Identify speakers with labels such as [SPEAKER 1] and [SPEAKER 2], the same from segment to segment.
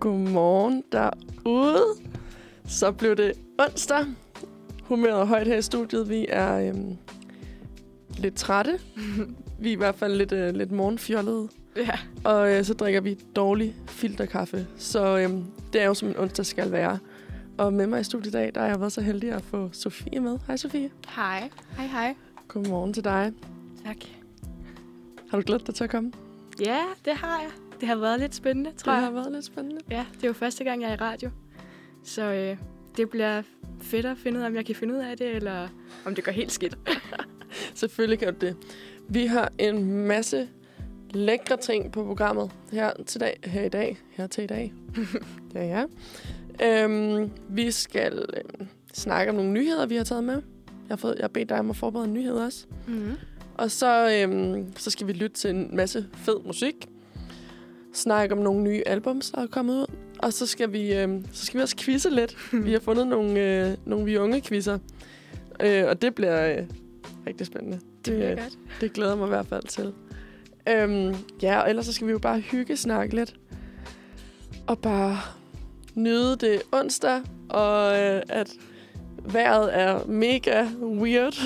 [SPEAKER 1] Godmorgen derude. Så blev det onsdag. Humøret er højt her i studiet. Vi er øhm, lidt trætte. vi er i hvert fald lidt, øh, lidt morgenfjollede.
[SPEAKER 2] Ja.
[SPEAKER 1] Og øh, så drikker vi dårlig filterkaffe. Så øhm, det er jo, som en onsdag skal være. Og med mig i studiet i dag, der har jeg været så heldig at få Sofie med. Hej Sofie.
[SPEAKER 2] Hej. Hej, hej.
[SPEAKER 1] Godmorgen til dig.
[SPEAKER 2] Tak.
[SPEAKER 1] Har du glædet dig til at komme?
[SPEAKER 2] Ja, det har jeg. Det har været lidt spændende, tror
[SPEAKER 1] Det
[SPEAKER 2] jeg.
[SPEAKER 1] har været lidt spændende.
[SPEAKER 2] Ja, det er jo første gang, jeg er i radio. Så øh, det bliver fedt at finde ud af, om jeg kan finde ud af det, eller om det går helt skidt.
[SPEAKER 1] Selvfølgelig kan du det. Vi har en masse lækre ting på programmet her til dag, her i dag, her til i dag. ja, ja. Øhm, vi skal øhm, snakke om nogle nyheder, vi har taget med. Jeg har, fået, jeg har bedt dig om at forberede en nyhed også.
[SPEAKER 2] Mm-hmm.
[SPEAKER 1] Og så, øhm, så skal vi lytte til en masse fed musik. Snakke om nogle nye albums, der er kommet ud. Og så skal vi, øhm, så skal vi også quizze lidt. Vi har fundet nogle, øh, nogle vi unge quizzer. Øh, og det bliver øh, rigtig spændende.
[SPEAKER 2] Det
[SPEAKER 1] øh,
[SPEAKER 2] bliver godt.
[SPEAKER 1] det glæder jeg mig i hvert fald til. Øhm, ja, og ellers så skal vi jo bare hygge snakke lidt. Og bare nyde det onsdag, og øh, at vejret er mega weird.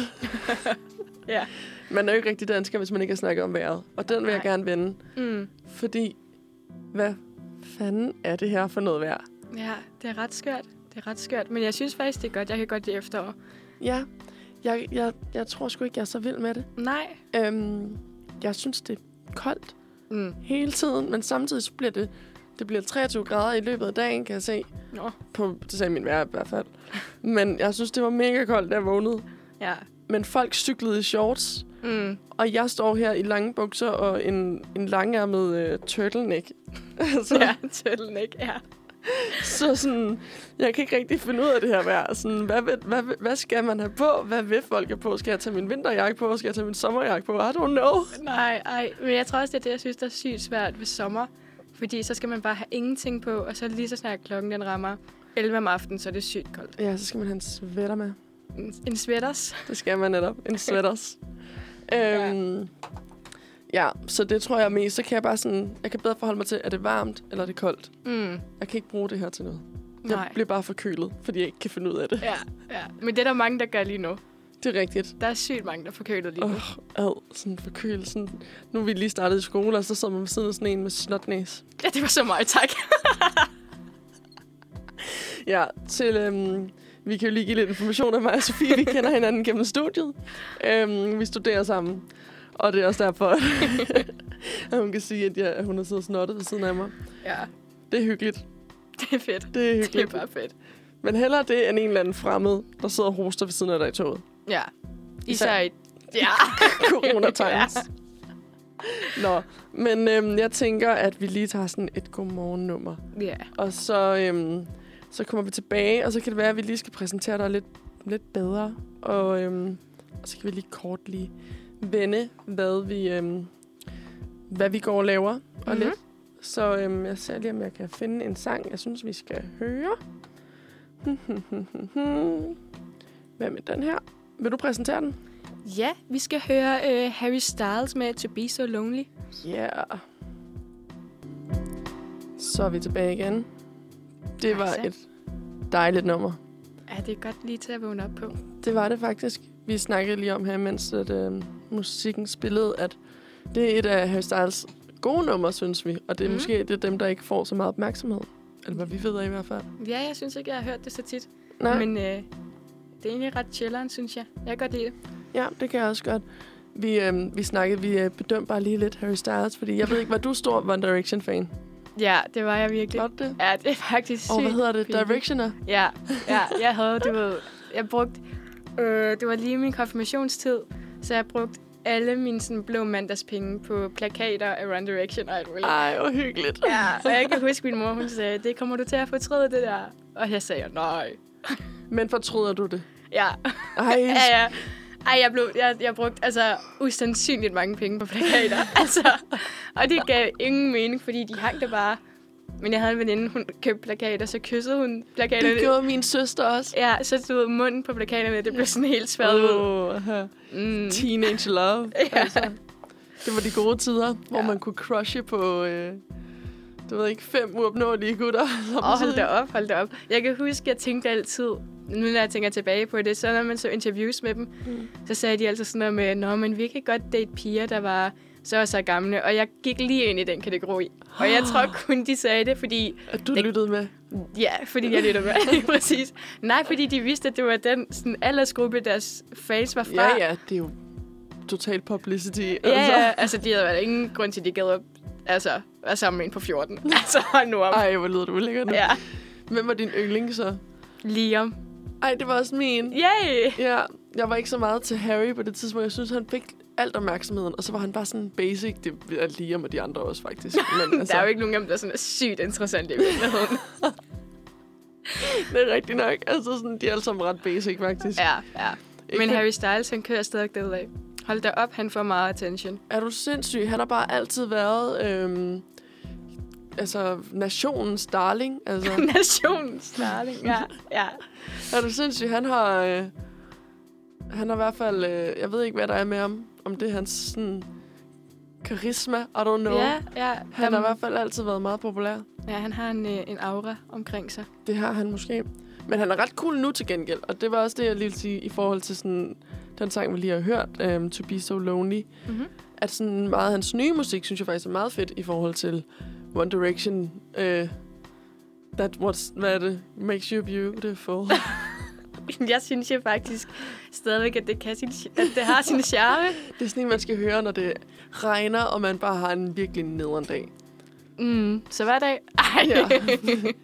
[SPEAKER 2] Ja.
[SPEAKER 1] Man er jo ikke rigtig dansker, hvis man ikke har snakket om vejret. Og den vil jeg
[SPEAKER 2] Nej.
[SPEAKER 1] gerne vende,
[SPEAKER 2] Mm.
[SPEAKER 1] fordi hvad fanden er det her for noget vejr?
[SPEAKER 2] Ja, det er ret skørt. Det er ret skørt, men jeg synes faktisk, det er godt. Jeg kan godt lide efterår.
[SPEAKER 1] Ja, jeg, jeg, jeg tror sgu ikke, jeg er så vild med det.
[SPEAKER 2] Nej.
[SPEAKER 1] Øhm, jeg synes, det er koldt.
[SPEAKER 2] Mm.
[SPEAKER 1] hele tiden, men samtidig så bliver det, det bliver 23 grader i løbet af dagen, kan jeg se.
[SPEAKER 2] Nå.
[SPEAKER 1] På, det sagde min vejr i hvert fald. Men jeg synes, det var mega koldt, da jeg vågnede.
[SPEAKER 2] Ja.
[SPEAKER 1] Men folk cyklede i shorts,
[SPEAKER 2] Mm.
[SPEAKER 1] og jeg står her i lange bukser og en, en langærmet øh, turtleneck. så, ja.
[SPEAKER 2] Ja, turtleneck. Ja.
[SPEAKER 1] så sådan, jeg kan ikke rigtig finde ud af det her vejr. Sådan, hvad, vil, hvad, vil- hvad skal man have på? Hvad vil folk have på? Skal jeg tage min vinterjakke på? Skal jeg tage min sommerjakke på? I don't know.
[SPEAKER 2] Nej, ej. Men jeg tror også, det er det, jeg synes, der er sygt svært ved sommer. Fordi så skal man bare have ingenting på, og så lige så snart klokken den rammer 11 om aftenen, så er det sygt koldt.
[SPEAKER 1] Ja, så skal man have en sweater med.
[SPEAKER 2] En, en sweaters.
[SPEAKER 1] Det skal man netop. En sweaters. øhm, ja. ja, så det tror jeg mest. Så kan jeg bare sådan... Jeg kan bedre forholde mig til, er det varmt eller er det koldt?
[SPEAKER 2] Mm.
[SPEAKER 1] Jeg kan ikke bruge det her til noget. Jeg
[SPEAKER 2] Nej.
[SPEAKER 1] bliver bare forkølet, fordi jeg ikke kan finde ud af det.
[SPEAKER 2] Ja, ja. Men det er der mange, der gør lige nu.
[SPEAKER 1] Det er rigtigt.
[SPEAKER 2] Der er sygt mange, der får kølet lige
[SPEAKER 1] Åh,
[SPEAKER 2] nu.
[SPEAKER 1] oh, ad, sådan forkølelsen. Nu er vi lige startet i skole, og så sidder man ved siden af sådan en med snotnæs.
[SPEAKER 2] Ja, det var så meget, tak.
[SPEAKER 1] Ja, til... Øhm, vi kan jo lige give lidt information om mig og Sofie. Vi kender hinanden gennem studiet. Øhm, vi studerer sammen. Og det er også derfor, at hun kan sige, at, jeg, at hun har siddet og snottet ved siden af mig.
[SPEAKER 2] Ja,
[SPEAKER 1] Det er hyggeligt.
[SPEAKER 2] det er fedt.
[SPEAKER 1] Det er
[SPEAKER 2] Det er
[SPEAKER 1] hyggeligt.
[SPEAKER 2] bare fedt.
[SPEAKER 1] Men hellere det, end en eller anden fremmed, der sidder og hoster ved siden af dig i toget.
[SPEAKER 2] Ja.
[SPEAKER 1] Især-
[SPEAKER 2] Især i... Ja.
[SPEAKER 1] Corona times. Nå, men øhm, jeg tænker, at vi lige tager sådan et godmorgen-nummer.
[SPEAKER 2] Ja.
[SPEAKER 1] Og så, øhm, så kommer vi tilbage, og så kan det være, at vi lige skal præsentere dig lidt, lidt bedre. Og, øhm, og så kan vi lige kort lige vende, hvad vi, øhm, hvad vi går og laver. Og
[SPEAKER 2] Mhm.
[SPEAKER 1] lidt. Så øhm, jeg ser lige, om jeg kan finde en sang, jeg synes, vi skal høre. Hvad med den her? Vil du præsentere den?
[SPEAKER 2] Ja, vi skal høre øh, Harry Styles med To Be So Lonely.
[SPEAKER 1] Yeah. Så er vi tilbage igen. Det var
[SPEAKER 2] Hejsa.
[SPEAKER 1] et dejligt nummer.
[SPEAKER 2] Ja, det er godt lige til at vågne op på.
[SPEAKER 1] Det var det faktisk. Vi snakkede lige om her, mens at, øh, musikken spillede, at det er et af Harry Styles gode numre, synes vi. Og det er mm.
[SPEAKER 2] Mhm.
[SPEAKER 1] måske det er dem, der ikke får så meget opmærksomhed. Eller hvad vi ved af i hvert fald.
[SPEAKER 2] Ja, jeg synes ikke, jeg har hørt det så tit.
[SPEAKER 1] Nej, Men...
[SPEAKER 2] Men øh, det er egentlig ret chilleren, synes jeg. Jeg kan godt lide det.
[SPEAKER 1] ja, det kan jeg også godt. Vi, øh, vi snakkede, vi øh, bedømte bare lige lidt Harry Styles, fordi jeg ved ikke, var du stor One Direction-fan?
[SPEAKER 2] Ja, det var jeg virkelig.
[SPEAKER 1] Var du det?
[SPEAKER 2] Ja, det er faktisk sygt.
[SPEAKER 1] Og hvad hedder det?
[SPEAKER 2] pinligt.
[SPEAKER 1] Directioner?
[SPEAKER 2] Ja, ja, jeg havde, du ved, jeg brugte, øh, det var lige min konfirmationstid, så jeg brugte alle mine sådan, blå mandagspenge på plakater af Run Direction og alt muligt.
[SPEAKER 1] Ej, hvor hyggeligt.
[SPEAKER 2] Ja, og jeg kan huske, min mor, hun sagde, det kommer du til at fortryde, det der. Og jeg sagde, nej.
[SPEAKER 1] Men fortryder du det?
[SPEAKER 2] Ja,
[SPEAKER 1] Ej,
[SPEAKER 2] ja, ja. Ej, jeg, blev, jeg, jeg brugte altså usandsynligt mange penge på plakater. altså, og det gav ingen mening, fordi de hang der bare. Men jeg havde en veninde, hun købte plakater, så kyssede hun plakaterne.
[SPEAKER 1] det gjorde min søster også.
[SPEAKER 2] Ja, så du ved, munden på plakaterne, det blev sådan helt svært ud.
[SPEAKER 1] Oh,
[SPEAKER 2] Mm.
[SPEAKER 1] Teenage love.
[SPEAKER 2] Ja.
[SPEAKER 1] altså. Det var de gode tider, hvor
[SPEAKER 2] Ja.
[SPEAKER 1] man kunne crushe på, øh, du ved ikke, fem uopnåelige gutter.
[SPEAKER 2] Åh, oh, hold da op, hold da op. Jeg kan huske, jeg tænkte altid, nu når jeg tænker tilbage på det, så når man så interviews med dem,
[SPEAKER 1] Mm.
[SPEAKER 2] mm. så sagde de altid sådan noget med, Nå, men vi kan godt date piger, der var så og så gamle, og jeg gik lige ind i den kategori. Og jeg tror kun, de sagde det, fordi,
[SPEAKER 1] At du
[SPEAKER 2] Det-
[SPEAKER 1] lyttede med.
[SPEAKER 2] ja, fordi jeg lytter med, lige præcis. Nej, fordi de vidste, at det var den sådan, aldersgruppe, deres fans var fra.
[SPEAKER 1] Ja, ja, det er jo total publicity.
[SPEAKER 2] Ja, ja, altså, de havde jo ingen grund til, at de gad at altså, være sammen med en på 14. Altså, hold nu op.
[SPEAKER 1] Ej, hvor lyder du ulækkert. Ja.
[SPEAKER 2] Ja.
[SPEAKER 1] Hvem var din yndling så?
[SPEAKER 2] Liam.
[SPEAKER 1] Ej, det var også min.
[SPEAKER 2] Yay!
[SPEAKER 1] Ja, jeg var ikke så meget til Harry på det tidspunkt. Jeg synes, han fik alt opmærksomheden, og så var han bare sådan basic. Det er lige med de andre også, faktisk. Men, altså,
[SPEAKER 2] Der er jo ikke nogen af dem, der er sådan er sygt interessant i virkeligheden.
[SPEAKER 1] Det er rigtigt nok. Altså, sådan, de er alle sammen ret basic, faktisk.
[SPEAKER 2] ja, ja. Men
[SPEAKER 1] Ikke-
[SPEAKER 2] Harry Styles, han kører stadig derudad. Hold da op, han får meget attention.
[SPEAKER 1] Er du sindssyg? Han har bare altid været... Øhm, altså, nationens darling. Altså,
[SPEAKER 2] Nationens darling. Ja, ja.
[SPEAKER 1] er du sindssyg? Han har... Øh, han har i hvert fald... Øh, jeg ved ikke, hvad der er med ham. Om det er hans sådan, karisma. I don't know.
[SPEAKER 2] Ja, ja.
[SPEAKER 1] Han har i hvert fald altid været meget populær.
[SPEAKER 2] ja, han har en, øh, en aura omkring sig.
[SPEAKER 1] Det har han måske. Men han er ret cool nu til gengæld, og det var også det, jeg lige ville sige i forhold til sådan, den sang, vi lige har hørt, um, To Be So Lonely.
[SPEAKER 2] Mhm.
[SPEAKER 1] At sådan meget af hans nye musik, synes jeg faktisk er meget fedt i forhold til One Direction. Uh, that was, hvad er det? Makes you beautiful.
[SPEAKER 2] Jeg synes jo faktisk stadigvæk, at det, kan sin, at det har sin charme.
[SPEAKER 1] det er sådan en, man skal høre, når det regner, og man bare har en virkelig nederen dag.
[SPEAKER 2] Mm, så hver dag. Ej.
[SPEAKER 1] Ja.
[SPEAKER 2] Ja.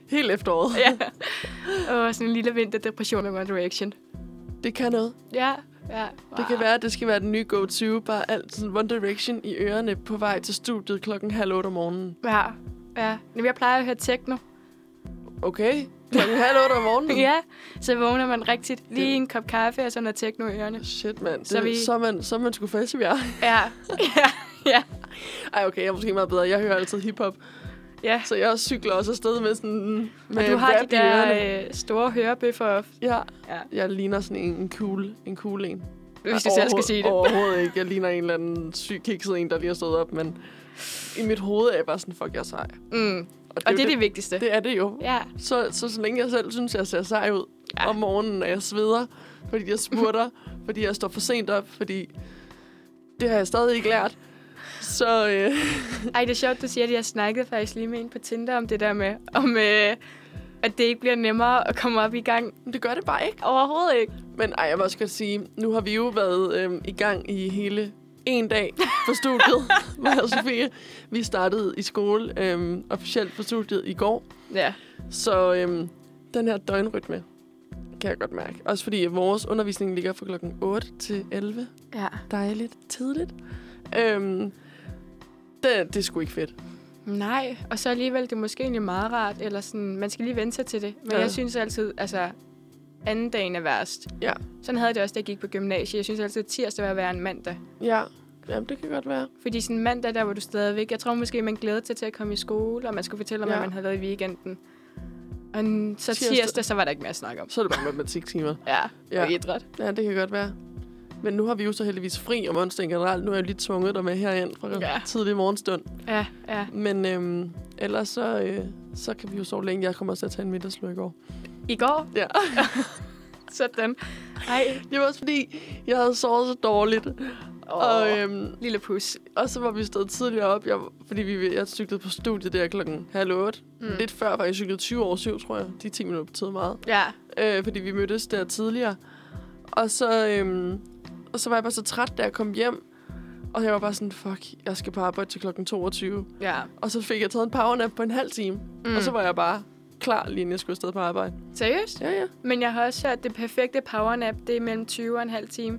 [SPEAKER 1] Helt efteråret.
[SPEAKER 2] ja. Og sådan en lille vinterdepression med One Direction.
[SPEAKER 1] Det kan noget.
[SPEAKER 2] Ja, ja.
[SPEAKER 1] Det kan være, at det skal være den nye go-to. Bare alt sådan One Direction i ørerne på vej til studiet klokken halv otte om morgenen.
[SPEAKER 2] Ja, ja. Jamen, jeg plejer at høre techno.
[SPEAKER 1] Okay. Klokken halv otte om morgenen?
[SPEAKER 2] Ja, så vågner man rigtigt. Lige en kop kaffe og sådan noget techno i ørerne.
[SPEAKER 1] Shit, mand. Det, så,
[SPEAKER 2] Så
[SPEAKER 1] vi...
[SPEAKER 2] vi-
[SPEAKER 1] så, er man, så er man sgu fast, vi er.
[SPEAKER 2] Ja, ja, ja.
[SPEAKER 1] Ej, okay, jeg er måske meget bedre. Jeg hører altid hiphop,
[SPEAKER 2] ja.
[SPEAKER 1] så jeg cykler også afsted med sådan med
[SPEAKER 2] Og du har de
[SPEAKER 1] rap i ørerne.
[SPEAKER 2] der øh, store hørebøffer.
[SPEAKER 1] Ja,
[SPEAKER 2] Ja.
[SPEAKER 1] jeg ligner sådan en, en cool, en cool en.
[SPEAKER 2] Hvis du
[SPEAKER 1] Ej,
[SPEAKER 2] selv skal
[SPEAKER 1] overhovedet-
[SPEAKER 2] sige det.
[SPEAKER 1] Overhovedet ikke. Jeg ligner en eller anden syg kikset en, der lige har stået op, men i mit hoved er jeg bare sådan, fuck, jeg er sej.
[SPEAKER 2] Mm.
[SPEAKER 1] Og
[SPEAKER 2] Og
[SPEAKER 1] jo
[SPEAKER 2] det er det vigtigste.
[SPEAKER 1] det er det jo.
[SPEAKER 2] Ja,
[SPEAKER 1] Så, så, så længe jeg selv synes, jeg ser sej ud ja. om morgenen, når jeg sveder, fordi jeg spurter, fordi jeg står for sent op, fordi det har jeg stadig ikke lært. Så øh,
[SPEAKER 2] ej, det er sjovt, du siger det. Jeg snakkede faktisk lige med en på Tinder om det der med, om øh, at det ikke bliver nemmere at komme op i gang.
[SPEAKER 1] det gør det bare ikke.
[SPEAKER 2] Overhovedet ikke.
[SPEAKER 1] Men ej, jeg vil også godt sige, nu har vi jo været øh, i gang i hele en dag på studiet, mig og Sofie. Vi startede i skole øh, officielt på studiet i går,
[SPEAKER 2] Ja,
[SPEAKER 1] så øh, den her døgnrytme kan jeg godt mærke. Også fordi vores undervisning ligger fra klokken 8 til 11.
[SPEAKER 2] ja.
[SPEAKER 1] dejligt tidligt. Øhm, det, det er sgu ikke fedt.
[SPEAKER 2] Nej, og så alligevel, det er måske egentlig meget rart, eller sådan, man skal lige vente sig til det. Men
[SPEAKER 1] Ja.
[SPEAKER 2] ja. jeg synes altid, altså, anden dagen er værst.
[SPEAKER 1] Ja.
[SPEAKER 2] Sådan havde jeg det også, da jeg gik på gymnasiet. Jeg synes altid, at tirsdag var værre end mandag.
[SPEAKER 1] Ja, Jamen, det kan godt være.
[SPEAKER 2] Fordi sådan mandag, der var du stadigvæk, jeg tror måske, man glædede sig til at komme i skole, og man skulle fortælle om,
[SPEAKER 1] Ja.
[SPEAKER 2] ja. hvad man havde lavet i weekenden. Og n-
[SPEAKER 1] Tirsdag.
[SPEAKER 2] så tirsdag, tirsdag så var der ikke mere at snakke om.
[SPEAKER 1] Så er det bare matematiktimer.
[SPEAKER 2] Ja,
[SPEAKER 1] Ja.
[SPEAKER 2] ja. og idræt.
[SPEAKER 1] Ja, det kan godt være. Men nu har vi jo så heldigvis fri om onsdagen generelt. Nu er jeg jo lige tvunget dig med herind fra ja.
[SPEAKER 2] Ja.
[SPEAKER 1] tidlig morgenstund.
[SPEAKER 2] Ja, ja.
[SPEAKER 1] Men øhm, ellers så, øh, så kan vi jo sove længe. Jeg kommer også til at tage en middagslur i går.
[SPEAKER 2] I går,
[SPEAKER 1] Ja.
[SPEAKER 2] sådan. Ej,
[SPEAKER 1] Det var også fordi, jeg havde sovet så dårligt. Oh. Og,
[SPEAKER 2] øh,
[SPEAKER 1] øhm,
[SPEAKER 2] lille pus.
[SPEAKER 1] Og så var vi stået tidligere op, jeg, fordi vi, jeg cyklede på studiet der klokken halv otte. Mm.
[SPEAKER 2] Mm.
[SPEAKER 1] Lidt før var jeg cyklet 20 over syv, tror jeg. De 10 minutter betød meget.
[SPEAKER 2] Ja,
[SPEAKER 1] Øh, fordi vi mødtes der tidligere. Og så, øhm, og så var jeg bare så træt, da jeg kom hjem. Og jeg var bare sådan, fuck, jeg skal på arbejde til klokken 22.
[SPEAKER 2] ja.
[SPEAKER 1] Og så fik jeg taget en powernap på en halv time. Mm.
[SPEAKER 2] Mm.
[SPEAKER 1] Og så var jeg bare klar, lige inden jeg skulle afsted på arbejde.
[SPEAKER 2] Seriøst?
[SPEAKER 1] Ja, ja.
[SPEAKER 2] Men jeg har også hørt, at det perfekte powernap, det er mellem 20 og en halv time.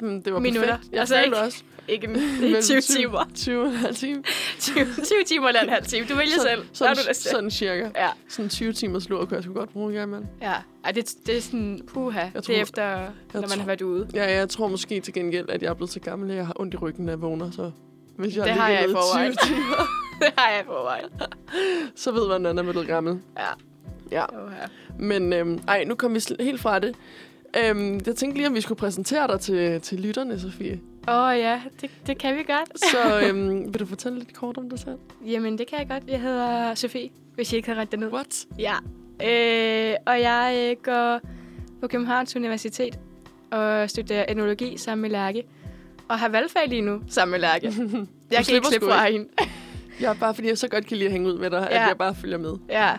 [SPEAKER 1] Mm, Det var
[SPEAKER 2] Minutter.
[SPEAKER 1] perfekt. Jeg
[SPEAKER 2] Altså
[SPEAKER 1] følte
[SPEAKER 2] ikke-
[SPEAKER 1] også.
[SPEAKER 2] Ikke
[SPEAKER 1] mellem
[SPEAKER 2] 20 timer.
[SPEAKER 1] 20 og en halv time.
[SPEAKER 2] 20, 20 timer eller en halv time. Du vælger
[SPEAKER 1] Sådan-
[SPEAKER 2] selv. Hvad har
[SPEAKER 1] Sådan,
[SPEAKER 2] du lyst til?
[SPEAKER 1] sådan cirka.
[SPEAKER 2] Ja,
[SPEAKER 1] Sådan 20 timers lur kunne jeg sgu godt bruge en gang, mand.
[SPEAKER 2] ja. Ej, det, det er sådan, puha, det
[SPEAKER 1] tror-
[SPEAKER 2] er efter, når man
[SPEAKER 1] tror-
[SPEAKER 2] har været ude.
[SPEAKER 1] Ja, jeg tror måske til gengæld, at jeg er blevet så gammel, at jeg har ondt i ryggen, når jeg vågner. Så hvis jeg
[SPEAKER 2] Det
[SPEAKER 1] har
[SPEAKER 2] har jeg i
[SPEAKER 1] ligget
[SPEAKER 2] forvejen.
[SPEAKER 1] 20 timer,
[SPEAKER 2] det har jeg på vej.
[SPEAKER 1] så ved man, at man er blevet gammel.
[SPEAKER 2] Ja.
[SPEAKER 1] Ja.
[SPEAKER 2] Puha.
[SPEAKER 1] Men øhm, ej, nu kom vi sl- helt fra det. Øhm, jeg tænkte lige, om vi skulle præsentere dig til, til lytterne, Sofie.
[SPEAKER 2] Åh oh, ja, det, det kan vi godt.
[SPEAKER 1] Så øhm, vil du fortælle lidt kort om dig selv?
[SPEAKER 2] Jamen, det kan jeg godt. Jeg hedder Sofie, hvis I ikke har ret det ned.
[SPEAKER 1] What?
[SPEAKER 2] Ja. Øh, og jeg øh, går på Københavns Universitet og studerer etnologi sammen med Lærke. Og har valgfag lige nu sammen med Lærke. Jeg kan ikke
[SPEAKER 1] slipper
[SPEAKER 2] slippe
[SPEAKER 1] sgu
[SPEAKER 2] fra hende.
[SPEAKER 1] Ja, bare fordi jeg så godt kan lide at hænge ud med dig, ja.
[SPEAKER 2] Ja.
[SPEAKER 1] at jeg bare følger med.
[SPEAKER 2] Ja,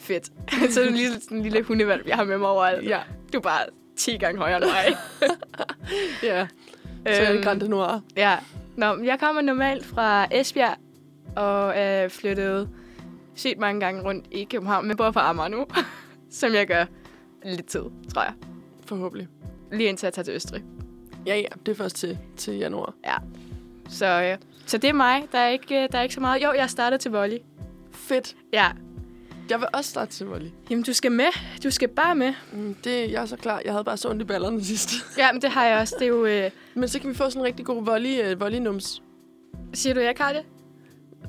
[SPEAKER 2] fedt. Så er du lige sådan en lille hundevalg, jeg har med mig overalt.
[SPEAKER 1] Ja,
[SPEAKER 2] Du er bare 10 gange højere end mig. Øhm,
[SPEAKER 1] ja. Så er det Grande Noir.
[SPEAKER 2] Ja. Nå, men jeg kommer normalt fra Esbjerg og er flyttet sygt mange gange rundt i København, men bor på Amager nu, som jeg gør lidt tid, tror jeg.
[SPEAKER 1] Forhåbentlig.
[SPEAKER 2] Lige indtil jeg tager til Østrig.
[SPEAKER 1] Ja, ja. Det er først til, til januar.
[SPEAKER 2] Så, øh, så det er mig. Der er, ikke, øh, der er ikke så meget. Jo, jeg startede til volley.
[SPEAKER 1] Fedt.
[SPEAKER 2] Ja.
[SPEAKER 1] Jeg vil også starte til volley.
[SPEAKER 2] Jamen, du skal med. Du skal bare med.
[SPEAKER 1] Mm, Det, jeg er så klar. Jeg havde bare så ondt i ballerne sidst.
[SPEAKER 2] Ja, men det har jeg også. Det er jo... Øh,
[SPEAKER 1] Men så kan vi få sådan en rigtig god volley, øh, volley-nums.
[SPEAKER 2] siger du, jeg kan det?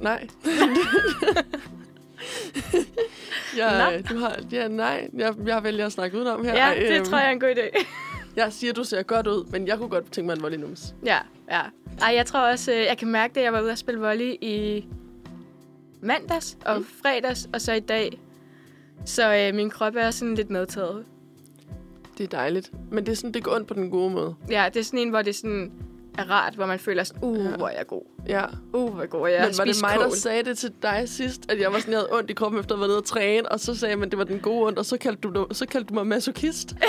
[SPEAKER 1] Nej.
[SPEAKER 2] Nej.
[SPEAKER 1] jeg, du har, ja, nej. Jeg, jeg vælger at snakke udenom her.
[SPEAKER 2] Ja,
[SPEAKER 1] Ej,
[SPEAKER 2] det
[SPEAKER 1] øhm,
[SPEAKER 2] tror jeg er en god idé.
[SPEAKER 1] Jeg siger, du ser godt ud, men jeg kunne godt tænke mig en volley-nums.
[SPEAKER 2] Ja, ja. Ej, jeg tror også, øh, jeg kan mærke det, jeg var ude at spille volley i mandags og mm. fredags, og så i dag. Så øh, min krop er sådan lidt medtaget.
[SPEAKER 1] Det er dejligt. Men det er sådan, det går ondt på den gode måde.
[SPEAKER 2] Ja, det er sådan en, hvor det sådan er rart, hvor man føler sådan, uh,
[SPEAKER 1] Ja.
[SPEAKER 2] hvor er jeg god.
[SPEAKER 1] Ja.
[SPEAKER 2] Uh, hvor god er jeg.
[SPEAKER 1] men var det
[SPEAKER 2] Spis
[SPEAKER 1] mig,
[SPEAKER 2] kål.
[SPEAKER 1] der sagde det til dig sidst, at jeg var sådan, jeg havde ondt i kroppen efter at have været nede og træne, og så sagde jeg, at det var den gode ondt, og så kaldte du, så kaldte du mig masochist. Det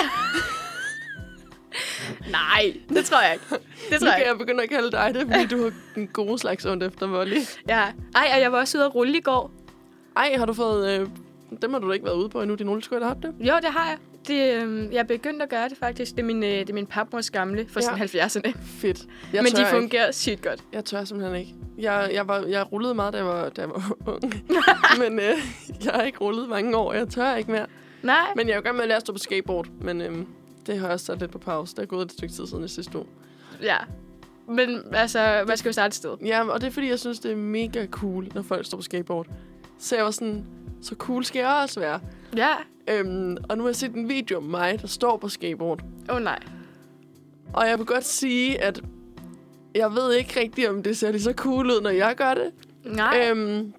[SPEAKER 2] Nej, det tror jeg ikke. Det
[SPEAKER 1] nu
[SPEAKER 2] tror jeg
[SPEAKER 1] kan
[SPEAKER 2] ikke.
[SPEAKER 1] jeg begynde at kalde dig det, fordi du har den gode slags ondt efter volley.
[SPEAKER 2] Ja. Ej, og jeg var også ude at rulle i går.
[SPEAKER 1] Ej, har du fået... Øh, dem har du da ikke været ude på endnu, din rulleskøjt, har du det?
[SPEAKER 2] Jo, det har jeg. Det, øh, jeg er begyndt at gøre det faktisk. Det er min, øh, det er min papmors gamle fra
[SPEAKER 1] Ja.
[SPEAKER 2] sådan 70'erne.
[SPEAKER 1] Fedt. Jeg
[SPEAKER 2] Men de
[SPEAKER 1] tør ikke.
[SPEAKER 2] fungerer sygt godt.
[SPEAKER 1] Jeg tør simpelthen ikke. Jeg, jeg, var, jeg rullede meget, da jeg var, da jeg var ung. men øh, jeg har ikke rullet mange år. Jeg tør ikke mere.
[SPEAKER 2] Nej.
[SPEAKER 1] Men jeg er jo i gang med at lære at stå på skateboard. Men øh, det har jeg også sat lidt på pause. Der er gået et stykke tid siden jeg sidste uge.
[SPEAKER 2] Ja. Men altså, man skal jo starte et sted.
[SPEAKER 1] Ja, og det er fordi, jeg synes, det er mega cool, når folk står på skateboard. Så jeg var sådan, så cool skal jeg også være.
[SPEAKER 2] Ja.
[SPEAKER 1] Øhm, og nu har jeg set en video om mig, der står på skateboard.
[SPEAKER 2] Åh oh, nej.
[SPEAKER 1] Og jeg vil godt sige, at jeg ved ikke rigtigt, om det ser lige så cool ud, når jeg gør det.
[SPEAKER 2] Nej. Øh,
[SPEAKER 1] Øhm,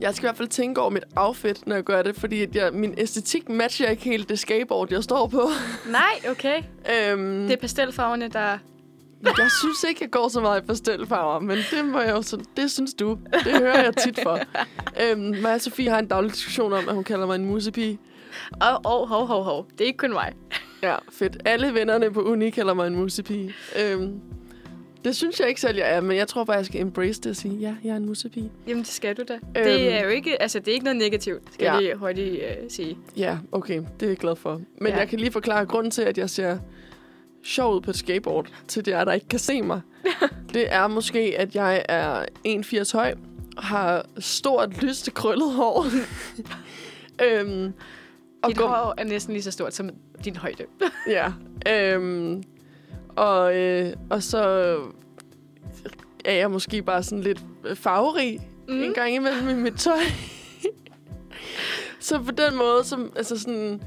[SPEAKER 1] jeg skal i hvert fald tænke over mit outfit, når jeg gør det, fordi at jeg, min æstetik matcher ikke helt det skateboard, jeg står på.
[SPEAKER 2] nej, okay.
[SPEAKER 1] øhm,
[SPEAKER 2] Det er pastelfarverne, der...
[SPEAKER 1] Jeg synes ikke, jeg går så meget i pastelfarver, men det, må jeg jo, så, det synes du. Det hører jeg tit for. øhm, mig og Sofie har en daglig diskussion om, at hun kalder mig en musepige.
[SPEAKER 2] Åh, oh, oh, hov, hov, hov. Det er ikke kun mig.
[SPEAKER 1] Ja, fedt. Alle vennerne på uni kalder mig en musepige. Øhm, det synes jeg ikke selv, jeg er, men jeg tror bare, jeg skal embrace det og sige, ja, jeg er en musepige.
[SPEAKER 2] Jamen, det skal du da. Øhm. Det er jo ikke... Altså, det er ikke noget negativt, skal
[SPEAKER 1] Ja.
[SPEAKER 2] jeg lige hurtigt øh, sige.
[SPEAKER 1] Ja, okay. Det er jeg glad for. Men ja.
[SPEAKER 2] Ja.
[SPEAKER 1] jeg kan lige forklare grunden til, at jeg ser sjov ud på et skateboard, til jer, der ikke kan se mig. det er måske, at jeg er 1,80 høj, har stort, lyst krøllet hår. øhm,
[SPEAKER 2] Og Dit
[SPEAKER 1] går-
[SPEAKER 2] hår er næsten lige så stort som din højde.
[SPEAKER 1] Ja. Øhm, og, øh, og så er jeg måske bare sådan lidt farverig mm.
[SPEAKER 2] Mm.
[SPEAKER 1] en gang imellem i mit tøj. så på den måde, som, altså sådan,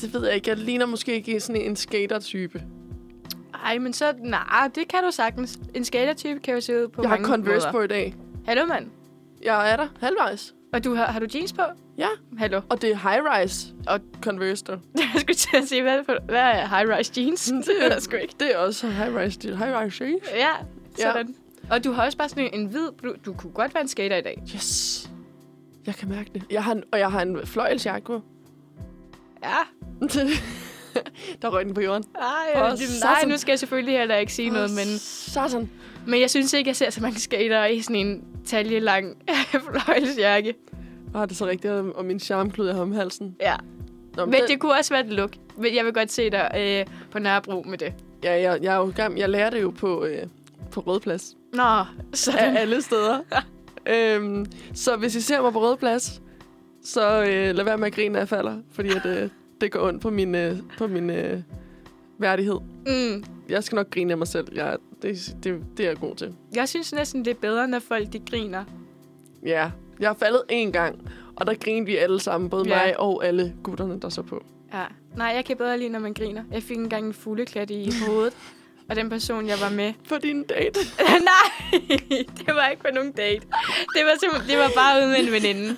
[SPEAKER 1] det ved jeg ikke, jeg ligner måske ikke sådan en skater-type.
[SPEAKER 2] Ej, men så... Nej, det kan du sagtens. En skatertype kan jo se ud på
[SPEAKER 1] Jeg har
[SPEAKER 2] mange
[SPEAKER 1] Converse
[SPEAKER 2] måder.
[SPEAKER 1] på i dag.
[SPEAKER 2] Hallo, mand.
[SPEAKER 1] Jeg er der halvvejs.
[SPEAKER 2] Og du har, har du jeans på?
[SPEAKER 1] Ja,
[SPEAKER 2] Hallo.
[SPEAKER 1] og det er high-rise og Converse der.
[SPEAKER 2] Jeg skulle til at sige, hvad er, det for, hvad er high-rise jeans? det er der sgu ikke.
[SPEAKER 1] Det er også high-rise. Det er high-rise jeans.
[SPEAKER 2] Ja,
[SPEAKER 1] Ja.
[SPEAKER 2] sådan. Og du har også bare sådan en, en hvid... Du, du kunne godt være en skater i dag.
[SPEAKER 1] Yes. Jeg kan mærke det. Jeg har en, og jeg har en fløjelsjakke på.
[SPEAKER 2] Ja.
[SPEAKER 1] der røg den på jorden.
[SPEAKER 2] Ej,
[SPEAKER 1] Og
[SPEAKER 2] og
[SPEAKER 1] så
[SPEAKER 2] nej,
[SPEAKER 1] sådan-
[SPEAKER 2] nu skal jeg selvfølgelig heller ikke sige noget, men,
[SPEAKER 1] Sådan.
[SPEAKER 2] men jeg synes ikke, jeg ser så mange skatere i sådan en taljelang fløjlesjakke.
[SPEAKER 1] Ah, det er så rigtigt, og og min charmklud er om halsen.
[SPEAKER 2] Ja.
[SPEAKER 1] Nå,
[SPEAKER 2] Men det kunne også være et look. Men jeg vil godt se dig øh, på Nørrebro med det.
[SPEAKER 1] Ja, jeg, jeg, er jo i gang, jeg lærer det jo på, øh, på Rødplads.
[SPEAKER 2] Nå, sådan.
[SPEAKER 1] Af alle steder. øhm, så hvis I ser mig på Rødplads, så øh, lad være med at grine, når jeg falder. Fordi at, øh, det går ondt på min, øh, på min øh, værdighed.
[SPEAKER 2] Mm.
[SPEAKER 1] Jeg skal nok grine af mig selv. Jeg, det, det, det er jeg god til.
[SPEAKER 2] Jeg synes næsten, det er bedre, når folk de griner.
[SPEAKER 1] Ja, jeg er faldet én gang. Og der grinede vi alle sammen, både
[SPEAKER 2] Ja.
[SPEAKER 1] mig og alle gutterne, der så på.
[SPEAKER 2] Ja. Nej, jeg kan bedre lide, når man griner. Jeg fik engang en fugleklat i hovedet, og den person, jeg var med...
[SPEAKER 1] på din date.
[SPEAKER 2] Nej, det var ikke på nogen date. Det var, simpel- det var bare ude med en veninde.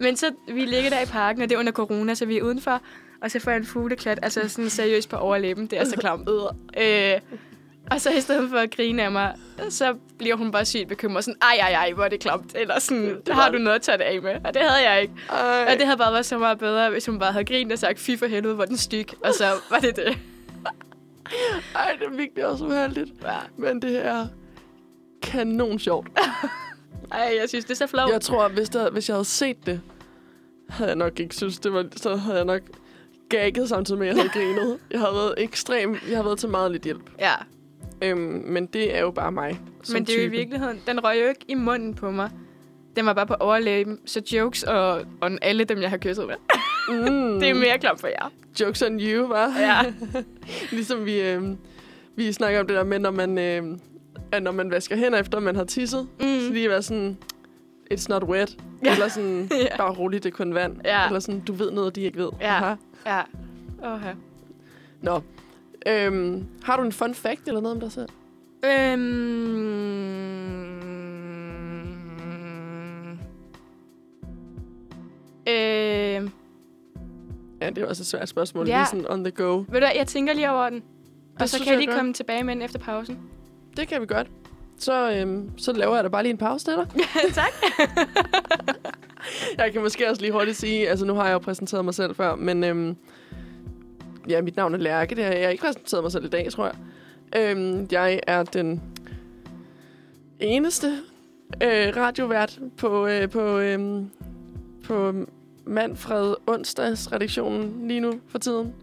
[SPEAKER 2] Men så, vi ligger der i parken, og det er under corona, så vi er udenfor. Og så får jeg en fugleklat, altså sådan seriøst på overlæben. Det er så klamt. Øh, og så i stedet for at grine af mig, så bliver hun bare sygt bekymret. Sådan, ej, ej, ej, hvor er det klamt. Eller sådan,
[SPEAKER 1] Det var-
[SPEAKER 2] har du noget at tage det af med? Og det havde jeg ikke.
[SPEAKER 1] Ej.
[SPEAKER 2] Og det havde bare været så meget bedre, hvis hun bare havde grinet og sagt, fy for helvede, hvor er den styg. Og så var det det.
[SPEAKER 1] Ej, det er virkelig også uheldigt.
[SPEAKER 2] Ja.
[SPEAKER 1] Men det er kanon sjovt.
[SPEAKER 2] Ej, jeg synes, det er så flot.
[SPEAKER 1] Jeg tror, at hvis, der, hvis jeg havde set det, havde jeg nok ikke synes, det var, så havde jeg nok gagget samtidig med, at jeg havde grinet. Jeg havde været ekstrem, jeg har været til meget lidt hjælp.
[SPEAKER 2] Ja.
[SPEAKER 1] Øhm, men det er jo bare mig. som
[SPEAKER 2] Men det er jo i
[SPEAKER 1] type.
[SPEAKER 2] virkeligheden, den røg jo ikke i munden på mig. Den var bare på overlæben, så jokes og, og alle dem, jeg har kysset med.
[SPEAKER 1] Mm,
[SPEAKER 2] Det er mere klamt for jer.
[SPEAKER 1] Jokes on you, var.
[SPEAKER 2] Ja.
[SPEAKER 1] ligesom vi, øhm, vi snakker om det der med, når man, øhm, at når man vasker hænder efter, man har tisset. Mm. Så
[SPEAKER 2] Mm.
[SPEAKER 1] lige være sådan, it's not wet.
[SPEAKER 2] Ja.
[SPEAKER 1] Ja. Eller sådan,
[SPEAKER 2] Ja.
[SPEAKER 1] ja. bare roligt, det er kun vand.
[SPEAKER 2] Ja.
[SPEAKER 1] Eller sådan, du ved noget, de ikke ved.
[SPEAKER 2] Ja.
[SPEAKER 1] Aha.
[SPEAKER 2] Ja. Oha.
[SPEAKER 1] Nå. Øhm, har du en fun fact eller noget om dig selv?
[SPEAKER 2] Øhm... Øhm...
[SPEAKER 1] Ja, det er også et svært spørgsmål.
[SPEAKER 2] Ja.
[SPEAKER 1] Ja. Lige sådan on the go.
[SPEAKER 2] Ved du hvad, jeg tænker lige over den. Og
[SPEAKER 1] Det
[SPEAKER 2] så
[SPEAKER 1] synes
[SPEAKER 2] kan jeg
[SPEAKER 1] jeg
[SPEAKER 2] lige
[SPEAKER 1] godt.
[SPEAKER 2] komme tilbage med den efter pausen.
[SPEAKER 1] Det kan vi godt. Så, øhm, så laver jeg da bare lige en pause til dig.
[SPEAKER 2] tak.
[SPEAKER 1] Jeg kan måske også lige hurtigt sige, altså nu har jeg jo præsenteret mig selv før, men øhm, ja, mit navn er Lærke, det har jeg ikke præsenteret mig selv i dag, tror jeg. Øhm, jeg er den eneste øh, radiovært på, øh, på, øh, på Manfred Onsdags redaktionen lige nu for tiden.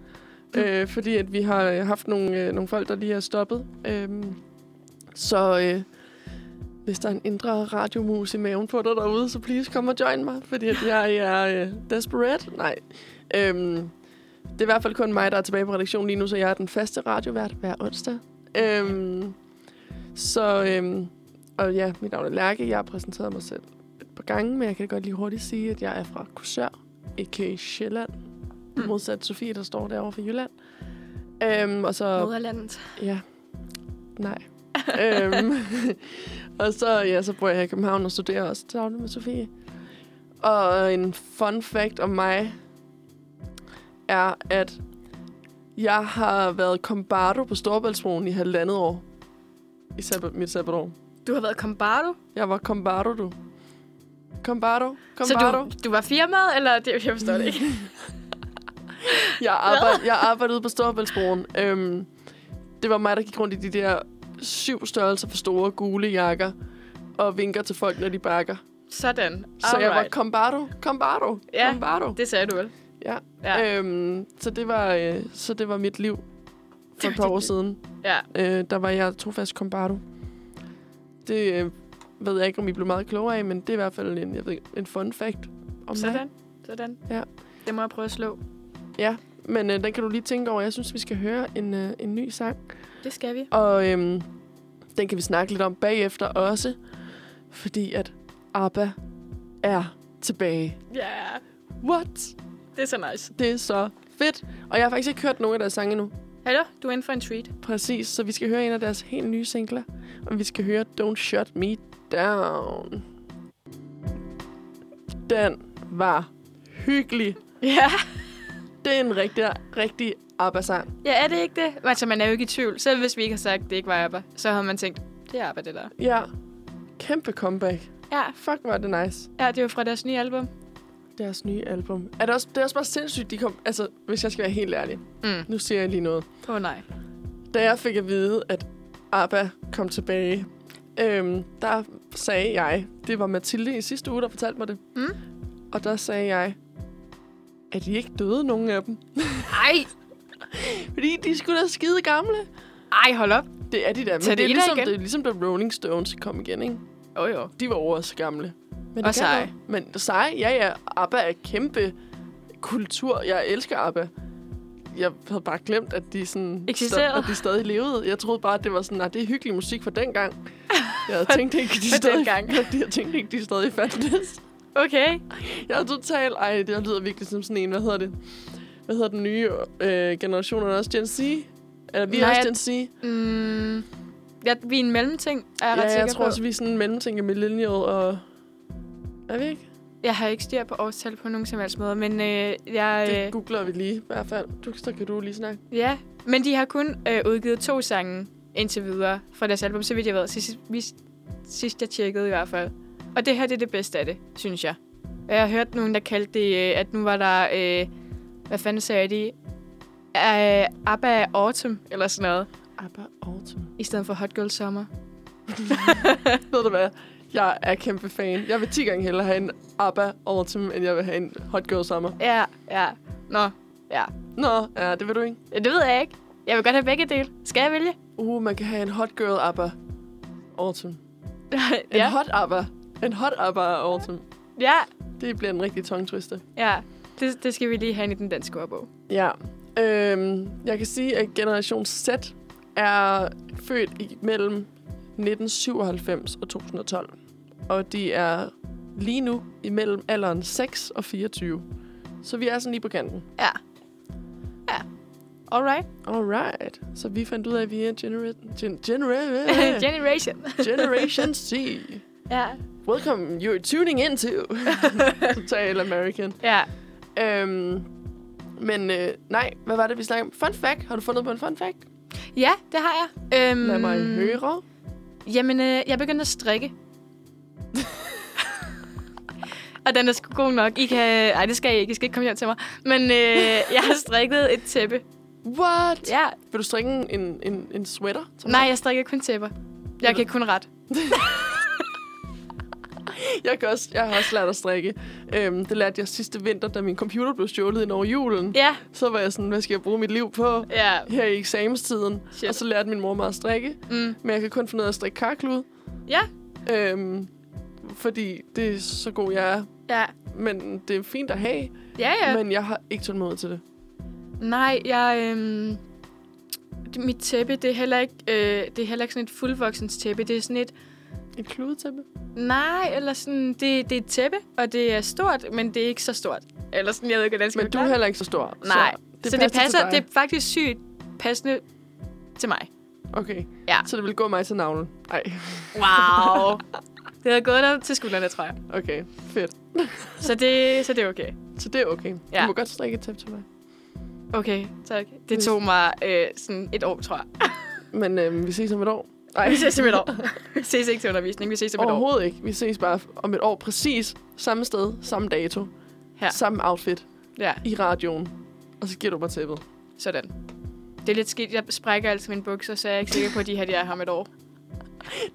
[SPEAKER 1] Mm. Øh, fordi at vi har øh, haft nogle, øh, nogle folk, der lige er stoppet. Øhm, så øh, hvis der er en indre radiomus i maven på dig derude, så please kom og join mig, fordi at jeg er øh, desperate. Nej. Øhm, det er i hvert fald kun mig, der er tilbage på redaktionen lige nu, så jeg er den faste radiovært hver onsdag. Øhm, så, øhm, og ja, mit navn er Lærke. Jeg har præsenteret mig selv et par gange, men jeg kan da godt lige hurtigt sige, at jeg er fra Korsør, ikke Sjælland. Modsat Sofie, der står derovre fra Jylland. Øhm, og så...
[SPEAKER 2] Moderlandet.
[SPEAKER 1] Ja. Nej. øhm, og så, ja, så bor jeg her i København og studerer også til daglig med Sofie. Og en fun fact om mig er, at jeg har været kombardo på Storebæltsbroen i halvandet år. I sabbat, mit sabbatår.
[SPEAKER 2] Du har været kombardo?
[SPEAKER 1] Jeg var kombardo, du. Kombardo?
[SPEAKER 2] Så
[SPEAKER 1] Kombardo?
[SPEAKER 2] du, du var firmaet, eller? Det, jeg forstår det ikke.
[SPEAKER 1] Jeg, arbejde, jeg arbejdede på Storebæltsbroen. Øhm, det var mig, der gik rundt i de der syv størrelser for store gule jakker og vinker til folk, når de bakker.
[SPEAKER 2] Sådan.
[SPEAKER 1] Så jeg var kombardo, kombardo,
[SPEAKER 2] Ja.
[SPEAKER 1] kombardo.
[SPEAKER 2] Det sagde du vel?
[SPEAKER 1] Ja.
[SPEAKER 2] Ja. Øh.
[SPEAKER 1] Øhm, så, det var, øh, så det var mit liv for et par år siden.
[SPEAKER 2] ja.
[SPEAKER 1] Øh, der var jeg trofast kombardo. Det øh, ved jeg ikke, om I blev meget klogere af, men det er i hvert fald en, jeg ved, ikke, en fun fact om mig.
[SPEAKER 2] Sådan. Sådan.
[SPEAKER 1] Ja.
[SPEAKER 2] Det må jeg prøve at slå.
[SPEAKER 1] Men øh, den kan du lige tænke over. Jeg synes, vi skal høre en, øh, en ny sang.
[SPEAKER 2] Det skal vi.
[SPEAKER 1] Og øhm, den kan vi snakke lidt om bagefter også, fordi at ABBA er tilbage.
[SPEAKER 2] Ja,
[SPEAKER 1] What?
[SPEAKER 2] det er så nice.
[SPEAKER 1] Det er så fedt. Og jeg har faktisk ikke hørt nogen af deres sange endnu.
[SPEAKER 2] Hallo, du er inde for en treat.
[SPEAKER 1] Præcis, så vi skal høre en af deres helt nye singler. Og vi skal høre Don't Shut Me Down. Den var hyggelig.
[SPEAKER 2] Ja.
[SPEAKER 1] Det er en rigtig, rigtig ABBA-sang.
[SPEAKER 2] Ja, er det ikke det? Altså, man er jo ikke i tvivl. Selv hvis vi ikke har sagt, at det ikke var ABBA, så havde man tænkt, det er ABBA, det der.
[SPEAKER 1] Ja, kæmpe comeback.
[SPEAKER 2] Ja,
[SPEAKER 1] Fuck, var det nice.
[SPEAKER 2] ja det er jo fra deres nye album.
[SPEAKER 1] Deres nye album. Er det, også, det er også bare sindssygt, de kom... Altså, hvis jeg skal være helt ærlig.
[SPEAKER 2] Mm.
[SPEAKER 1] Nu siger jeg lige noget.
[SPEAKER 2] Åh oh, nej.
[SPEAKER 1] Da jeg fik at vide, at ABBA kom tilbage, øhm, der sagde jeg... Det var Mathilde i sidste uge, der fortalte mig det.
[SPEAKER 2] Mm.
[SPEAKER 1] Og der sagde jeg... Er de ikke døde, nogen af dem?
[SPEAKER 2] Ej,
[SPEAKER 1] Fordi de skulle da skide gamle.
[SPEAKER 2] ej, hold op.
[SPEAKER 1] Det er de da. Men
[SPEAKER 2] Tag
[SPEAKER 1] det, er
[SPEAKER 2] det i dig
[SPEAKER 1] ligesom,
[SPEAKER 2] igen.
[SPEAKER 1] det er ligesom, da Rolling Stones kom igen, ikke?
[SPEAKER 2] Åh oh, jo.
[SPEAKER 1] De var over også gamle. Men
[SPEAKER 2] Og
[SPEAKER 1] det kan
[SPEAKER 2] seje.
[SPEAKER 1] noget. Men seje, ja ja. ABBA er kæmpe kultur. Jeg elsker ABBA. Jeg havde bare glemt, at de, sådan
[SPEAKER 2] Eksisterede.
[SPEAKER 1] Sta- at de stadig levede. Jeg troede bare, at det var sådan, at det er hyggelig musik fra dengang. Jeg havde tænkt ikke, de
[SPEAKER 2] fra
[SPEAKER 1] stadig,
[SPEAKER 2] dengang.
[SPEAKER 1] jeg tænkte ikke, de stadig fandtes.
[SPEAKER 2] Okay.
[SPEAKER 1] Jeg er totalt... Ej, det lyder virkelig som sådan en... Hvad hedder det? Hvad hedder den nye øh, generation? Er det også Gen Z? Eller vi er
[SPEAKER 2] Nej,
[SPEAKER 1] også
[SPEAKER 2] jeg-
[SPEAKER 1] den sige.
[SPEAKER 2] Mm, ja, vi er en mellemting, er jeg ret
[SPEAKER 1] Ja,
[SPEAKER 2] sikker
[SPEAKER 1] jeg tror
[SPEAKER 2] på.
[SPEAKER 1] også, vi er sådan en mellemting af millennial og... Er vi ikke?
[SPEAKER 2] Jeg har ikke styr på årstal på nogen som helst måde, men øh, jeg...
[SPEAKER 1] Det
[SPEAKER 2] Øh,
[SPEAKER 1] googler vi lige i hvert fald. Du, så kan du lige snakke.
[SPEAKER 2] Ja, men de har kun øh, udgivet to sange indtil videre fra deres album, så vidt jeg ved. Sidst, vi, sidst jeg tjekkede i hvert fald. Og det her det er det bedste af det, synes jeg. Og Jeg har hørt nogen, der kaldte det, øh, at nu var der... Øh, hvad fanden sagde de? Øh, ABBA Autumn, eller sådan noget.
[SPEAKER 1] ABBA Autumn.
[SPEAKER 2] I stedet for Hot Girl Summer.
[SPEAKER 1] Ved du hvad? Jeg er kæmpe fan. Jeg vil 10 gange hellere have en ABBA Autumn, end jeg vil have en Hot Girl Summer.
[SPEAKER 2] Ja, ja. Nå, ja.
[SPEAKER 1] Nå, ja, det vil du ikke.
[SPEAKER 2] Det ved jeg ikke. Jeg vil godt have begge dele. Skal jeg vælge?
[SPEAKER 1] Uh, man kan have en Hot Girl ABBA Autumn. En
[SPEAKER 2] ja.
[SPEAKER 1] hot ABBA. En hot ABBA Autumn.
[SPEAKER 2] ja,
[SPEAKER 1] Det bliver en rigtig tongue twister.
[SPEAKER 2] ja. Det, det skal vi lige have ind i den danske ordbog.
[SPEAKER 1] Ja. Øhm, jeg kan sige, at generation Z er født i- mellem 1997 og 2012. Og de er lige nu imellem alderen 6 og 24. Så vi er sådan lige på kanten.
[SPEAKER 2] Ja. Ja. Alright.
[SPEAKER 1] Alright. Så vi fandt ud af, at vi er genera- gen- genera-
[SPEAKER 2] Generation.
[SPEAKER 1] Generation C.
[SPEAKER 2] ja.
[SPEAKER 1] Welcome, you're tuning into Total American.
[SPEAKER 2] Ja.
[SPEAKER 1] Øhm, men øh, nej, hvad var det, vi snakkede om? Fun fact. Har du fundet på en fun fact?
[SPEAKER 2] Ja, det har jeg. Øhm,
[SPEAKER 1] Lad mig høre.
[SPEAKER 2] Jamen, øh, jeg begyndte at strikke. Og den er sgu god nok. I kan... Ej, det skal I ikke. I skal ikke komme hjem til mig. Men øh, jeg har strikket et tæppe.
[SPEAKER 1] What?
[SPEAKER 2] Ja.
[SPEAKER 1] Vil du strikke en- en, en, en sweater? Som
[SPEAKER 2] Nej, jeg strikker kun tæpper. Jeg kan kun ret.
[SPEAKER 1] Jeg, kan også, jeg har også lært at strikke. Øhm, det lærte jeg sidste vinter, da min computer blev stjålet ind over julen.
[SPEAKER 2] Ja.
[SPEAKER 1] Så var jeg sådan, hvad skal jeg bruge mit liv på?
[SPEAKER 2] Ja.
[SPEAKER 1] Her i eksamenstiden.
[SPEAKER 2] Shit.
[SPEAKER 1] Og så lærte min mor mig at strikke.
[SPEAKER 2] Mm.
[SPEAKER 1] Men jeg kan kun finde ud af at strikke karklud.
[SPEAKER 2] Ja.
[SPEAKER 1] Øhm, fordi det er så god jeg er.
[SPEAKER 2] Ja.
[SPEAKER 1] Men det er fint at have.
[SPEAKER 2] Ja, ja.
[SPEAKER 1] Men jeg har ikke tålmodighed til det.
[SPEAKER 2] Nej, jeg... Øhm, det- mit tæppe, det er heller ikke, øh, det er heller ikke sådan et fuldvoksens tæppe. Det er sådan et...
[SPEAKER 1] Et kludetæppe?
[SPEAKER 2] Nej, eller sådan... Det, det er et tæppe, og det er stort, men det er ikke så stort. Eller sådan, jeg ved ikke, hvordan jeg skal
[SPEAKER 1] Men du er
[SPEAKER 2] forklare
[SPEAKER 1] heller ikke så stor.
[SPEAKER 2] det. Nej, så det, så det
[SPEAKER 1] til
[SPEAKER 2] passer...
[SPEAKER 1] dig.
[SPEAKER 2] Det er faktisk sygt passende til mig.
[SPEAKER 1] Okay.
[SPEAKER 2] Ja.
[SPEAKER 1] Så det vil gå mig til navlen? Nej.
[SPEAKER 2] Wow! det havde gået dig til skuldrene, tror jeg.
[SPEAKER 1] Okay, fedt.
[SPEAKER 2] Så det, så det er okay.
[SPEAKER 1] Så det er okay. Ja.
[SPEAKER 2] Ja.
[SPEAKER 1] Du må godt strikke et tæppe til mig.
[SPEAKER 2] Okay, tak. Det
[SPEAKER 1] Hvis-
[SPEAKER 2] tog mig øh, sådan et år, tror jeg.
[SPEAKER 1] Men øh, vi ses om et år. Nej,
[SPEAKER 2] Vi ses om et år. vi ses ikke til undervisning, vi ses om et år.
[SPEAKER 1] overhovedet ikke. Vi ses bare om et år præcis samme sted, samme dato,
[SPEAKER 2] Her.
[SPEAKER 1] samme outfit
[SPEAKER 2] Ja.
[SPEAKER 1] i radioen. Og så giver du mig tæppet.
[SPEAKER 2] Sådan. Det er lidt skidt. Jeg sprækker altid mine bukser, så jeg er ikke sikker på, at de her de er her om et år.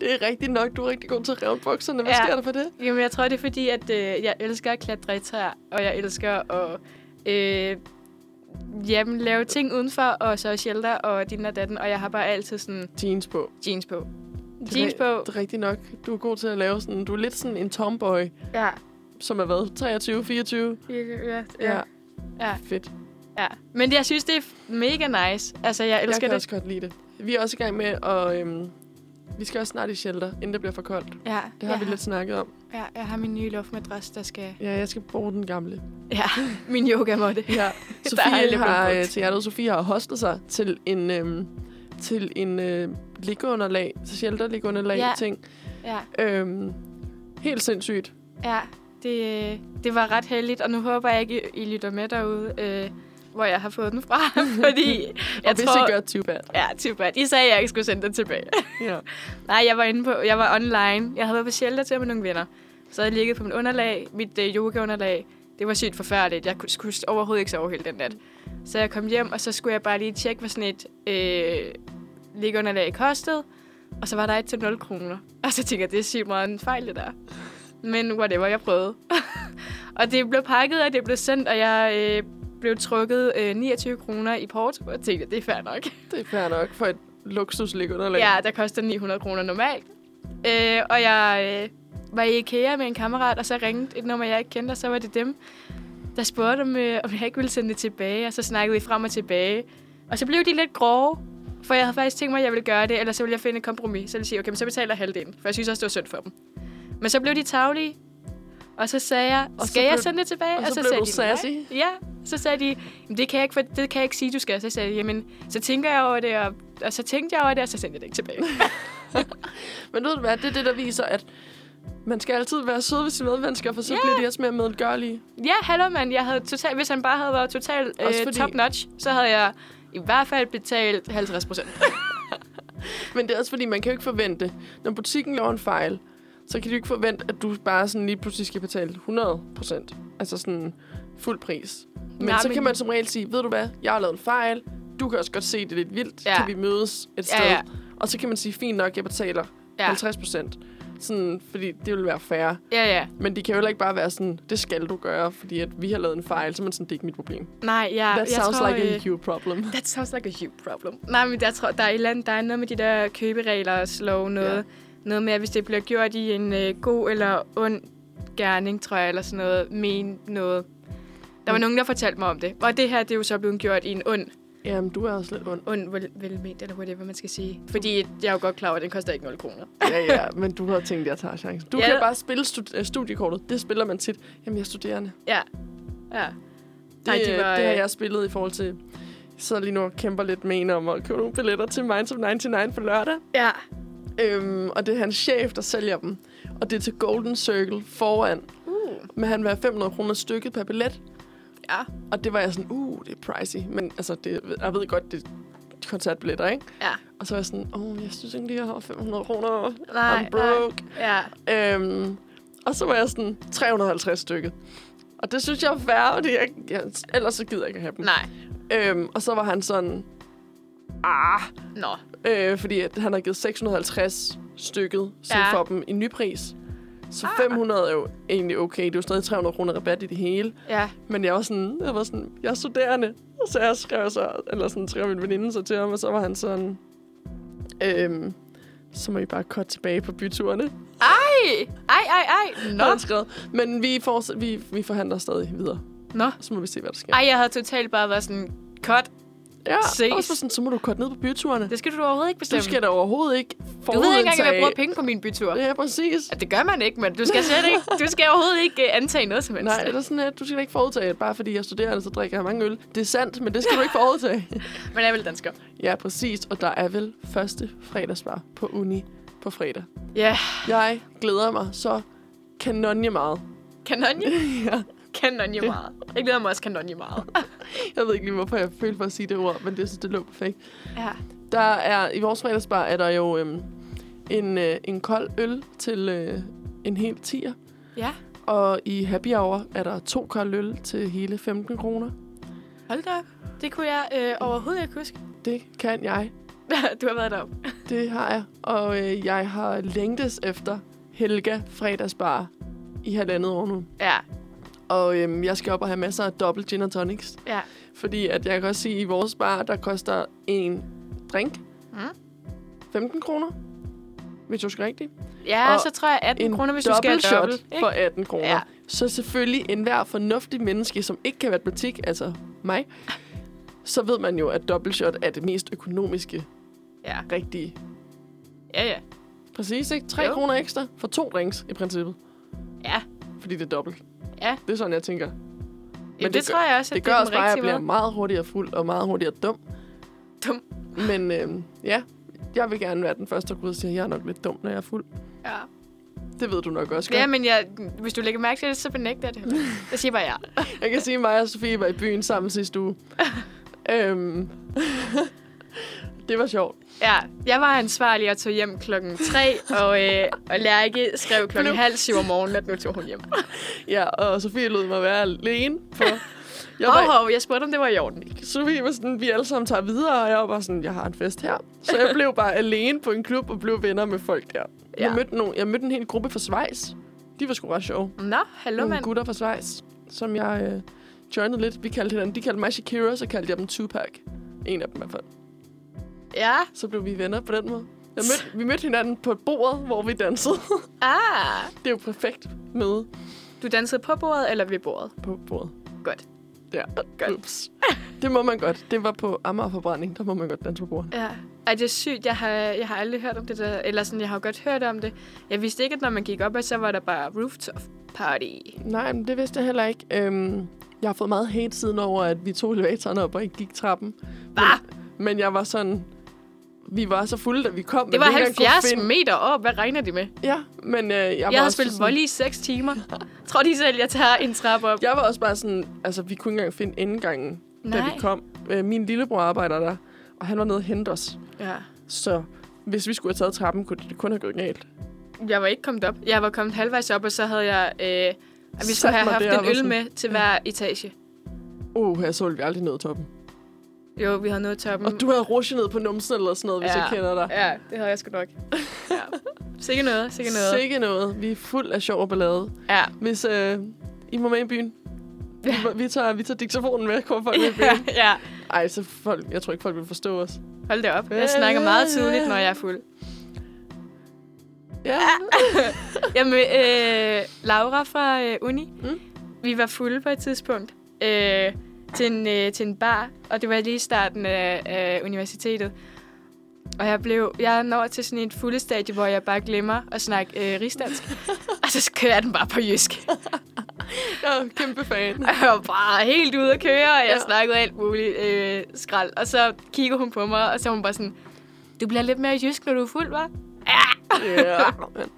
[SPEAKER 1] Det er rigtigt nok. Du er rigtig god til at revne bukserne. Hvad ja.
[SPEAKER 2] Ja.
[SPEAKER 1] sker der for det?
[SPEAKER 2] Jamen, jeg tror, det er fordi, at øh, jeg elsker at klatre i træer, og jeg elsker at øh, jamen, lave ting udenfor, og så shelter og din og datten, og jeg har bare altid sådan
[SPEAKER 1] Jeans på.
[SPEAKER 2] jeans på.
[SPEAKER 1] Det er
[SPEAKER 2] Jeans
[SPEAKER 1] ri-
[SPEAKER 2] på,
[SPEAKER 1] Det er rigtigt nok. Du er god til at lave sådan... Du er lidt sådan en tomboy,
[SPEAKER 2] ja.
[SPEAKER 1] som er hvad? 23, 24?
[SPEAKER 2] Ja, ja. Ja.
[SPEAKER 1] Fedt.
[SPEAKER 2] ja. Men jeg synes, det er f- mega nice. Altså, jeg
[SPEAKER 1] Jeg
[SPEAKER 2] elsker
[SPEAKER 1] kan
[SPEAKER 2] det.
[SPEAKER 1] også godt lide det. Vi er også i gang med at... Øhm, vi skal også snart i shelter, inden det bliver for koldt.
[SPEAKER 2] Ja,
[SPEAKER 1] Det har
[SPEAKER 2] jeg
[SPEAKER 1] vi lidt snakket om.
[SPEAKER 2] Ja, jeg har min nye luftmadras, der skal...
[SPEAKER 1] Ja, jeg skal bruge den gamle.
[SPEAKER 2] Ja, min yoga måtte.
[SPEAKER 1] Ja,
[SPEAKER 2] har jeg
[SPEAKER 1] Sofie
[SPEAKER 2] lidt
[SPEAKER 1] har,
[SPEAKER 2] blevet
[SPEAKER 1] øh,
[SPEAKER 2] brugt.
[SPEAKER 1] til jer, derude, Sofie har hostet sig til en, øhm, til en øh, liggeunderlag, til shelter liggeunderlag ja.
[SPEAKER 2] Ja.
[SPEAKER 1] ting.
[SPEAKER 2] Ja.
[SPEAKER 1] Øhm, helt sindssygt.
[SPEAKER 2] Ja, det, øh, det var ret heldigt, og nu håber jeg ikke, I lytter med derude, øh, hvor jeg har fået den fra, fordi
[SPEAKER 1] Jeg
[SPEAKER 2] jeg
[SPEAKER 1] og hvis
[SPEAKER 2] tror...
[SPEAKER 1] I gør, too bad.
[SPEAKER 2] Ja, typer. De sagde, at jeg ikke skulle sende den tilbage.
[SPEAKER 1] Ja.
[SPEAKER 2] Nej, jeg var inde på, jeg var online. Jeg havde været på shelter til med nogle venner. Så havde jeg ligget på mit underlag, mit øh, yogaunderlag. Det var sygt forfærdeligt. Jeg kunne, skulle overhovedet ikke sove hele den nat. Så jeg kom hjem, og så skulle jeg bare lige tjekke, hvad sådan et øh, liggeunderlag kostede. Og så var der et til 0 kroner. Og så tænkte jeg, det er sygt meget en fejl, det der. Men whatever, jeg prøvede. og det blev pakket, og det blev sendt, og jeg øh, blev trukket øh, 29 kroner i porto. Og tænkte, det er fair nok.
[SPEAKER 1] Det er fair nok for et luksus liggeunderlag.
[SPEAKER 2] Ja, der koster 900 kroner normalt. Øh, og jeg øh, var i IKEA med en kammerat, og så ringede et nummer, jeg ikke kendte, og så var det dem, der spurgte, om, øh, om jeg ikke ville sende det tilbage, og så snakkede vi frem og tilbage. Og så blev de lidt grove, for jeg havde faktisk tænkt mig, at jeg ville gøre det, eller så ville jeg finde et kompromis. Så ville jeg sige, okay, men så betaler jeg halvdelen, for jeg synes også, det var synd for dem. Men så blev de taglige, og så sagde jeg,
[SPEAKER 1] Og så
[SPEAKER 2] skal jeg
[SPEAKER 1] blev-
[SPEAKER 2] sende det tilbage?
[SPEAKER 1] og så
[SPEAKER 2] så
[SPEAKER 1] blev
[SPEAKER 2] sagde
[SPEAKER 1] du
[SPEAKER 2] de, "Nej."
[SPEAKER 1] sassy.
[SPEAKER 2] Ja, Så sagde de, "Jamen, det kan jeg ikke, for, det kan jeg ikke sige, du skal. Så sagde jeg, jamen, så tænker jeg over det, og, og så tænkte jeg over det, og så sendte jeg det ikke tilbage.
[SPEAKER 1] Men ved du hvad, det er det, der viser, at man skal altid være sød ved sine medmennesker, for så
[SPEAKER 2] Ja.
[SPEAKER 1] bliver de også mere medgørlige.
[SPEAKER 2] ja, hallo mand, jeg havde total, hvis han bare havde været total øh,
[SPEAKER 1] Også fordi-
[SPEAKER 2] top-notch, så havde jeg i hvert fald betalt 50 procent.
[SPEAKER 1] Men det er også fordi, man kan jo ikke forvente, når butikken laver en fejl, så kan de jo ikke forvente, at du bare sådan lige pludselig skal betale 100 procent. Altså sådan fuld pris. Men
[SPEAKER 2] Nej,
[SPEAKER 1] så
[SPEAKER 2] men-
[SPEAKER 1] kan man som regel sige, ved du hvad, jeg har lavet en fejl, du kan også godt se, det er lidt vildt,
[SPEAKER 2] Ja.
[SPEAKER 1] kan vi mødes et sted?
[SPEAKER 2] ja.
[SPEAKER 1] Og så kan man sige, fint nok, jeg betaler ja.
[SPEAKER 2] Ja,
[SPEAKER 1] 50 procent. Sådan, fordi det vil være fair.
[SPEAKER 2] ja, ja.
[SPEAKER 1] Men de kan jo heller ikke bare være sådan, det skal du gøre, fordi at vi har lavet en fejl, så er man sådan, det er ikke mit problem.
[SPEAKER 2] Nej, ja.
[SPEAKER 1] That sounds
[SPEAKER 2] tror,
[SPEAKER 1] like
[SPEAKER 2] øh,
[SPEAKER 1] a you problem.
[SPEAKER 2] That sounds like a huge problem. Nej, men jeg tror, der er, et eller andet, der er noget med de der køberegler og slå noget.
[SPEAKER 1] Ja.
[SPEAKER 2] Noget med, at hvis det bliver gjort i en øh, god eller ond gerning, tror jeg, eller sådan noget, men noget. Der var
[SPEAKER 1] Mm.
[SPEAKER 2] nogen, der fortalte mig om det. Og det her, det er jo så blevet gjort i en ond,
[SPEAKER 1] Jamen, du er også lidt ond.
[SPEAKER 2] ond vel, velment, eller whatever man skal sige. Fordi jeg er jo godt klar over, at den koster ikke 0 kroner.
[SPEAKER 1] Ja, ja, men du har tænkt, at jeg tager chancen. Du
[SPEAKER 2] Ja.
[SPEAKER 1] ja. kan bare spille stud- øh, studiekortet. Det spiller man tit. Jamen, jeg er studerende.
[SPEAKER 2] Ja. Ja.
[SPEAKER 1] Det,
[SPEAKER 2] Nej, de
[SPEAKER 1] øh,
[SPEAKER 2] var,
[SPEAKER 1] det har
[SPEAKER 2] øh,
[SPEAKER 1] jeg spillet i forhold til... Jeg sidder lige nu og kæmper lidt med en om at købe nogle billetter til Minds of 99 på lørdag.
[SPEAKER 2] Ja.
[SPEAKER 1] Øhm, og det er hans chef, der sælger dem. Og det er til Golden Circle foran.
[SPEAKER 2] Uh.
[SPEAKER 1] Men han vil have 500 kroner stykket per billet.
[SPEAKER 2] Ja.
[SPEAKER 1] Og det var jeg sådan, uh, det er pricey. Men altså, det, jeg ved godt, det er koncertbilletter, ikke?
[SPEAKER 2] Ja.
[SPEAKER 1] Og så var jeg sådan, åh, oh, jeg synes ikke lige, jeg har 500 kroner.
[SPEAKER 2] Nej,
[SPEAKER 1] I'm broke.
[SPEAKER 2] Ja.
[SPEAKER 1] Øhm, og så var jeg sådan 350 stykket. Og det synes jeg er færre, fordi jeg, jeg, ellers så gider jeg ikke have dem.
[SPEAKER 2] Nej.
[SPEAKER 1] Øhm, og så var han sådan, ah,
[SPEAKER 2] Nå.
[SPEAKER 1] øh, fordi at han har givet 650 stykket så
[SPEAKER 2] Ja.
[SPEAKER 1] ja. for dem i ny pris. Så
[SPEAKER 2] Ah.
[SPEAKER 1] ah. 500 er jo egentlig okay. Det er jo stadig 300 kroner rabat i det hele.
[SPEAKER 2] Ja.
[SPEAKER 1] Men jeg var sådan, jeg var sådan, jeg er studerende. Og så jeg skrev så, eller sådan skrev min veninde så til ham, og så var han sådan, øhm, så må I bare kort tilbage på byturene.
[SPEAKER 2] Ej! Ej, ej, ej!
[SPEAKER 1] Nå.
[SPEAKER 2] Nå.
[SPEAKER 1] Har han skrevet. Men vi, fortsæt, vi, vi forhandler stadig videre.
[SPEAKER 2] Nå.
[SPEAKER 1] Og så må vi se, hvad der sker.
[SPEAKER 2] Ej, jeg havde totalt bare været sådan, cut,
[SPEAKER 1] ja,
[SPEAKER 2] ses.
[SPEAKER 1] Også sådan, så må du korte ned på byturene.
[SPEAKER 2] det skal du overhovedet ikke bestemme.
[SPEAKER 1] Du skal da overhovedet ikke
[SPEAKER 2] du ved ikke engang, at jeg
[SPEAKER 1] forudindtage-
[SPEAKER 2] bruger penge på min bytur.
[SPEAKER 1] Ja, præcis.
[SPEAKER 2] Ja, det gør man ikke, men du skal, slet ikke, du skal overhovedet ikke øh, antage noget som helst.
[SPEAKER 1] Nej, eller sådan, at du skal da ikke forudtage, at bare fordi jeg studerer, så drikker jeg mange øl. Det er sandt, men det skal du ikke forudtage.
[SPEAKER 2] Men jeg er vel dansker.
[SPEAKER 1] ja, præcis. Og der er vel første fredagsbar på uni på fredag.
[SPEAKER 2] Ja,
[SPEAKER 1] Jeg glæder mig så kanonje meget.
[SPEAKER 2] kanonje.
[SPEAKER 1] ja.
[SPEAKER 2] Kanonje meget. Jeg glæder mig også kanonje meget.
[SPEAKER 1] Jeg ved ikke lige, hvorfor jeg følte for at sige det ord, men det synes, det løb perfekt.
[SPEAKER 2] Ja.
[SPEAKER 1] Der er, I vores fredagsbar er der jo øhm, en, øh, en kold øl til øh, en hel tier.
[SPEAKER 2] Ja,
[SPEAKER 1] Og i happy hour er der to kolde øl til hele 15 kroner.
[SPEAKER 2] hold da op. Det kunne jeg øh, overhovedet ikke huske.
[SPEAKER 1] Det kan jeg.
[SPEAKER 2] du har været deroppe.
[SPEAKER 1] Det har jeg. Og øh, jeg har længtes efter Helga fredagsbar i halvandet år nu.
[SPEAKER 2] Ja,
[SPEAKER 1] Og øhm, jeg skal op og have masser af dobbelt gin og tonics.
[SPEAKER 2] ja.
[SPEAKER 1] Fordi at jeg kan også sige, at i vores bar, der koster en drink
[SPEAKER 2] Mm.
[SPEAKER 1] 15 kroner. Hvis jeg husker rigtigt.
[SPEAKER 2] Ja,
[SPEAKER 1] Og
[SPEAKER 2] så tror jeg 18
[SPEAKER 1] en
[SPEAKER 2] kroner, hvis du skal
[SPEAKER 1] dobbelt
[SPEAKER 2] have
[SPEAKER 1] shot
[SPEAKER 2] dobbelt. ikke?
[SPEAKER 1] for 18 kroner.
[SPEAKER 2] Ja.
[SPEAKER 1] Ja. Så selvfølgelig enhver fornuftig menneske, som ikke kan matematik, altså mig, så ved man jo, at dobbelt shot er det mest økonomiske
[SPEAKER 2] Ja,
[SPEAKER 1] rigtige.
[SPEAKER 2] ja, ja.
[SPEAKER 1] Præcis, ikke? 3
[SPEAKER 2] Jo.
[SPEAKER 1] kroner ekstra for to drinks i princippet,
[SPEAKER 2] Ja,
[SPEAKER 1] fordi det er dobbelt.
[SPEAKER 2] Ja.
[SPEAKER 1] Det er sådan, jeg tænker.
[SPEAKER 2] ja
[SPEAKER 1] det
[SPEAKER 2] det, det
[SPEAKER 1] gør-
[SPEAKER 2] tror jeg også,
[SPEAKER 1] Så
[SPEAKER 2] at
[SPEAKER 1] det
[SPEAKER 2] det,
[SPEAKER 1] gør
[SPEAKER 2] er den
[SPEAKER 1] også bare, at jeg
[SPEAKER 2] rigtige
[SPEAKER 1] bliver
[SPEAKER 2] måde.
[SPEAKER 1] meget hurtigere fuld og meget hurtigere dum.
[SPEAKER 2] Dum.
[SPEAKER 1] Men øh, ja, jeg vil gerne være den første, der går ud og siger, at jeg er nok lidt dum, når jeg er fuld.
[SPEAKER 2] Ja.
[SPEAKER 1] Det ved du nok også godt.
[SPEAKER 2] Ja, men jeg, hvis du lægger mærke til det, så benægter jeg det. heller ikke. Jeg siger bare ja.
[SPEAKER 1] Jeg kan sige, at mig og Sofie var i byen sammen sidste uge. øhm. det var sjovt.
[SPEAKER 2] Ja, jeg var ansvarlig og tog hjem klokken 3, og, øh, og Lærke skrev klokken
[SPEAKER 1] Blev-
[SPEAKER 2] halv syv om morgenen, at nu tog hun hjem.
[SPEAKER 1] Ja, og Sofie lød mig være alene. For jeg
[SPEAKER 2] Hov,
[SPEAKER 1] var,
[SPEAKER 2] hov, jeg spurgte, om det var i orden.
[SPEAKER 1] Sofie var sådan, vi alle sammen tager videre, og jeg var bare sådan, jeg har en fest her. Så jeg blev bare alene på en klub og blev venner med folk der. Ja.
[SPEAKER 2] Ja.
[SPEAKER 1] Jeg, mødte nogle, jeg mødte en hel gruppe fra Schweiz. De var sgu ret sjove.
[SPEAKER 2] Nå, hallo
[SPEAKER 1] Nogle
[SPEAKER 2] mand.
[SPEAKER 1] gutter fra Schweiz, som jeg øh, joinede lidt. Vi kaldte hinanden, de kaldte mig Shakira, så kaldte jeg dem Tupac. En af dem i hvert fald.
[SPEAKER 2] Ja,
[SPEAKER 1] Så blev vi venner på den måde. Jeg mødte, vi mødte hinanden på et bord, hvor vi dansede.
[SPEAKER 2] ah.
[SPEAKER 1] Det er jo perfekt møde
[SPEAKER 2] Du dansede på bordet eller ved bordet?
[SPEAKER 1] på bordet.
[SPEAKER 2] Godt.
[SPEAKER 1] Der. Ups. Det må man godt. Det var på Amager Forbrænding. Der må man godt danse på bordet.
[SPEAKER 2] Ja. Ej, det er sygt. Jeg har, jeg har aldrig hørt om det der. Eller sådan, jeg har jo godt hørt om det. Jeg vidste ikke, at når man gik op, ad, så var der bare rooftop party.
[SPEAKER 1] Nej, men det vidste jeg heller ikke. Øhm, Jeg har fået meget hate siden over, at vi tog elevatoren op og ikke gik trappen.
[SPEAKER 2] Bah!
[SPEAKER 1] Men jeg var sådan... Vi var så fulde, da vi kom.
[SPEAKER 2] Det
[SPEAKER 1] at
[SPEAKER 2] var
[SPEAKER 1] vi ikke engang kunne
[SPEAKER 2] 70
[SPEAKER 1] finde-
[SPEAKER 2] meter op. Hvad regner de med?
[SPEAKER 1] Ja, men øh, jeg, var
[SPEAKER 2] Jeg har
[SPEAKER 1] også
[SPEAKER 2] spillet
[SPEAKER 1] sådan-
[SPEAKER 2] volley i 6 timer. Tror de selv, jeg tager en trappe op?
[SPEAKER 1] Jeg var også bare sådan, altså vi kunne ikke engang finde indgangen, Nej. da
[SPEAKER 2] Nej.
[SPEAKER 1] vi kom. Øh, min lillebror arbejder der, og han var nede og hente os.
[SPEAKER 2] Ja.
[SPEAKER 1] Så hvis vi skulle have taget trappen, kunne det kun have gået galt.
[SPEAKER 2] Jeg var ikke kommet op. Jeg var kommet halvvejs op, og så havde jeg... Øh, at vi
[SPEAKER 1] Sat
[SPEAKER 2] skulle have
[SPEAKER 1] mig
[SPEAKER 2] haft
[SPEAKER 1] deroppe
[SPEAKER 2] en
[SPEAKER 1] og
[SPEAKER 2] øl
[SPEAKER 1] sådan.
[SPEAKER 2] med til hver etage.
[SPEAKER 1] Uh, her så ville vi aldrig nået toppen. Mm.
[SPEAKER 2] Jo, vi havde nået toppen.
[SPEAKER 1] Og du havde rushet ned på numsen eller sådan noget, ja. hvis
[SPEAKER 2] Mm. Ja.
[SPEAKER 1] jeg kender dig.
[SPEAKER 2] Ja, det havde jeg sgu nok. Ja. Sikke noget, sikke noget.
[SPEAKER 1] Sikke noget. Vi er fuld af sjov og ballade.
[SPEAKER 2] Ja.
[SPEAKER 1] Hvis øh, I må med i byen, vi, vi, tager, vi tager diktafonen med, kommer folk med i byen.
[SPEAKER 2] ja.
[SPEAKER 1] Ej, så folk, jeg tror ikke, folk vil forstå os.
[SPEAKER 2] Hold da op.
[SPEAKER 1] Ja,
[SPEAKER 2] Jeg snakker meget
[SPEAKER 1] ja,
[SPEAKER 2] tydeligt,
[SPEAKER 1] ja.
[SPEAKER 2] når jeg er fuld.
[SPEAKER 1] Ja.
[SPEAKER 2] Jamen, øh, Laura fra øh, Uni,
[SPEAKER 1] Mm.
[SPEAKER 2] mm. vi var fulde på et tidspunkt øh, til, en, øh, til en bar, og det var lige i starten af, af universitetet. Og jeg blev, jeg når til sådan et fulde stadie, hvor jeg bare glemmer at snakke øh, rigsdansk. og så kører jeg den bare på jysk.
[SPEAKER 1] Jeg er kæmpe fan.
[SPEAKER 2] Og jeg var bare helt ude at køre, og jeg
[SPEAKER 1] Ja.
[SPEAKER 2] ja. snakkede alt muligt øh, skrald. Og så kigger hun på mig, og så er hun bare sådan, du bliver lidt mere jysk, når du er fuld, hva'?
[SPEAKER 1] Ja, mand.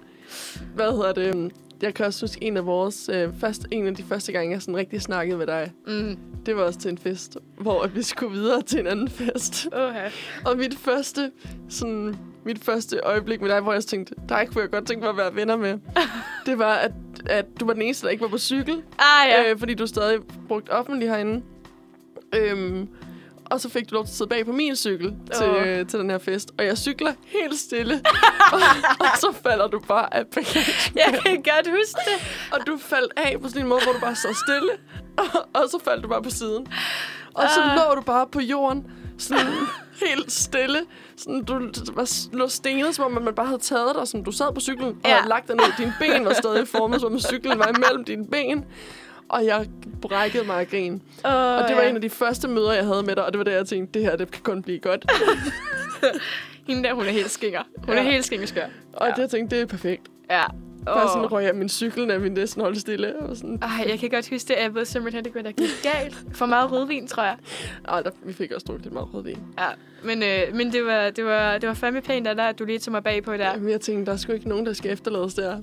[SPEAKER 1] Hvad hedder det? Jeg kan også huske en af vores, øh, første, en af de første gange, jeg sådan rigtig snakkede med dig.
[SPEAKER 2] Mm.
[SPEAKER 1] Det var også til en fest, hvor at vi skulle videre til en anden fest.
[SPEAKER 2] Oha.
[SPEAKER 1] Og mit første, sådan, mit første øjeblik med dig, hvor jeg også tænkte, dig kunne jeg godt tænke mig at være venner med. det var, at, at du var den eneste, der ikke var på cykel.
[SPEAKER 2] Ah, ja.
[SPEAKER 1] Ja. Øh, fordi du stadig brugte offentlig herinde. Øhm, og så fik du lov til at sidde bag på min cykel til,
[SPEAKER 2] Åh.
[SPEAKER 1] øh, til den her fest. Og jeg cykler helt stille. og, og så falder du bare af bagagen.
[SPEAKER 2] Jeg kan godt huske det.
[SPEAKER 1] Og du faldt af på sådan en måde, hvor du bare sad stille. og, og så faldt du bare på siden. Og så
[SPEAKER 2] Ah.
[SPEAKER 1] lå du bare på jorden. Sådan helt stille. Sådan, du var, lå stenet, som om at man bare havde taget dig. Sådan, du sad på cyklen og
[SPEAKER 2] Ja.
[SPEAKER 1] havde lagt dig ned. Dine ben var stadig formet, som om cyklen var imellem dine ben. Og jeg brækkede mig af grin.
[SPEAKER 2] Oh,
[SPEAKER 1] Og det var en af de første møder, jeg havde med dig, og det var der, jeg tænkte, det her, det kan kun blive godt.
[SPEAKER 2] Hende der, hun er helt skinger. Hun ja. er
[SPEAKER 1] Ja.
[SPEAKER 2] helt skingeskør.
[SPEAKER 1] Og
[SPEAKER 2] Ja.
[SPEAKER 1] det, jeg tænkte, det er perfekt.
[SPEAKER 2] Ja.
[SPEAKER 1] Bare sådan
[SPEAKER 2] Åh.
[SPEAKER 1] røg jeg min cykel, da min næsten holdt stille. Og sådan,
[SPEAKER 2] Ej, jeg kan godt huske det. Jeg ved simpelthen, det kunne der gik galt. For meget rødvin, tror jeg.
[SPEAKER 1] ah, der, vi fik også drukket lidt meget rødvin.
[SPEAKER 2] Ja. Men, øh, men det, var, det, var, det var fandme pænt af dig, at du lige tog mig bagpå der.
[SPEAKER 1] Ja. Men jeg tænkte, der er sgu ikke nogen, der skal efterlades der.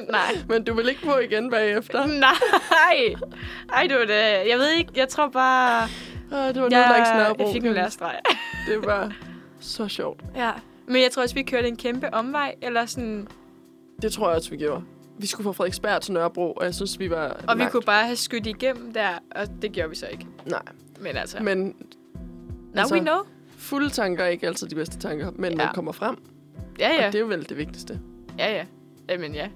[SPEAKER 2] Nej.
[SPEAKER 1] Men du vil ikke på igen bagefter.
[SPEAKER 2] Nej. Ej, du det. Jeg ved ikke. Jeg tror bare...
[SPEAKER 1] Ah, det var noget, der ikke
[SPEAKER 2] Jeg,
[SPEAKER 1] snørbro.
[SPEAKER 2] jeg fik en lærerstreg.
[SPEAKER 1] Det var så sjovt.
[SPEAKER 2] ja. Men jeg tror også, vi kørte en kæmpe omvej, eller sådan...
[SPEAKER 1] Det tror jeg også, vi gjorde. Vi skulle fra Frederiksberg til Nørrebro, og jeg synes, vi var
[SPEAKER 2] Og vi
[SPEAKER 1] langt.
[SPEAKER 2] kunne bare have skudt igennem der, og det gjorde vi så ikke.
[SPEAKER 1] Nej,
[SPEAKER 2] Men altså, Men,
[SPEAKER 1] men
[SPEAKER 2] now
[SPEAKER 1] altså-
[SPEAKER 2] we know.
[SPEAKER 1] fulde tanker er ikke altid de bedste tanker, men ja.
[SPEAKER 2] Ja.
[SPEAKER 1] man kommer frem,
[SPEAKER 2] Ja,
[SPEAKER 1] ja.
[SPEAKER 2] ja.
[SPEAKER 1] og det er jo vel det vigtigste.
[SPEAKER 2] Ja, ja. Jamen ja.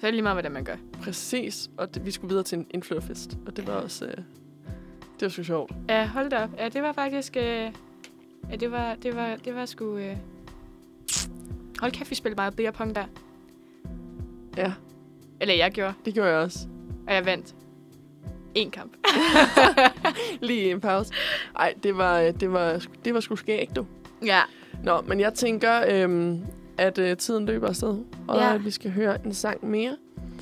[SPEAKER 2] Så er det lige meget, hvordan man gør.
[SPEAKER 1] Præcis, og det, vi skulle videre til en influerfest, og det var også... Øh, det var sgu sjovt.
[SPEAKER 2] Ja, hold da op. Ja, det var faktisk... Øh, ja, det var, det var, det var sgu... Øh... Hold kæft, vi spillede meget beer pong der.
[SPEAKER 1] Ja,
[SPEAKER 2] Eller jeg gjorde,
[SPEAKER 1] det gjorde jeg også.
[SPEAKER 2] og jeg vandt. En kamp.
[SPEAKER 1] Lige en pause. Ej, det var, øh, det var, sgu- det var sgu skægt, du.
[SPEAKER 2] Ja.
[SPEAKER 1] Nå, men jeg tænker, øhm, at øh, tiden løber afsted, og
[SPEAKER 2] Ja.
[SPEAKER 1] ja. vi skal høre en sang mere.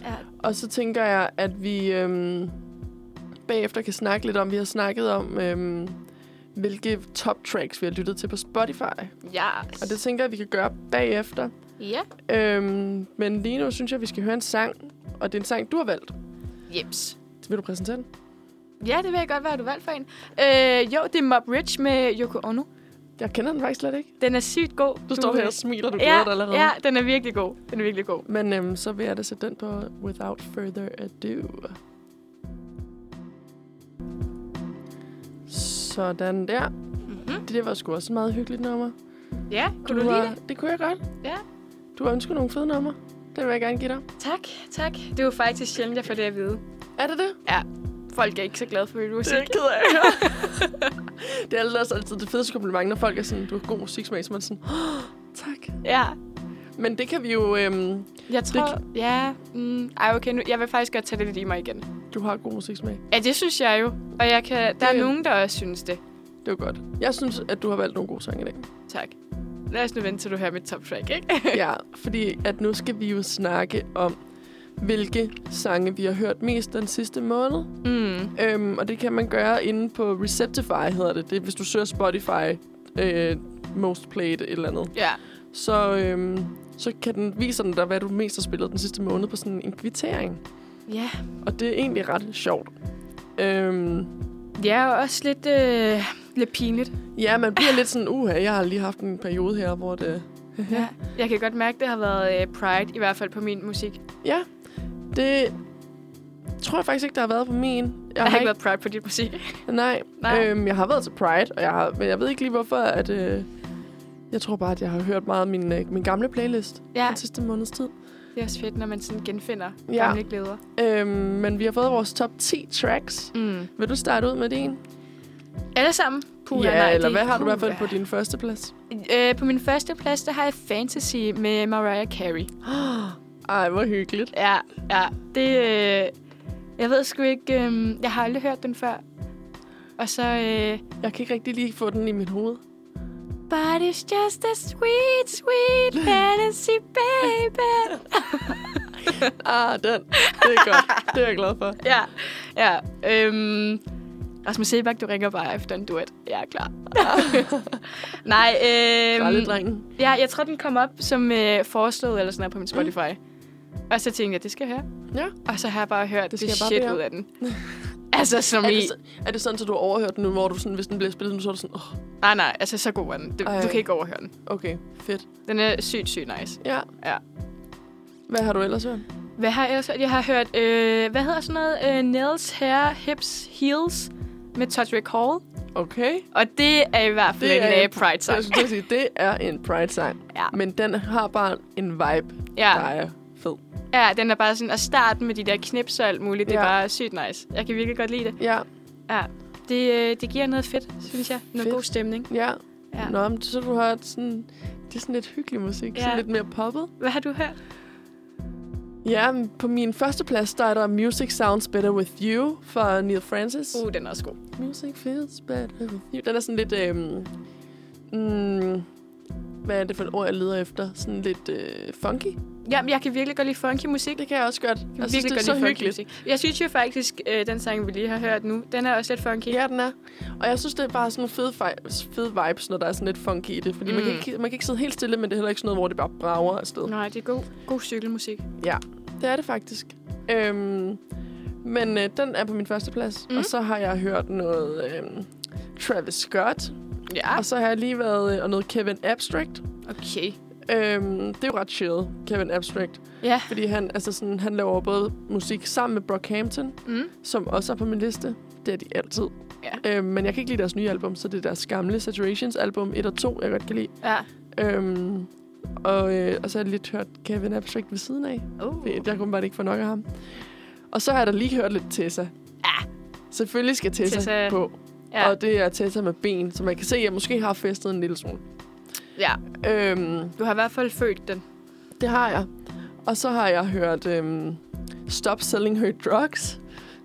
[SPEAKER 2] ja.
[SPEAKER 1] Og så tænker jeg, at vi øhm, bagefter kan snakke lidt om, vi har snakket om, øhm, hvilke top tracks vi har lyttet til på Spotify.
[SPEAKER 2] Yes.
[SPEAKER 1] Og det tænker jeg, at vi kan gøre bagefter.
[SPEAKER 2] Ja.
[SPEAKER 1] Øhm, men lige nu synes jeg, at vi skal høre en sang, og det er en sang, du har valgt.
[SPEAKER 2] Jeps.
[SPEAKER 1] Vil du præsentere den?
[SPEAKER 2] Ja, det vil jeg godt være, du valgte for en. Øh, jo, det er Mob Rich med Yoko Ono.
[SPEAKER 1] Jeg kender den faktisk slet ikke.
[SPEAKER 2] Den er sygt god.
[SPEAKER 1] Du står her og smiler, du ja, glæder dig
[SPEAKER 2] ja,
[SPEAKER 1] allerede.
[SPEAKER 2] ja,
[SPEAKER 1] Ja.
[SPEAKER 2] den er virkelig god. Den er virkelig god.
[SPEAKER 1] Men øhm, så vil jeg da sætte den på Without Further Ado. Sådan der.
[SPEAKER 2] Mm-hmm.
[SPEAKER 1] Det var sgu også et meget hyggeligt nummer.
[SPEAKER 2] Ja, kunne du,
[SPEAKER 1] har-
[SPEAKER 2] lide det?
[SPEAKER 1] Det kunne jeg godt.
[SPEAKER 2] Ja.
[SPEAKER 1] Du har ønsket nogle fede numre. Det vil jeg gerne give dig.
[SPEAKER 2] Tak, tak. Det er jo faktisk sjældent, jeg får det at vide.
[SPEAKER 1] Er det det?
[SPEAKER 2] Folk er ikke så glade for min musik.
[SPEAKER 1] Det er jeg ked af at høre. det er ellers altid det fedeste kompliment, når folk er sådan, du har god musiksmag, så er man sådan, oh, tak.
[SPEAKER 2] Ja,
[SPEAKER 1] Men det kan vi jo, øhm,
[SPEAKER 2] jeg
[SPEAKER 1] Det
[SPEAKER 2] tror... Det... Ja, mm, ej, okay, nu, jeg vil faktisk godt tage det lidt i mig igen.
[SPEAKER 1] du har god musiksmag.
[SPEAKER 2] Ja, det synes jeg jo. Og jeg kan, der er
[SPEAKER 1] Det-
[SPEAKER 2] nogen, der også synes det.
[SPEAKER 1] Det er jo godt. Jeg synes, at du har valgt nogle gode sange i dag.
[SPEAKER 2] Tak. Lad os nu vente, til du hører mit top track, ikke?
[SPEAKER 1] ja, fordi at nu skal vi jo snakke om hvilke sange vi har hørt mest den sidste måned.
[SPEAKER 2] Mm.
[SPEAKER 1] Øhm, og det kan man gøre inde på Receptify, hedder det. Det er, hvis du søger Spotify, øh, most played et eller andet.
[SPEAKER 2] Ja.
[SPEAKER 1] Så, øhm, så kan den, viser den dig, hvad du mest har spillet den sidste måned på sådan en kvittering.
[SPEAKER 2] Ja.
[SPEAKER 1] Og det er egentlig ret sjovt. Øhm,
[SPEAKER 2] Det er jo også lidt, øh, lidt pinligt.
[SPEAKER 1] ja, man bliver lidt sådan, uha, jeg har lige haft en periode her, hvor det...
[SPEAKER 2] Ja. Jeg kan godt mærke, at det har været øh, Pride, i hvert fald på min musik. Jeg
[SPEAKER 1] Ja, det tror jeg faktisk ikke, der har været på min. Jeg
[SPEAKER 2] har ikke været Pride på dit musik.
[SPEAKER 1] Nej,
[SPEAKER 2] Nej.
[SPEAKER 1] Øhm, jeg har været til Pride, og jeg har, men jeg ved ikke lige hvorfor, at... Øh, jeg tror bare, at jeg har hørt meget af min, øh, min gamle playlist
[SPEAKER 2] ja,
[SPEAKER 1] den sidste måneds tid.
[SPEAKER 2] det er også fedt, når man sådan genfinder
[SPEAKER 1] Ja.
[SPEAKER 2] ja. gamle glæder.
[SPEAKER 1] Øhm, men vi har fået vores top 10 tracks.
[SPEAKER 2] Mm.
[SPEAKER 1] Vil du starte ud med din?
[SPEAKER 2] Alle sammen?
[SPEAKER 1] ja,
[SPEAKER 2] nej,
[SPEAKER 1] eller
[SPEAKER 2] det-
[SPEAKER 1] hvad har du i hvert fald
[SPEAKER 2] puha.
[SPEAKER 1] på din første plads?
[SPEAKER 2] Øh, på min første plads, der har jeg Fantasy med Mariah Carey.
[SPEAKER 1] Ej, hvor hyggeligt.
[SPEAKER 2] Ja, ja. Det, øh, jeg ved sgu ikke, øh, jeg har aldrig hørt den før. Og så, øh,
[SPEAKER 1] Jeg kan ikke rigtig lige få den i mit hoved.
[SPEAKER 2] But it's just a sweet, sweet fantasy, baby.
[SPEAKER 1] Ah, den. Det er godt. det er jeg glad for.
[SPEAKER 2] ja, ja. Øhm, Rasmus Sebak, du ringer bare efter en duet. Jeg er klar. Nej,
[SPEAKER 1] Alle
[SPEAKER 2] øh,
[SPEAKER 1] drengen.
[SPEAKER 2] ja, jeg tror, den kom op som øh, foreslået eller sådan noget på min Spotify. Og så tænkte jeg, det skal jeg høre.
[SPEAKER 1] Ja.
[SPEAKER 2] Og så har jeg bare hørt det,
[SPEAKER 1] Mm. skal
[SPEAKER 2] det
[SPEAKER 1] jeg bare
[SPEAKER 2] shit
[SPEAKER 1] bede om.
[SPEAKER 2] ud af den. altså, som
[SPEAKER 1] Er
[SPEAKER 2] i...
[SPEAKER 1] det, så- er det sådan, at du har overhørt den nu, hvor du sådan, hvis den bliver spillet nu, så er du sådan, åh, oh,
[SPEAKER 2] Nej, nej, altså så god er den. Du,
[SPEAKER 1] Ej.
[SPEAKER 2] du kan ikke overhøre den.
[SPEAKER 1] okay, fedt.
[SPEAKER 2] Den er sygt, sygt nice.
[SPEAKER 1] Ja.
[SPEAKER 2] Ja.
[SPEAKER 1] Hvad har du ellers hørt?
[SPEAKER 2] Hvad har jeg ellers hørt? Jeg har hørt, øh, hvad hedder sådan noget? Øh, nails, hair, hips, heels med Touch Recall.
[SPEAKER 1] Okay.
[SPEAKER 2] Og det er i hvert fald
[SPEAKER 1] Det
[SPEAKER 2] en
[SPEAKER 1] er-
[SPEAKER 2] øh, pride
[SPEAKER 1] Så jeg
[SPEAKER 2] sang.
[SPEAKER 1] skulle til at sige, det er en Pride-sang.
[SPEAKER 2] Ja.
[SPEAKER 1] Men den har bare en vibe, der
[SPEAKER 2] Ja.
[SPEAKER 1] er fed.
[SPEAKER 2] ja, den er bare sådan, at starten med de der knips og alt muligt, det er
[SPEAKER 1] Ja.
[SPEAKER 2] bare sygt nice. Jeg kan virkelig godt lide det.
[SPEAKER 1] Ja,
[SPEAKER 2] Ja. Det, øh, det giver noget fedt, synes jeg. Noget
[SPEAKER 1] Fedt.
[SPEAKER 2] god stemning.
[SPEAKER 1] ja.
[SPEAKER 2] Ja.
[SPEAKER 1] Nå, men så du har et sådan... Det er sådan lidt hyggelig musik. Ja.
[SPEAKER 2] Ja.
[SPEAKER 1] Sådan lidt mere poppet.
[SPEAKER 2] Hvad har du hørt?
[SPEAKER 1] Ja, men på min første plads, der er der Music Sounds Better With You fra Neil Francis.
[SPEAKER 2] Uh, den er også god.
[SPEAKER 1] Music feels better with you. Den er sådan lidt... Øhm, mm, hvad er det for et ord, jeg leder efter? Sådan lidt øh, funky.
[SPEAKER 2] Jamen, jeg kan virkelig godt lide funky musik.
[SPEAKER 1] Det kan jeg også godt. Jeg,
[SPEAKER 2] Jeg
[SPEAKER 1] synes,
[SPEAKER 2] virkelig
[SPEAKER 1] det er
[SPEAKER 2] godt
[SPEAKER 1] så
[SPEAKER 2] lide funky
[SPEAKER 1] hyggeligt.
[SPEAKER 2] musik. Jeg synes jo faktisk, øh, den sang, vi lige har hørt nu, den er også lidt funky.
[SPEAKER 1] Ja, den er. Og jeg synes, det er bare sådan nogle fede, fi- fede vibes, når der er sådan lidt funky i det. Fordi mm. man, kan
[SPEAKER 2] Mm.
[SPEAKER 1] ikke, man kan ikke sidde helt stille, men det er heller ikke sådan noget, hvor det bare brager afsted.
[SPEAKER 2] Nej, det er god, god cykelmusik.
[SPEAKER 1] Det er det faktisk. Øhm, men øh, den er på min første plads. Mm.
[SPEAKER 2] Mm.
[SPEAKER 1] Og så har jeg hørt noget øhm, Travis Scott.
[SPEAKER 2] Ja.
[SPEAKER 1] Og så har jeg lige været øh, og noget Kevin Abstract.
[SPEAKER 2] Okay.
[SPEAKER 1] Øhm, det er jo ret chill, Kevin Abstract.
[SPEAKER 2] Ja.
[SPEAKER 1] Fordi han, altså sådan, han laver både musik sammen med Brockhampton,
[SPEAKER 2] Mm.
[SPEAKER 1] som også er på min liste. Det er de altid.
[SPEAKER 2] Ja.
[SPEAKER 1] Øhm, men jeg kan ikke lide deres nye album, så det er deres gamle Saturations album 1 og 2, jeg godt kan lide.
[SPEAKER 2] Ja.
[SPEAKER 1] Øhm, og, øh, og så har jeg lidt hørt Kevin Abstract ved siden af.
[SPEAKER 2] Oh.
[SPEAKER 1] Fordi Jeg kunne bare ikke få nok af ham. Og så har jeg da lige hørt lidt Tessa.
[SPEAKER 2] Ja.
[SPEAKER 1] Selvfølgelig skal Tessa, Tessa.
[SPEAKER 2] Tessa,
[SPEAKER 1] på. Ja.
[SPEAKER 2] Ja.
[SPEAKER 1] Og det er Tessa med ben, så man kan se, at jeg måske har festet en lille smule.
[SPEAKER 2] ja.
[SPEAKER 1] Øhm,
[SPEAKER 2] Du har i hvert fald følt den.
[SPEAKER 1] det har jeg. Og så har jeg hørt øhm, Stop Selling Her Drugs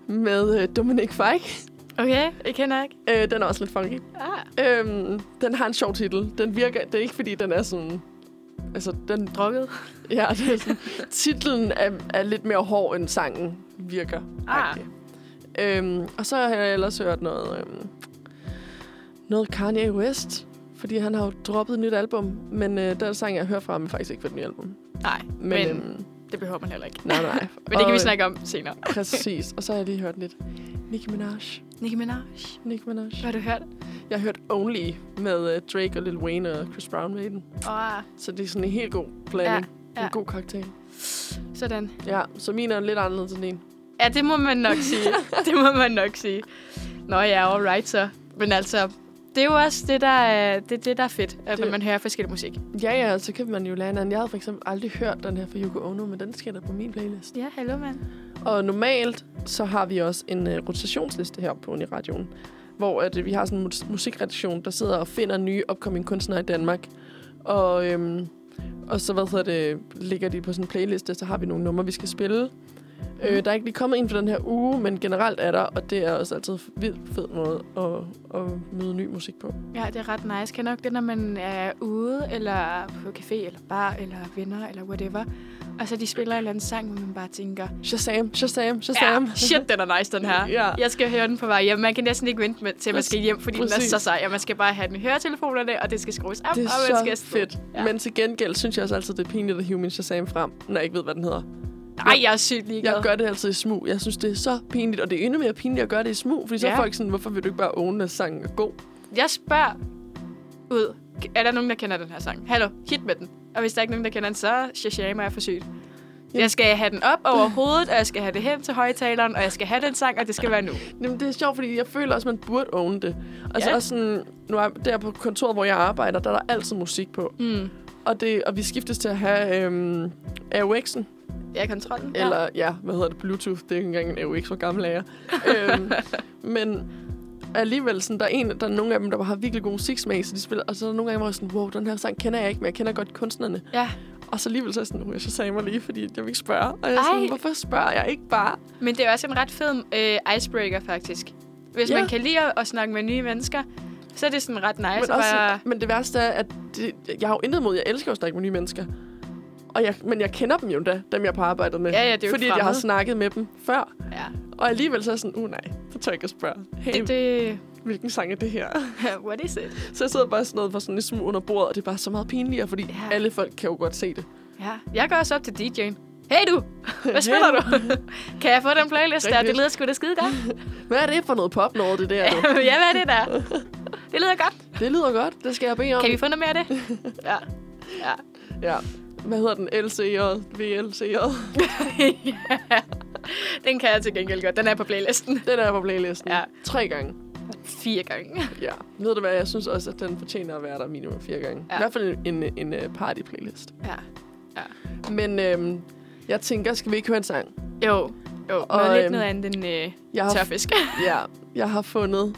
[SPEAKER 1] med øh, Dominic Fike.
[SPEAKER 2] Okay, jeg kender ikke.
[SPEAKER 1] Øh, den er også lidt funky.
[SPEAKER 2] Ah.
[SPEAKER 1] Øhm, den har en sjov titel. Den virker, det er ikke fordi, den er sådan... Altså, den,
[SPEAKER 2] Drukket.
[SPEAKER 1] ja, det er sådan, titlen er, er lidt mere hård, end sangen virker.
[SPEAKER 2] Ah.
[SPEAKER 1] Øhm, og så har jeg ellers hørt noget, øhm, noget Kanye West, fordi han har jo droppet et nyt album, men øh, den sang, jeg hører fra ham, er faktisk ikke fra det nye album.
[SPEAKER 2] Nej,
[SPEAKER 1] Men,
[SPEAKER 2] men, men
[SPEAKER 1] øhm,
[SPEAKER 2] det behøver man heller ikke.
[SPEAKER 1] nej, nej.
[SPEAKER 2] Men det kan
[SPEAKER 1] Og,
[SPEAKER 2] vi
[SPEAKER 1] øh,
[SPEAKER 2] snakke om senere.
[SPEAKER 1] Præcis, og så har jeg lige hørt lidt Nicki Minaj.
[SPEAKER 2] Nicki Minaj.
[SPEAKER 1] Nicki Minaj.
[SPEAKER 2] Hvad har du hørt?
[SPEAKER 1] Jeg har hørt Only med øh, Drake og Lil Wayne og Chris Brown med i den.
[SPEAKER 2] Åh,
[SPEAKER 1] Så det er sådan en helt god blanding. Ja, ja.
[SPEAKER 2] ja.
[SPEAKER 1] En god cocktail.
[SPEAKER 2] sådan.
[SPEAKER 1] Ja, så min er lidt anderledes end din.
[SPEAKER 2] Ja, det må man nok sige. det må man nok sige. Nå ja, alright så. Men altså, det er jo også det, der er, det, er det, der er fedt, at
[SPEAKER 1] Det-
[SPEAKER 2] man hører forskellig musik.
[SPEAKER 1] Ja, ja, så kan man jo lære hinanden. Jeg havde for eksempel aldrig hørt den her fra Yoko Ono, men den skal der på min playlist.
[SPEAKER 2] Ja, hallo mand.
[SPEAKER 1] Og normalt så har vi også en øh, rotationsliste her på Uniradioen, hvor at, øh, vi har sådan en mus- musikredaktion, der sidder og finder nye upcoming kunstnere i Danmark. Og, øhm, og så hvad hedder det, ligger de på sådan en playliste, så har vi nogle numre, vi skal spille.
[SPEAKER 2] Mm.
[SPEAKER 1] Øh, der er ikke lige kommet en for den her uge, men generelt er der, og det er også altid en vildt fed måde at, at møde ny musik på.
[SPEAKER 2] Ja, det er ret nice. Kan nok det, når man er ude, eller på café, eller bar, eller venner, eller whatever, Og så de spiller en eller anden sang, hvor man bare tænker,
[SPEAKER 1] Shazam, Shazam,
[SPEAKER 2] ja,
[SPEAKER 1] Shazam.
[SPEAKER 2] shit, den er nice, den her.
[SPEAKER 1] Ja.
[SPEAKER 2] Jeg skal høre den på vej hjem. Man kan næsten ikke vente med, til, at man skal hjem, fordi den
[SPEAKER 1] Præcis.
[SPEAKER 2] er så sej. Og man skal bare have den i høretelefonerne, og det skal skrues op,
[SPEAKER 1] Det
[SPEAKER 2] og man
[SPEAKER 1] er
[SPEAKER 2] skal
[SPEAKER 1] så
[SPEAKER 2] afsted.
[SPEAKER 1] fedt.
[SPEAKER 2] Ja.
[SPEAKER 1] Ja. Men til gengæld synes jeg også altid, det er pinligt at hive min Shazam frem, når jeg ikke ved, hvad den hedder.
[SPEAKER 2] Nej, jeg er sygt ligeglad.
[SPEAKER 1] Jeg gør det altid i smug. Jeg synes, det er så pinligt, og det er endnu mere pinligt at gøre det i smug, fordi så
[SPEAKER 2] Ja.
[SPEAKER 1] er folk sådan, hvorfor vil du ikke bare åbne, at sangen er god?
[SPEAKER 2] Jeg spørger ud, er der nogen, der kender den her sang? Hallo, hit med den. Og hvis der ikke er nogen, der kender den, så shashama er for sygt.
[SPEAKER 1] Ja.
[SPEAKER 2] Jeg skal have den op over hovedet, og jeg skal have det hen til højtaleren, og jeg skal have den sang, og det skal være nu.
[SPEAKER 1] Jamen, det er sjovt, fordi jeg føler også, at man burde own det. Altså
[SPEAKER 2] Ja.
[SPEAKER 1] ja. også sådan, nu er der på kontoret, hvor jeg arbejder, der er der altid musik på.
[SPEAKER 2] Mm.
[SPEAKER 1] Og, det, og vi skiftes til at have øhm, AUX'en,
[SPEAKER 2] Ja, kontrollen.
[SPEAKER 1] eller ja. ja, hvad hedder det, Bluetooth, det er ikke engang en AUX, hvor gammel er jeg. øhm, men alligevel, sådan, der, er en, der er nogle af dem, der har virkelig god musiksmag, så de spiller, og så er der nogle gange, hvor jeg er sådan, wow, den her sang kender jeg ikke, men jeg kender godt kunstnerne.
[SPEAKER 2] Ja.
[SPEAKER 1] Og så alligevel så er jeg sådan, uh, jeg så sagde mig lige, fordi jeg vil ikke spørge. Og jeg er
[SPEAKER 2] Ej.
[SPEAKER 1] sådan, hvorfor spørger jeg ikke bare?
[SPEAKER 2] Men det er også en ret fed øh, icebreaker, faktisk. Hvis
[SPEAKER 1] Ja.
[SPEAKER 2] man kan lide at, at snakke med nye mennesker, så er det sådan ret nice.
[SPEAKER 1] men,
[SPEAKER 2] at
[SPEAKER 1] også,
[SPEAKER 2] bare...
[SPEAKER 1] men det værste er, at det, jeg har jo intet mod, jeg elsker jo at snakke med nye mennesker. Og jeg, men jeg kender dem jo endda, dem jeg har på arbejdet med.
[SPEAKER 2] Ja, ja, det er jo
[SPEAKER 1] fordi
[SPEAKER 2] ikke
[SPEAKER 1] at jeg har
[SPEAKER 2] fremmed.
[SPEAKER 1] snakket med dem før.
[SPEAKER 2] Ja,
[SPEAKER 1] Og alligevel så er jeg sådan, uh nej, så tør jeg ikke at spørge. Hey,
[SPEAKER 2] det, det...
[SPEAKER 1] hvilken sang er det her?
[SPEAKER 2] What is it?
[SPEAKER 1] Så jeg sidder bare sådan noget for sådan en smule under bordet, og det er bare så meget pinligere, fordi
[SPEAKER 2] Ja.
[SPEAKER 1] ja. alle folk kan jo godt se det.
[SPEAKER 2] Ja. Jeg går også op til DJ'en. Hey du! Hvad spiller du? kan jeg få den playlist der?
[SPEAKER 1] Rigtigt.
[SPEAKER 2] Det lyder sgu da skide godt.
[SPEAKER 1] Hvad er det for noget pop noget, det der? du?
[SPEAKER 2] ja, hvad er det der? Det lyder godt.
[SPEAKER 1] det lyder godt, det skal jeg bede om.
[SPEAKER 2] Kan vi få noget mere af det? Ja. Ja.
[SPEAKER 1] Ja. Hvad hedder den? LC og VLC og...
[SPEAKER 2] ja. Den kan jeg til gengæld godt. Den er på playlisten.
[SPEAKER 1] Den er på playlisten.
[SPEAKER 2] Ja.
[SPEAKER 1] Tre gange.
[SPEAKER 2] Fire gange.
[SPEAKER 1] Ja. Ved du hvad, jeg synes også, at den fortjener at være der minimum fire gange.
[SPEAKER 2] Ja.
[SPEAKER 1] Ja. I hvert fald en, en, en øh, party-playlist.
[SPEAKER 2] Ja.
[SPEAKER 1] Men øhm, jeg tænker, skal vi ikke høre en sang?
[SPEAKER 2] Jo. Jo. Og,
[SPEAKER 1] Og,
[SPEAKER 2] noget lidt
[SPEAKER 1] øhm,
[SPEAKER 2] noget andet end øh,
[SPEAKER 1] Jeg har,
[SPEAKER 2] tørfisk.
[SPEAKER 1] ja, jeg har fundet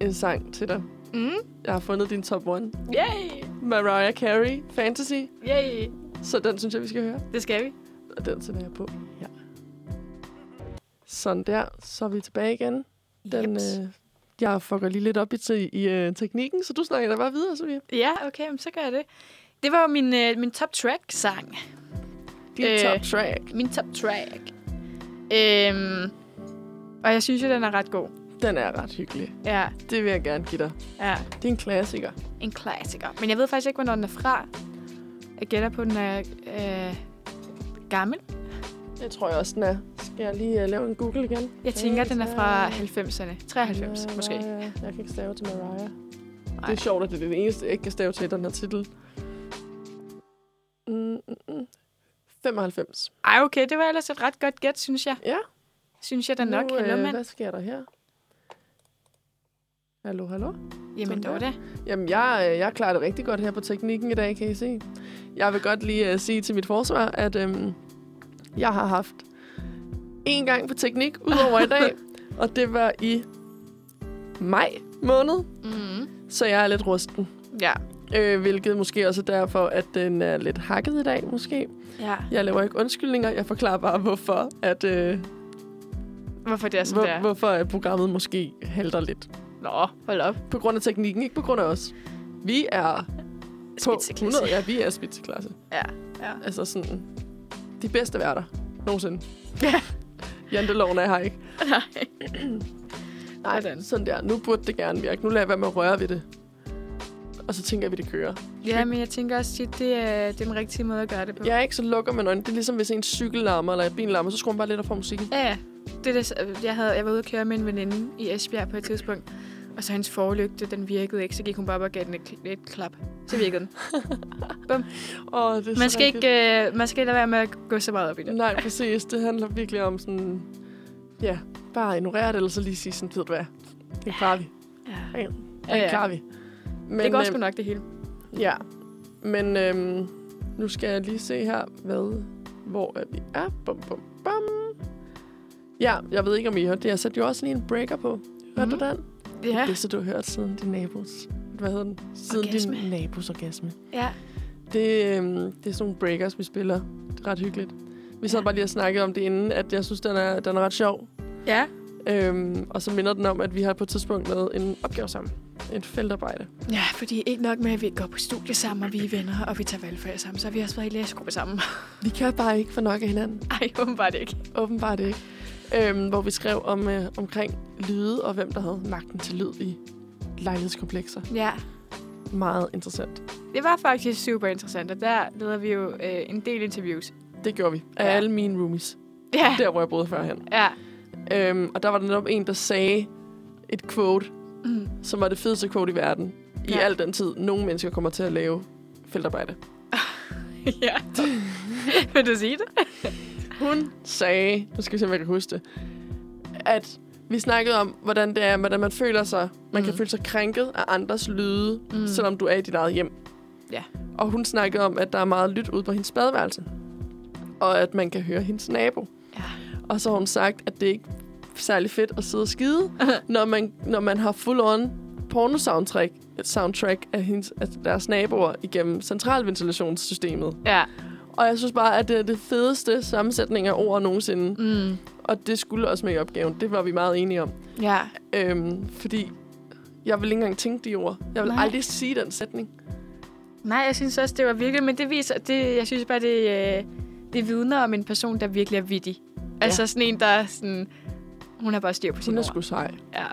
[SPEAKER 1] en sang til dig.
[SPEAKER 2] mm.
[SPEAKER 1] Jeg har fundet din top 1.
[SPEAKER 2] Yay!
[SPEAKER 1] Mariah Carey, Fantasy.
[SPEAKER 2] Yay!
[SPEAKER 1] Så den synes jeg, vi skal høre.
[SPEAKER 2] Det skal vi.
[SPEAKER 1] Og den sætter jeg på. Ja. Sådan der. Så er vi tilbage igen. Den,
[SPEAKER 2] Jeps.
[SPEAKER 1] øh, jeg fucker lige lidt op i, te- i øh, teknikken, så du snakker da bare videre, Sofie.
[SPEAKER 2] Ja, okay, men så gør jeg det. Det var jo min, øh, min top track-sang.
[SPEAKER 1] Din
[SPEAKER 2] Øh,
[SPEAKER 1] øh, top track.
[SPEAKER 2] Min top track. Øhm, og jeg synes jo, den er ret god.
[SPEAKER 1] Den er ret hyggelig.
[SPEAKER 2] Ja,
[SPEAKER 1] Det vil jeg gerne give dig.
[SPEAKER 2] ja.
[SPEAKER 1] Det er en klassiker.
[SPEAKER 2] En klassiker. Men jeg ved faktisk ikke, hvornår den er fra. Jeg gætter på, at den er øh, gammel.
[SPEAKER 1] Det tror jeg også, den er. Skal jeg lige uh, lave en Google igen? Øh,
[SPEAKER 2] Jeg tænker, at den er fra 90'erne. 93 ja, måske.
[SPEAKER 1] Jeg kan ikke stave til Mariah. Nej. Det
[SPEAKER 2] Nej.
[SPEAKER 1] er sjovt, at det er det eneste, jeg ikke kan stave til i den her titel. Mm, mm, mm. 95.
[SPEAKER 2] Ej, okay. Det var ellers et ret godt gæt, synes jeg.
[SPEAKER 1] Ja.
[SPEAKER 2] Synes jeg da nok.
[SPEAKER 1] nu, øh,
[SPEAKER 2] Hallo, mand.
[SPEAKER 1] Hvad sker der her? Hallo, hallo?
[SPEAKER 2] Jamen,
[SPEAKER 1] sådan
[SPEAKER 2] dog
[SPEAKER 1] der.
[SPEAKER 2] da.
[SPEAKER 1] Jamen, jeg, øh, jeg klarer det rigtig godt her på teknikken i dag, kan I se. Jeg vil godt lige uh, sige til mit forsvar, at øhm, jeg har haft en gang på teknik udover i dag, og det var i maj måned,
[SPEAKER 2] Mm.
[SPEAKER 1] så jeg er lidt rusten.
[SPEAKER 2] Ja.
[SPEAKER 1] Øh, hvilket måske også er derfor, at den er lidt hakket i dag, måske.
[SPEAKER 2] ja.
[SPEAKER 1] Jeg laver ikke undskyldninger, jeg forklarer bare, hvorfor, at, øh,
[SPEAKER 2] Hvorfor det er, som det
[SPEAKER 1] hvor,
[SPEAKER 2] er.
[SPEAKER 1] hvorfor at programmet måske halter lidt.
[SPEAKER 2] Nå, hold op.
[SPEAKER 1] På grund af teknikken, ikke på grund af os. Vi er på
[SPEAKER 2] Spidseklasse.
[SPEAKER 1] 100, ja, vi er spidseklasse.
[SPEAKER 2] Ja. ja.
[SPEAKER 1] Altså sådan, de bedste værter nogensinde.
[SPEAKER 2] Ja.
[SPEAKER 1] Janteloven er her ikke.
[SPEAKER 2] Nej.
[SPEAKER 1] Nej,
[SPEAKER 2] Sådan.
[SPEAKER 1] sådan der. Nu burde det gerne virke. Nu lader jeg være med at røre ved det. Og så tænker jeg, at vi det kører.
[SPEAKER 2] Ja, men jeg tænker også tit, det er, det er den rigtige måde at gøre det på.
[SPEAKER 1] Jeg er ikke så lukker med øjnene. Det er ligesom, hvis en cykel larmer eller et bil larmer, så skruer man bare lidt op for musikken.
[SPEAKER 2] Ja, ja. Det er det, så- jeg, havde, jeg var ude at køre med en veninde i Esbjerg på et tidspunkt, og så hendes forlygte, den virkede ikke, så gik hun bare op og gav den et, kl- et klap. Så virkede den.
[SPEAKER 1] Åh, det er så
[SPEAKER 2] Man skal,
[SPEAKER 1] rigtigt.
[SPEAKER 2] ikke, øh, man skal ikke lade være med at gå så meget op i det.
[SPEAKER 1] Nej, præcis. Det handler virkelig om sådan... Ja, bare ignorere det, eller så lige sige sådan, ved du hvad? Det klarer vi.
[SPEAKER 2] Ja.
[SPEAKER 1] Ja,
[SPEAKER 2] Ja, ja.
[SPEAKER 1] Det klarer vi. Men,
[SPEAKER 2] det går
[SPEAKER 1] øhm,
[SPEAKER 2] sgu nok det hele.
[SPEAKER 1] Ja, men øhm, nu skal jeg lige se her, hvad, hvor er vi er. Bum, bum, bum. Ja, jeg ved ikke, om I hørte det. Jeg satte jo også lige en breaker på. Hørte
[SPEAKER 2] Mhm.
[SPEAKER 1] du den?
[SPEAKER 2] Ja.
[SPEAKER 1] Det bedste, du har hørt siden din nabos. Hvad hedder den? Siden
[SPEAKER 2] Orgasme.
[SPEAKER 1] din nabos orgasme.
[SPEAKER 2] ja.
[SPEAKER 1] Det, øhm, det er sådan nogle breakers, vi spiller. Det er ret hyggeligt. Vi sad
[SPEAKER 2] Ja.
[SPEAKER 1] bare lige og snakkede om det inden, at jeg synes, den er, den er ret sjov.
[SPEAKER 2] Ja.
[SPEAKER 1] Øhm, og så minder den om, at vi har på et tidspunkt lavet en opgave sammen. et feltarbejde.
[SPEAKER 2] Ja, fordi ikke nok med, at vi går på studie sammen, og vi er venner, og vi tager valgfag sammen, så har vi også været i læsegruppe sammen.
[SPEAKER 1] Vi kan bare ikke få nok af hinanden.
[SPEAKER 2] Ej, åbenbart ikke.
[SPEAKER 1] Åbenbart ikke. Øhm, hvor vi skrev om øh, omkring lyde, og hvem der havde magten til lyd i lejlighedskomplekser.
[SPEAKER 2] Ja,
[SPEAKER 1] Meget interessant.
[SPEAKER 2] det var faktisk super interessant, og der lavede vi jo øh, en del interviews.
[SPEAKER 1] Det gjorde vi. Af
[SPEAKER 2] Ja.
[SPEAKER 1] ja. alle mine roomies.
[SPEAKER 2] Ja,
[SPEAKER 1] Der, hvor jeg boede førhen.
[SPEAKER 2] ja.
[SPEAKER 1] Øhm, og der var der netop en, der sagde et quote,
[SPEAKER 2] Mm.
[SPEAKER 1] som var det fedeste quote i verden. I
[SPEAKER 2] Ja.
[SPEAKER 1] al den tid, nogle mennesker kommer til at lave feltarbejde.
[SPEAKER 2] ja. Vil du sige det?
[SPEAKER 1] Hun sagde, nu skal vi se, om jeg kan huske det, at vi snakkede om, hvordan det er, hvordan man føler sig. Man mm. kan
[SPEAKER 2] Mm.
[SPEAKER 1] føle sig krænket af andres lyde,
[SPEAKER 2] Mm.
[SPEAKER 1] mm. selvom du er i dit eget hjem.
[SPEAKER 2] Ja.
[SPEAKER 1] Og hun snakkede om, at der er meget lyt ude på hendes badeværelse. Og at man kan høre hendes nabo.
[SPEAKER 2] Ja.
[SPEAKER 1] Og så har hun sagt, at det ikke er særlig fedt at sidde og skide, når man, når man har full-on porno-soundtrack soundtrack af, hendes, af deres naboer igennem centralventilationssystemet.
[SPEAKER 2] Ja.
[SPEAKER 1] Og jeg synes bare, at det er det fedeste sammensætning af ord nogensinde.
[SPEAKER 2] Mm.
[SPEAKER 1] Og det skulle også med i opgaven. Det var vi meget enige om.
[SPEAKER 2] Ja.
[SPEAKER 1] Øhm, fordi jeg vil ikke engang tænke de ord. Jeg vil
[SPEAKER 2] Nej.
[SPEAKER 1] Nej. aldrig sige den sætning.
[SPEAKER 2] Nej, jeg synes også, det var virkelig, men det viser, det, jeg synes bare, det, øh, det vidner om en person, der virkelig er vittig. Ja. Altså sådan en, der er sådan, hun har bare styr på
[SPEAKER 1] Hun
[SPEAKER 2] sine
[SPEAKER 1] er
[SPEAKER 2] ord.
[SPEAKER 1] sgu sej.
[SPEAKER 2] Ja,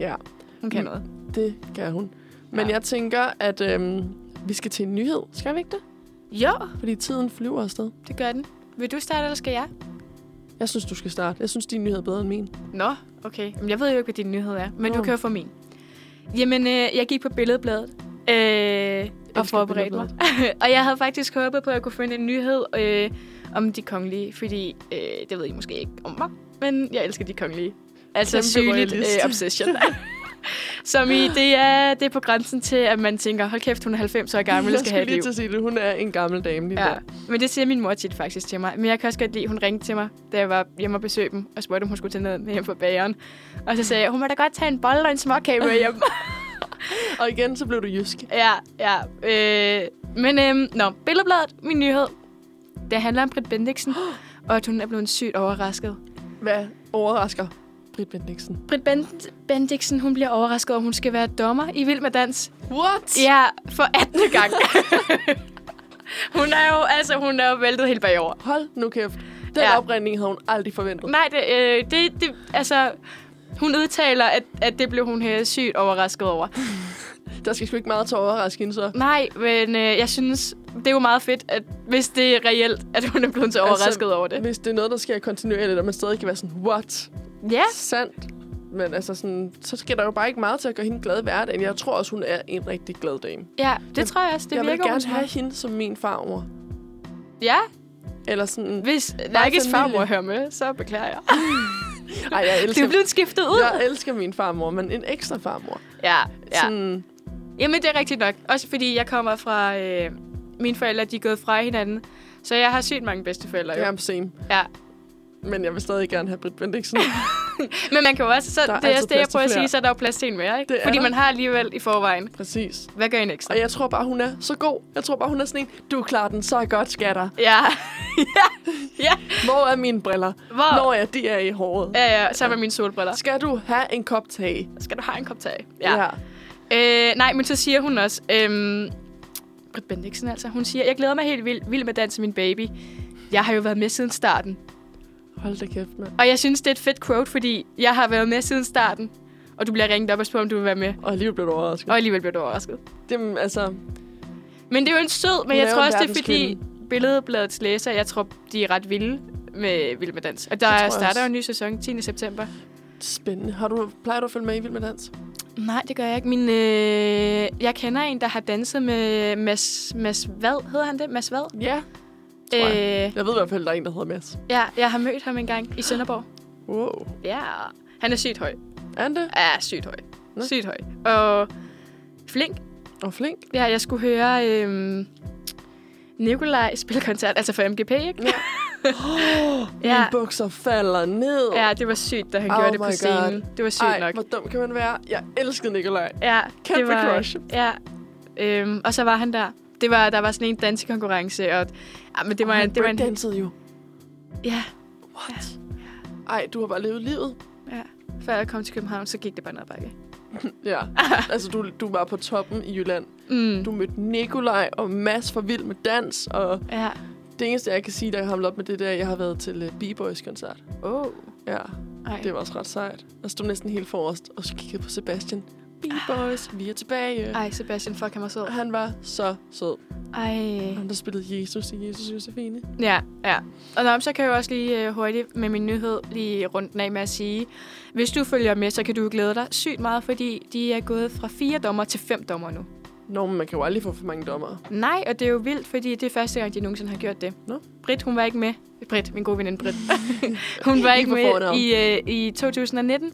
[SPEAKER 1] Ja,
[SPEAKER 2] hun kan
[SPEAKER 1] Mm.
[SPEAKER 2] noget.
[SPEAKER 1] det kan hun. Men
[SPEAKER 2] Ja.
[SPEAKER 1] ja. jeg tænker, at øhm, vi skal til en nyhed. Skal vi ikke det?
[SPEAKER 2] Jo,
[SPEAKER 1] Fordi tiden flyver afsted.
[SPEAKER 2] det gør den. Vil du starte, eller skal jeg?
[SPEAKER 1] Jeg synes, du skal starte. Jeg synes, din nyhed er bedre end min.
[SPEAKER 2] Nå, okay. Jamen, jeg ved jo ikke, hvad din nyhed er, men
[SPEAKER 1] Nå.
[SPEAKER 2] du kan jo få min. Jamen, øh, jeg gik på Billedbladet øh, og forberedte mig.
[SPEAKER 1] Billedbladet.
[SPEAKER 2] og jeg havde faktisk håbet på, at jeg kunne finde en nyhed øh, om de kongelige, fordi øh, det ved I måske ikke om mig, men jeg elsker de kongelige. Altså
[SPEAKER 1] Kæmpe
[SPEAKER 2] sygeligt
[SPEAKER 1] royalist.
[SPEAKER 2] øh, obsession. Som i, det er, det er på grænsen til, at man tænker, hold kæft, hun er 90 år gammel, jeg
[SPEAKER 1] jeg
[SPEAKER 2] skal
[SPEAKER 1] skulle
[SPEAKER 2] have et liv.
[SPEAKER 1] lige til at sige det. Hun er en gammel dame lige ja.
[SPEAKER 2] Ja,
[SPEAKER 1] der.
[SPEAKER 2] men det siger min mor tit faktisk til mig. Men jeg kan også godt lide, at hun ringte til mig, da jeg var hjemme og besøgte dem, og spurgte, om hun skulle tage noget med hjem fra bageren. Og så sagde jeg, hun må da godt tage en bolle og en småkage med hjem.
[SPEAKER 1] Og igen, så blev du jysk.
[SPEAKER 2] ja, ja. Øh, men øhm, nå, Billedbladet, min nyhed. Det handler om Britt Bendiksen, og at hun er blevet sygt overrasket.
[SPEAKER 1] Hvad overrasker Britt Bendiksen?
[SPEAKER 2] Britt Bend- Bendiksen, hun bliver overrasket, om hun skal være dommer i Vild med Dans.
[SPEAKER 1] What?
[SPEAKER 2] Ja, for 18. gang. hun er jo, altså, hun er jo væltet helt bagover.
[SPEAKER 1] Hold nu kæft. Den
[SPEAKER 2] Ja.
[SPEAKER 1] ja. opringning havde hun aldrig forventet.
[SPEAKER 2] Nej, det, øh, det, det, altså, hun udtaler, at, at det blev hun her sygt overrasket over.
[SPEAKER 1] Der skal sgu ikke meget til at overraske hende, så.
[SPEAKER 2] Nej, men øh, jeg synes, det er jo meget fedt, at, hvis det er reelt, at hun er blevet så overrasket altså, over det.
[SPEAKER 1] Hvis det er noget, der sker kontinuerligt, og man stadig kan være sådan, what?
[SPEAKER 2] Ja,
[SPEAKER 1] Sandt. Men altså sådan, så skal der jo bare ikke meget til at gøre hende glad i hverdagen. Jeg tror også, hun er en rigtig glad dame.
[SPEAKER 2] ja det tror jeg også. Det
[SPEAKER 1] jeg vil
[SPEAKER 2] virker hun
[SPEAKER 1] gerne
[SPEAKER 2] som.
[SPEAKER 1] have hende som min farmor.
[SPEAKER 2] Ja,
[SPEAKER 1] Eller sådan,
[SPEAKER 2] hvis
[SPEAKER 1] Bare
[SPEAKER 2] Nikes
[SPEAKER 1] familie.
[SPEAKER 2] farmor hører med, så beklager jeg.
[SPEAKER 1] ej, jeg
[SPEAKER 2] Det er
[SPEAKER 1] elsker,
[SPEAKER 2] blevet skiftet ud. Ja, øh,
[SPEAKER 1] jeg elsker min farmor, men en ekstra farmor.
[SPEAKER 2] ja. ja.
[SPEAKER 1] Sådan,
[SPEAKER 2] Jamen, det er rigtigt nok. Også fordi jeg kommer fra... Øh, mine forældre, de er gået fra hinanden. Så jeg har sygt mange bedsteforældre.
[SPEAKER 1] jeg
[SPEAKER 2] Ja.
[SPEAKER 1] er same.
[SPEAKER 2] ja.
[SPEAKER 1] Men jeg vil stadig gerne have Britt Bendiksen.
[SPEAKER 2] Men man kan jo også, så
[SPEAKER 1] Der er
[SPEAKER 2] det er også
[SPEAKER 1] altid
[SPEAKER 2] det, jeg
[SPEAKER 1] plads til
[SPEAKER 2] prøver at
[SPEAKER 1] flere.
[SPEAKER 2] sige, så er der jo plads til en mere, ikke?
[SPEAKER 1] Det er
[SPEAKER 2] Fordi
[SPEAKER 1] der.
[SPEAKER 2] man har alligevel i forvejen.
[SPEAKER 1] Præcis.
[SPEAKER 2] Hvad gør en ekstra?
[SPEAKER 1] Og jeg tror bare, hun er så god. Jeg tror bare, hun er sådan en, du klarer den så godt, skatter.
[SPEAKER 2] Ja. ja. ja.
[SPEAKER 1] Hvor er mine briller?
[SPEAKER 2] Hvor?
[SPEAKER 1] Når jeg, de er i håret.
[SPEAKER 2] Ja, ja, sammen med mine solbriller.
[SPEAKER 1] Skal du have en kop te?
[SPEAKER 2] Skal du have en kop tag? Ja. ja. Øh, nej, men så siger hun også... Øhm, Britt Bendiksen altså. Hun siger, jeg glæder mig helt vildt, vild med at danse min baby. Jeg har jo været med siden starten.
[SPEAKER 1] Hold da kæft, mand.
[SPEAKER 2] Og jeg synes, det er et fedt quote, fordi jeg har været med siden starten. Og du bliver ringet op og spurgt, om du vil være med.
[SPEAKER 1] Og alligevel blev du overrasket.
[SPEAKER 2] Og alligevel bliver du overrasket.
[SPEAKER 1] Det, altså,
[SPEAKER 2] Men det er jo en sød, men
[SPEAKER 1] Hun
[SPEAKER 2] jeg
[SPEAKER 1] er jo
[SPEAKER 2] tror
[SPEAKER 1] en
[SPEAKER 2] også, det er fordi Billedbladets læser, jeg tror, de er ret vilde med Vild med Dans. Og der
[SPEAKER 1] tror jeg
[SPEAKER 2] starter
[SPEAKER 1] også.
[SPEAKER 2] jo en ny sæson 10. september.
[SPEAKER 1] spændende. Har du, plejer du at følge med i Vild med Dans?
[SPEAKER 2] Nej, det gør jeg ikke. Min, øh, jeg kender en, der har danset med Mads, Mads Vad. Hedder han det? Mads Vad?
[SPEAKER 1] Ja. Tror
[SPEAKER 2] Øh,
[SPEAKER 1] Jeg ved i hvert fald, at der er en, der hedder Mads.
[SPEAKER 2] ja, jeg har mødt ham engang i Sønderborg.
[SPEAKER 1] Wow.
[SPEAKER 2] Ja, han er sygt høj.
[SPEAKER 1] Er han det?
[SPEAKER 2] Ja, sygt høj.
[SPEAKER 1] Nå.
[SPEAKER 2] Sygt høj. Og flink.
[SPEAKER 1] Og flink.
[SPEAKER 2] Ja, jeg skulle høre øh, Nikolaj spille koncert, altså for MGP, ikke?
[SPEAKER 1] Ja.
[SPEAKER 2] Ja,
[SPEAKER 1] Mine bukser falder ned.
[SPEAKER 2] ja det var sygt, da han
[SPEAKER 1] Oh
[SPEAKER 2] gjorde det
[SPEAKER 1] my
[SPEAKER 2] på
[SPEAKER 1] God.
[SPEAKER 2] scenen. God. Det var sygt
[SPEAKER 1] Ej,
[SPEAKER 2] nok.
[SPEAKER 1] hvor dum kan man være. Jeg elskede Nikolaj.
[SPEAKER 2] Ja,
[SPEAKER 1] Kæmpe
[SPEAKER 2] det var,
[SPEAKER 1] crush.
[SPEAKER 2] Ja, øhm, og så var han der. Det var, der var sådan en dansekonkurrence, og ja, men det var,
[SPEAKER 1] han
[SPEAKER 2] det var en...
[SPEAKER 1] dansede jo.
[SPEAKER 2] Ja,
[SPEAKER 1] What? Ej, du har bare levet livet.
[SPEAKER 2] ja. Før jeg kom til København, så gik det bare ned ad bakke.
[SPEAKER 1] Ja, altså du, du var på toppen i Jylland.
[SPEAKER 2] Mm.
[SPEAKER 1] Du mødte Nikolaj og Mads fra Vild med Dans, og
[SPEAKER 2] Ja.
[SPEAKER 1] det eneste, jeg kan sige, der jeg har op med det der, jeg har været til uh, B-Boys koncert.
[SPEAKER 2] Åh. Oh.
[SPEAKER 1] Ja,
[SPEAKER 2] Ej.
[SPEAKER 1] det var også ret sejt. Jeg stod næsten helt forrest, og så kiggede på Sebastian. B-Boys, vi er tilbage.
[SPEAKER 2] Ah. Ej, Sebastian, fuck, han var sød.
[SPEAKER 1] Og han var så sød.
[SPEAKER 2] Ej.
[SPEAKER 1] Og Han der spillede Jesus i Jesus Josefine.
[SPEAKER 2] Ja, ja. Og nå, så kan jeg jo også lige øh, hurtigt med min nyhed lige rundt den af med at sige, hvis du følger med, så kan du glæde dig sygt meget, fordi de er gået fra fire dommer til fem dommer nu.
[SPEAKER 1] Nå, men man kan jo aldrig få for mange dommer.
[SPEAKER 2] Nej, og det er jo vildt, fordi det er første gang, de nogensinde har gjort det.
[SPEAKER 1] Nå.
[SPEAKER 2] Britt, hun var ikke med. Britt, min gode veninde Britt. hun var ikke
[SPEAKER 1] på
[SPEAKER 2] med
[SPEAKER 1] fornavn.
[SPEAKER 2] i, øh, i 2019,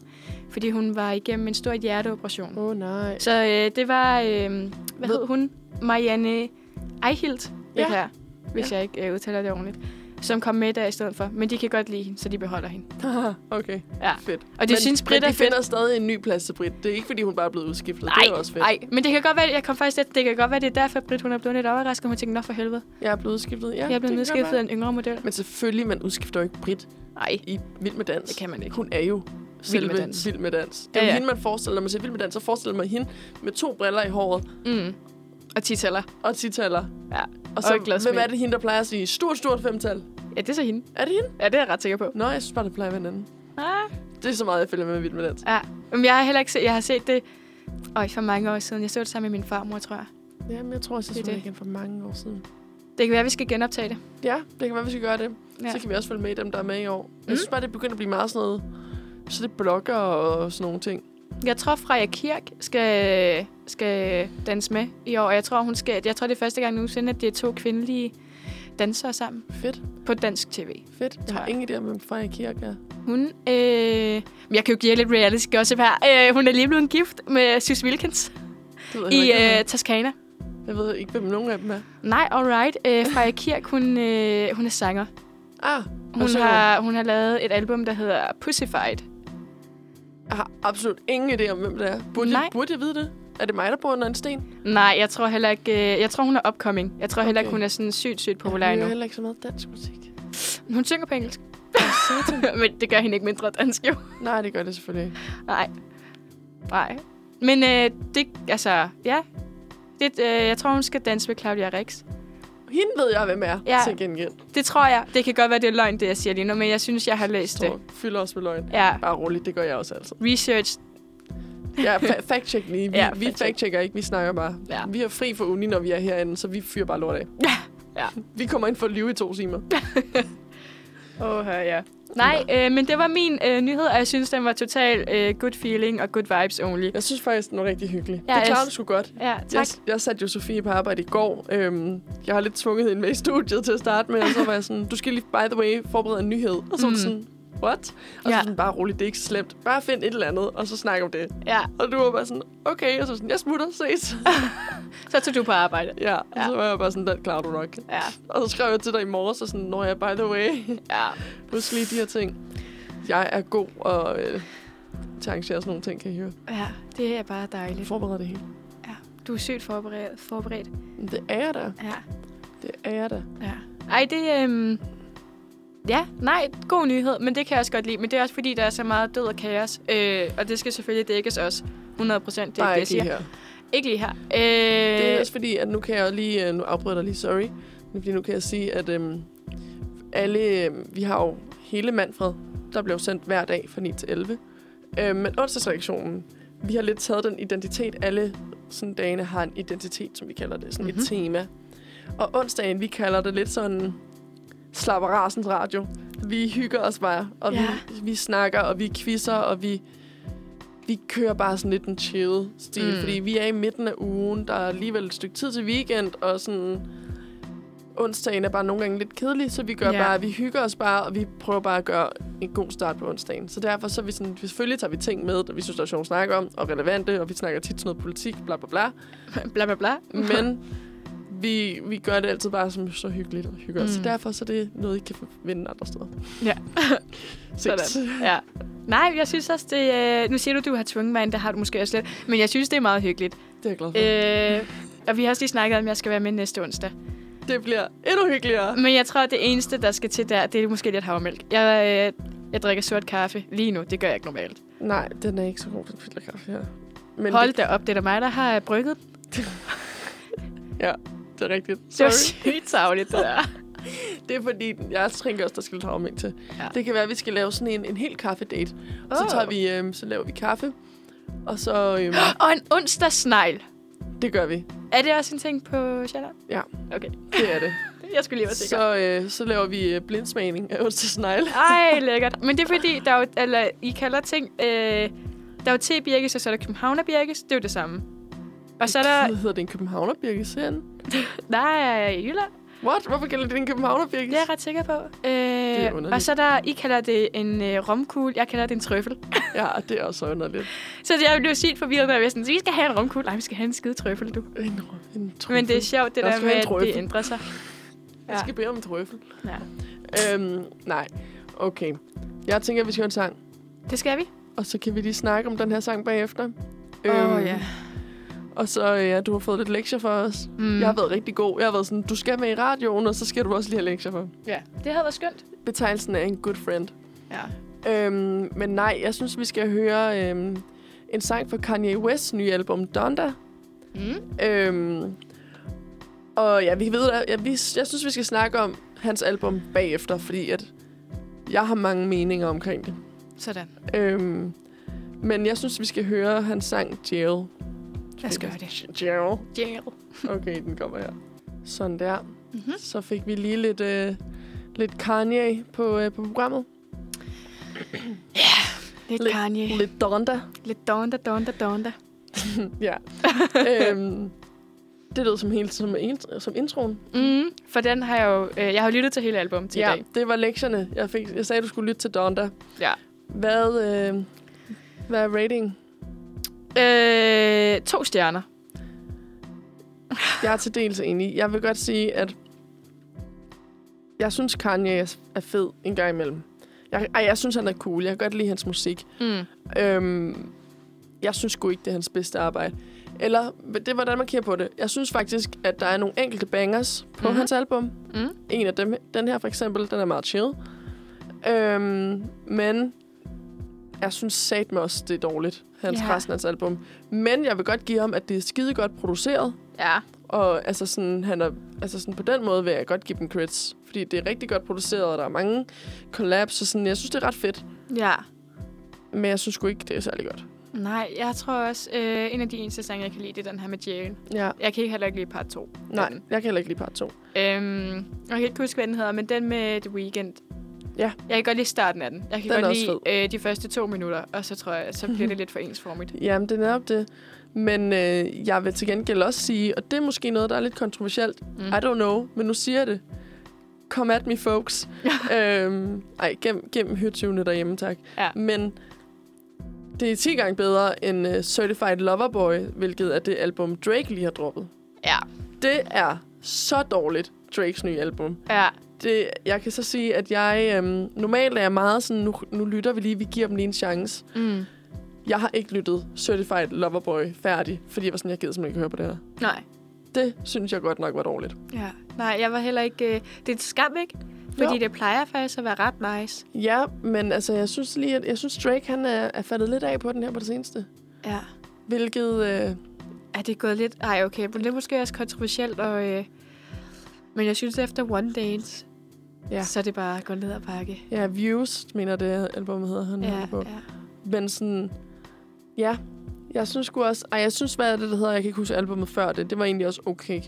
[SPEAKER 2] fordi hun var igennem en stor hjerteoperation.
[SPEAKER 1] Åh, oh, nej.
[SPEAKER 2] Så øh, det var, øh, hvad
[SPEAKER 1] Ved-
[SPEAKER 2] hed hun? Marianne Eichelt,
[SPEAKER 1] Ja.
[SPEAKER 2] ja. her, hvis ja. jeg ikke øh, udtaler det ordentligt, som kom med der i stedet for. Men de kan godt lide hende, så de beholder hende.
[SPEAKER 1] okay,
[SPEAKER 2] Ja.
[SPEAKER 1] fedt.
[SPEAKER 2] Og det synes Britt
[SPEAKER 1] men
[SPEAKER 2] er
[SPEAKER 1] de
[SPEAKER 2] fedt.
[SPEAKER 1] finder stadig en ny plads til Britt. Det er ikke, fordi hun bare er blevet udskiftet. det er også fedt.
[SPEAKER 2] nej, men det kan godt være, jeg kom faktisk lidt, det kan godt være, det er derfor, Britt, hun er blevet lidt overrasket. Hun tænkte, nå for helvede,
[SPEAKER 1] Jeg er blevet udskiftet. Ja,
[SPEAKER 2] jeg er
[SPEAKER 1] det
[SPEAKER 2] blevet
[SPEAKER 1] kan godt
[SPEAKER 2] nedskiftet af
[SPEAKER 1] være.
[SPEAKER 2] en yngre model.
[SPEAKER 1] Men selvfølgelig, man udskifter jo ikke Britt
[SPEAKER 2] Nej,
[SPEAKER 1] i Vild med Dans.
[SPEAKER 2] det kan man ikke.
[SPEAKER 1] Hun er jo selve Vild med Dans.
[SPEAKER 2] Dans.
[SPEAKER 1] Vild med dans. Det er
[SPEAKER 2] Ja,
[SPEAKER 1] ja, ja.
[SPEAKER 2] ja.
[SPEAKER 1] hende, man forestiller, når man siger Vild med Dans, så forestiller man hende med to briller i håret
[SPEAKER 2] Mm. Og titaller.
[SPEAKER 1] og titaller.
[SPEAKER 2] Ja.
[SPEAKER 1] Og så,
[SPEAKER 2] Og et glas
[SPEAKER 1] hvem
[SPEAKER 2] smil.
[SPEAKER 1] er det hende, der plejer at sige stort, stort femtal?
[SPEAKER 2] Ja, det er så hende.
[SPEAKER 1] Er det hende?
[SPEAKER 2] Ja, det er jeg ret sikker på.
[SPEAKER 1] Nå, jeg synes bare, det plejer at være en anden.
[SPEAKER 2] Ah.
[SPEAKER 1] Det er så meget, jeg følger med med Vild med Dans.
[SPEAKER 2] Ja. Men jeg har heller ikke set, jeg har set det Øj, for mange år siden. Jeg så det sammen med min farmor, tror jeg.
[SPEAKER 1] Jamen, jeg tror, jeg så
[SPEAKER 2] Det er
[SPEAKER 1] det, det
[SPEAKER 2] det.
[SPEAKER 1] igen for mange år siden.
[SPEAKER 2] Det kan være, at vi skal genoptage det.
[SPEAKER 1] Ja, det kan være, vi skal gøre det. Ja.
[SPEAKER 2] Ja.
[SPEAKER 1] Så kan vi også følge med i dem, der er med i år. Mm. Jeg synes bare, det begynder at blive meget sådan noget. Så det blogger og sådan nogle ting.
[SPEAKER 2] Jeg tror, Freja Kirk skal, skal danse med i år, og jeg tror, hun skal, jeg tror, det er første gang nogensinde, at det er to kvindelige dansere sammen
[SPEAKER 1] Fedt,
[SPEAKER 2] på dansk tv.
[SPEAKER 1] fedt. Jeg har
[SPEAKER 2] Tak.
[SPEAKER 1] ingen idé om, hvem Freja Kirk er.
[SPEAKER 2] Hun, øh, men jeg kan jo give jer lidt reality gossip her. Øh, hun er lige blevet gift med Sus Wilkins
[SPEAKER 1] Det ved jeg,
[SPEAKER 2] i
[SPEAKER 1] ikke, hvem
[SPEAKER 2] øh, Toscana.
[SPEAKER 1] er. jeg ved ikke, hvem nogen af dem er.
[SPEAKER 2] Nej, alright. Øh, Freja Kirk, hun, øh, hun er sanger.
[SPEAKER 1] Ah,
[SPEAKER 2] Hun
[SPEAKER 1] synger.
[SPEAKER 2] har, hun har lavet et album, der hedder Pussyfied.
[SPEAKER 1] jeg har absolut ingen idé om, hvem det er. Burde, jeg,
[SPEAKER 2] Nej.
[SPEAKER 1] burde jeg vide det? Er det mig, der bor under en sten?
[SPEAKER 2] Nej, jeg tror heller ikke... øh, Jeg tror, hun er upcoming. Jeg tror heller ikke,
[SPEAKER 1] Okay.
[SPEAKER 2] hun er sådan sygt, sygt populær
[SPEAKER 1] jeg hører
[SPEAKER 2] endnu.
[SPEAKER 1] heller ikke så meget dansk musik.
[SPEAKER 2] Men Hun synger på engelsk. Men det gør hende ikke mindre dansk, jo.
[SPEAKER 1] Nej, det gør det selvfølgelig ikke.
[SPEAKER 2] Nej. Nej. Men øh, det... Altså, ja. Det, øh, jeg tror, hun skal danse med Claudia Rex.
[SPEAKER 1] Hende ved jeg, hvem er, ja.
[SPEAKER 2] Ja.
[SPEAKER 1] til gengæld.
[SPEAKER 2] Det tror jeg. Det kan godt være, det er løgn, det jeg siger lige nu, men jeg synes, jeg har læst det.
[SPEAKER 1] Så fylder os med løgn.
[SPEAKER 2] Ja.
[SPEAKER 1] Bare roligt, det gør jeg også altid.
[SPEAKER 2] Research.
[SPEAKER 1] Ja, fa- fact-check lige. Vi,
[SPEAKER 2] Ja,
[SPEAKER 1] ja, vi
[SPEAKER 2] fact-check.
[SPEAKER 1] fact-checker ikke, vi snakker bare.
[SPEAKER 2] Ja.
[SPEAKER 1] Vi er fri for uni, når vi er herinde, så vi fyrer bare lort af.
[SPEAKER 2] Ja. Ja.
[SPEAKER 1] Vi kommer ind for at lyve i to timer.
[SPEAKER 2] Åh, ja. Nej, øh, men det var min øh, nyhed, og jeg synes, den var total øh, good feeling og good vibes only.
[SPEAKER 1] Jeg synes faktisk, den var rigtig hyggelig.
[SPEAKER 2] Ja,
[SPEAKER 1] Ja, det klarede
[SPEAKER 2] jeg-
[SPEAKER 1] du sgu godt.
[SPEAKER 2] Ja, tak.
[SPEAKER 1] Jeg, jeg satte jo Sofie på arbejde i går. Øhm, jeg har lidt tvunget hende med i studiet til at starte med, og så var jeg sådan, du skal lige, by the way, forberede en nyhed. Og så var mm.
[SPEAKER 2] Mm.
[SPEAKER 1] sådan, what? Og ja. så
[SPEAKER 2] Ja.
[SPEAKER 1] var sådan, bare roligt, det er ikke så slemt. Bare find et eller andet, og så snak om det.
[SPEAKER 2] Ja,
[SPEAKER 1] Og du var bare sådan, okay. Og så sådan, jeg smutter, ses.
[SPEAKER 2] så tog du på arbejde.
[SPEAKER 1] ja, og
[SPEAKER 2] Ja.
[SPEAKER 1] så var jeg bare sådan, den klarer du nok.
[SPEAKER 2] Ja,
[SPEAKER 1] Og så skrev jeg til dig i morges, og sådan, når jeg, by the way,
[SPEAKER 2] ja.
[SPEAKER 1] husk lige de her ting. Jeg er god og øh, til at arrangere sådan nogle ting, kan I høre.
[SPEAKER 2] Ja, det er bare
[SPEAKER 1] Jeg
[SPEAKER 2] dejligt.
[SPEAKER 1] forbereder det hele.
[SPEAKER 2] Ja, du er sygt forberedt. forberedt.
[SPEAKER 1] Men Det er jeg da.
[SPEAKER 2] Ja,
[SPEAKER 1] Det er jeg da.
[SPEAKER 2] ja. Ej, det øhm... Ja, nej, god nyhed, men det kan jeg også godt lide. Men det er også fordi, der er så meget død og kaos. Øh, og det skal selvfølgelig dækkes også. 100 procent, det
[SPEAKER 1] Der
[SPEAKER 2] er
[SPEAKER 1] er
[SPEAKER 2] ikke det, jeg
[SPEAKER 1] ikke lige
[SPEAKER 2] siger.
[SPEAKER 1] her.
[SPEAKER 2] Ikke lige her.
[SPEAKER 1] Det er
[SPEAKER 2] Øh,
[SPEAKER 1] også fordi, at nu kan jeg jo lige... øh, Nu afbryder jeg dig lige, sorry. Men Fordi nu kan jeg sige, at øhm, alle... Øhm, vi har jo hele Manfred, der blev sendt hver dag fra 9 til 11. Øhm, men onsdagsreaktionen, vi har lidt taget den identitet. Alle sådan dagene har en identitet, som vi kalder det. Sådan mm-hmm.
[SPEAKER 2] Mhm.
[SPEAKER 1] et tema. Og onsdagen, vi kalder det lidt sådan... Slapper rasens radio. Vi hygger os bare, og ja.
[SPEAKER 2] Ja.
[SPEAKER 1] vi, vi snakker, og vi quizzer, og vi vi kører bare sådan lidt en chill stil, mm.
[SPEAKER 2] Mm.
[SPEAKER 1] fordi vi er i midten af ugen, der er alligevel et stykke tid til weekend, og sådan onsdagen er bare nogle gange lidt kedelig, så vi gør
[SPEAKER 2] Ja.
[SPEAKER 1] bare, vi hygger os bare, og vi prøver bare at gøre en god start på onsdagen. Så derfor så er vi sådan, selvfølgelig tager vi ting med, der vi synes, der er sjovt at snakke om, og relevante, og vi snakker tit sådan noget politik, bla bla bla.
[SPEAKER 2] bla bla bla.
[SPEAKER 1] Men vi, vi gør det altid bare som så hyggeligt og hygger mm. Så
[SPEAKER 2] Mm.
[SPEAKER 1] derfor så er det noget, I kan vinde andre steder.
[SPEAKER 2] Ja.
[SPEAKER 1] Ses.
[SPEAKER 2] Ja. Nej, jeg synes også, det... Øh, nu siger du, du har tvunget mig ind, det har du måske også lidt. Men jeg synes, det er meget hyggeligt.
[SPEAKER 1] Det er jeg glad for. Øh.
[SPEAKER 2] Øh, og vi har også lige snakket om, at jeg skal være med næste onsdag.
[SPEAKER 1] Det bliver endnu hyggeligere.
[SPEAKER 2] Men jeg tror, at det eneste, der skal til der, det er måske lidt havremælk. Jeg, øh, jeg drikker sort kaffe lige nu. Det gør jeg ikke normalt.
[SPEAKER 1] Nej, den er ikke så god for filterkaffe her. Men
[SPEAKER 2] Hold
[SPEAKER 1] det,
[SPEAKER 2] da op, det er da mig, der har øh, brygget.
[SPEAKER 1] det er rigtigt.
[SPEAKER 2] Det var
[SPEAKER 1] Sorry.
[SPEAKER 2] sygt savligt, det der.
[SPEAKER 1] Det er fordi, jeg tænker også, der skal lidt havmænd til.
[SPEAKER 2] Ja.
[SPEAKER 1] Ja. Det kan være, at vi skal lave sådan en, en hel kaffedate. Oh. Så,
[SPEAKER 2] Åh.
[SPEAKER 1] tager vi, øhm, så laver vi kaffe, og så... Øhm,
[SPEAKER 2] Og en onsdagsnegl.
[SPEAKER 1] det gør vi.
[SPEAKER 2] Er det også en ting på Sjælland?
[SPEAKER 1] Ja.
[SPEAKER 2] Okay,
[SPEAKER 1] Det er det.
[SPEAKER 2] jeg skulle lige være sikker.
[SPEAKER 1] så, øh, så laver vi øh, blindsmagning af onsdagsnegle.
[SPEAKER 2] Ej, lækkert. Men det er fordi, der er jo, eller, I kalder ting... Øh, der er jo te-birkes, og så er der københavner-birkes. Det er jo det samme. Og så er der...
[SPEAKER 1] Hvad hedder det en københavnerbirkes herinde?
[SPEAKER 2] Nej, i Jylland.
[SPEAKER 1] What? Hvorfor gælder det en københavnerbirkes?
[SPEAKER 2] Det er jeg ret sikker på.
[SPEAKER 1] er
[SPEAKER 2] Øh,
[SPEAKER 1] underligt.
[SPEAKER 2] og så er der... I kalder det en øh, romkugle. Jeg kalder det en trøffel.
[SPEAKER 1] Ja, det er også underligt.
[SPEAKER 2] Så jeg blev sygt forvirret, når jeg var sådan, vi skal have en romkugle. Nej, vi skal have en skide trøffel, du.
[SPEAKER 1] En, en trøffel.
[SPEAKER 2] Men det er sjovt, det
[SPEAKER 1] Jeg
[SPEAKER 2] der
[SPEAKER 1] skal
[SPEAKER 2] med,
[SPEAKER 1] have en
[SPEAKER 2] at det
[SPEAKER 1] trøffel.
[SPEAKER 2] ændrer sig.
[SPEAKER 1] Jeg skal bede om en trøffel.
[SPEAKER 2] Ja.
[SPEAKER 1] Øhm, nej. Okay. Jeg tænker, at vi skal høre en sang.
[SPEAKER 2] Det skal vi.
[SPEAKER 1] Og så kan vi lige snakke om den her sang bagefter. Øhm.
[SPEAKER 2] Åh, ja.
[SPEAKER 1] Og så, øh, ja, du har fået lidt lektier for os.
[SPEAKER 2] Mm.
[SPEAKER 1] Mm. Jeg har været rigtig god. Jeg har været sådan, du skal med i radioen, og så skal du også lige have lektier for.
[SPEAKER 2] Ja, det havde været skønt.
[SPEAKER 1] Betegnelsen er en good friend.
[SPEAKER 2] Ja.
[SPEAKER 1] Øhm, men nej, jeg synes, vi skal høre øhm, en sang fra Kanye West's nye album, Donda.
[SPEAKER 2] Mm.
[SPEAKER 1] Øhm, og ja, vi ved, ja, vi, jeg synes, vi skal snakke om hans album bagefter, fordi at jeg har mange meninger omkring det.
[SPEAKER 2] Sådan.
[SPEAKER 1] Øhm, men jeg synes, vi skal høre hans sang Jail.
[SPEAKER 2] Lad os gøre det.
[SPEAKER 1] Jail.
[SPEAKER 2] Jail.
[SPEAKER 1] Okay, den kommer her. Sådan der.
[SPEAKER 2] Mhm.
[SPEAKER 1] Mm-hmm. Så fik vi lige lidt, øh, lidt Kanye på, øh, på programmet.
[SPEAKER 2] Lidt
[SPEAKER 1] Lidt-
[SPEAKER 2] Kanye.
[SPEAKER 1] Lidt Donda.
[SPEAKER 2] Lidt donda, donda, donda.
[SPEAKER 1] Ja. øhm, det lød som, helt, som, en- som introen.
[SPEAKER 2] Mm, for den har jeg jo... Øh, jeg har jo lyttet til hele albumet til i dag.
[SPEAKER 1] det var lektierne. Jeg, fik, jeg sagde, du skulle lytte til Donda.
[SPEAKER 2] Ja.
[SPEAKER 1] Hvad, øh, hvad er rating?
[SPEAKER 2] Øh, to stjerner.
[SPEAKER 1] Jeg er til dels enig. Jeg vil godt sige, at jeg synes, Kanye er- er fed en gang imellem. Jeg, ej, jeg synes, han er cool. Jeg kan godt lide hans musik.
[SPEAKER 2] Mm.
[SPEAKER 1] Øhm, jeg synes sgu ikke, det er hans bedste arbejde. Eller, det er, hvordan man kigger på det. Jeg synes faktisk, at der er nogle enkelte bangers på
[SPEAKER 2] Mhm.
[SPEAKER 1] mm-hmm. hans album.
[SPEAKER 2] Mm.
[SPEAKER 1] En af dem, den her for eksempel, den er meget chill. Øhm, men jeg synes satme også, det er dårligt, hans
[SPEAKER 2] Ja.
[SPEAKER 1] yeah. resten af hans album. Men jeg vil godt give ham, at det er skide godt produceret.
[SPEAKER 2] Ja.
[SPEAKER 1] Og altså sådan, han er, altså sådan, på den måde vil jeg godt give dem creds. Fordi det er rigtig godt produceret, og der er mange collabs. Og sådan, jeg synes, det er ret fedt.
[SPEAKER 2] Ja.
[SPEAKER 1] Men jeg synes sgu ikke, det er særlig godt.
[SPEAKER 2] Nej, jeg tror også, øh, en af de eneste sange, jeg kan lide, det er den her med Jalen.
[SPEAKER 1] Ja,
[SPEAKER 2] Jeg kan ikke heller ikke lide part 2.
[SPEAKER 1] nej, jeg kan heller ikke lide part 2.
[SPEAKER 2] Øhm, jeg kan ikke huske, hvad den hedder, men den med The Weeknd.
[SPEAKER 1] Ja.
[SPEAKER 2] Jeg kan godt lide starten af den. Jeg kan
[SPEAKER 1] Den er
[SPEAKER 2] godt
[SPEAKER 1] også
[SPEAKER 2] lide øh, de første to minutter, og så tror jeg, så bliver det lidt for ensformigt.
[SPEAKER 1] Jamen, det er netop det. Men øh, jeg vil til gengæld også sige, og det er måske noget, der er lidt kontroversielt.
[SPEAKER 2] Mm.
[SPEAKER 1] Mm. I don't know, men nu siger jeg det. Come at me, folks. øhm, ej, gem, gem hyrtyvene derhjemme, tak.
[SPEAKER 2] Ja.
[SPEAKER 1] Men det er 10 gange bedre end uh, Certified Loverboy, hvilket er det album, Drake lige har droppet.
[SPEAKER 2] Ja.
[SPEAKER 1] Det er så dårligt, Drakes nye album.
[SPEAKER 2] Ja.
[SPEAKER 1] Det, jeg kan så sige, at jeg øhm, normalt er jeg meget sådan, nu, nu lytter vi lige, vi giver dem lige en chance.
[SPEAKER 2] Mm.
[SPEAKER 1] Jeg har ikke lyttet Certified Loverboy færdig, fordi jeg var sådan, jeg gider simpelthen ikke høre på det her.
[SPEAKER 2] Nej.
[SPEAKER 1] Det synes jeg godt nok var dårligt.
[SPEAKER 2] Ja. Nej, jeg var heller ikke... Øh, det er et skam, ikke? Fordi
[SPEAKER 1] Jo.
[SPEAKER 2] det plejer faktisk at være ret nice.
[SPEAKER 1] Ja, men altså, jeg synes lige, at jeg synes Drake, han er, er faldet lidt af på den her på det seneste.
[SPEAKER 2] Ja.
[SPEAKER 1] Hvilket, øh,
[SPEAKER 2] Er det gået lidt... Ej, okay. Men det er måske også kontroversielt, og... Øh, men jeg synes, efter One Dance, ja.
[SPEAKER 1] Ja.
[SPEAKER 2] så er det bare gået ned ad bakke.
[SPEAKER 1] ja, Views, mener det album hedder han
[SPEAKER 2] Ja,
[SPEAKER 1] ja, på. Ja.
[SPEAKER 2] ja.
[SPEAKER 1] Men sådan, ja, jeg synes sgu også, ej, jeg synes, hvad er det, der hedder, jeg kan ikke huske albumet før det, det var egentlig også okay.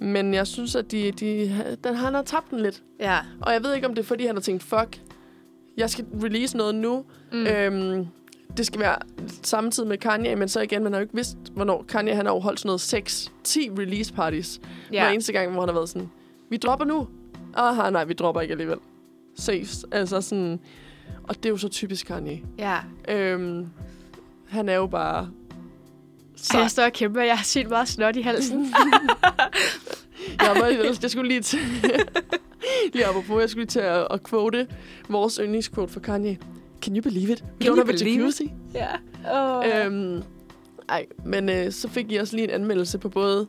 [SPEAKER 1] Men jeg synes, at de, de, den, han har tabt den lidt.
[SPEAKER 2] ja.
[SPEAKER 1] Og jeg ved ikke, om det er, fordi han har tænkt, fuck, jeg skal release noget nu.
[SPEAKER 2] Mm.
[SPEAKER 1] Mm. Øhm, det skal være samtidig med Kanye, men så igen, man har jo ikke vidst, hvornår Kanye han har jo holdt sådan noget 6-10 release parties. Ja. Hver
[SPEAKER 2] ja.
[SPEAKER 1] eneste gang, hvor han har været sådan, vi dropper nu. Aha, nej, vi dropper ikke alligevel. Ses. Altså sådan... Og det er jo så typisk Kanye.
[SPEAKER 2] ja.
[SPEAKER 1] Øhm, han er jo bare...
[SPEAKER 2] Ej,
[SPEAKER 1] Så
[SPEAKER 2] jeg står og kæmper. Jeg har sygt meget snot i halsen.
[SPEAKER 1] jeg, var, ellers- jeg skulle lige til... lige op på, jeg skulle lige til at, at quote vores yndlingsquote for Kanye. Can you believe it? We
[SPEAKER 2] Can
[SPEAKER 1] don't
[SPEAKER 2] you
[SPEAKER 1] have a
[SPEAKER 2] believe it?
[SPEAKER 1] jacuzzi.
[SPEAKER 2] ja. Oh.
[SPEAKER 1] Øhm, ej, men øh, så fik I også lige en anmeldelse på både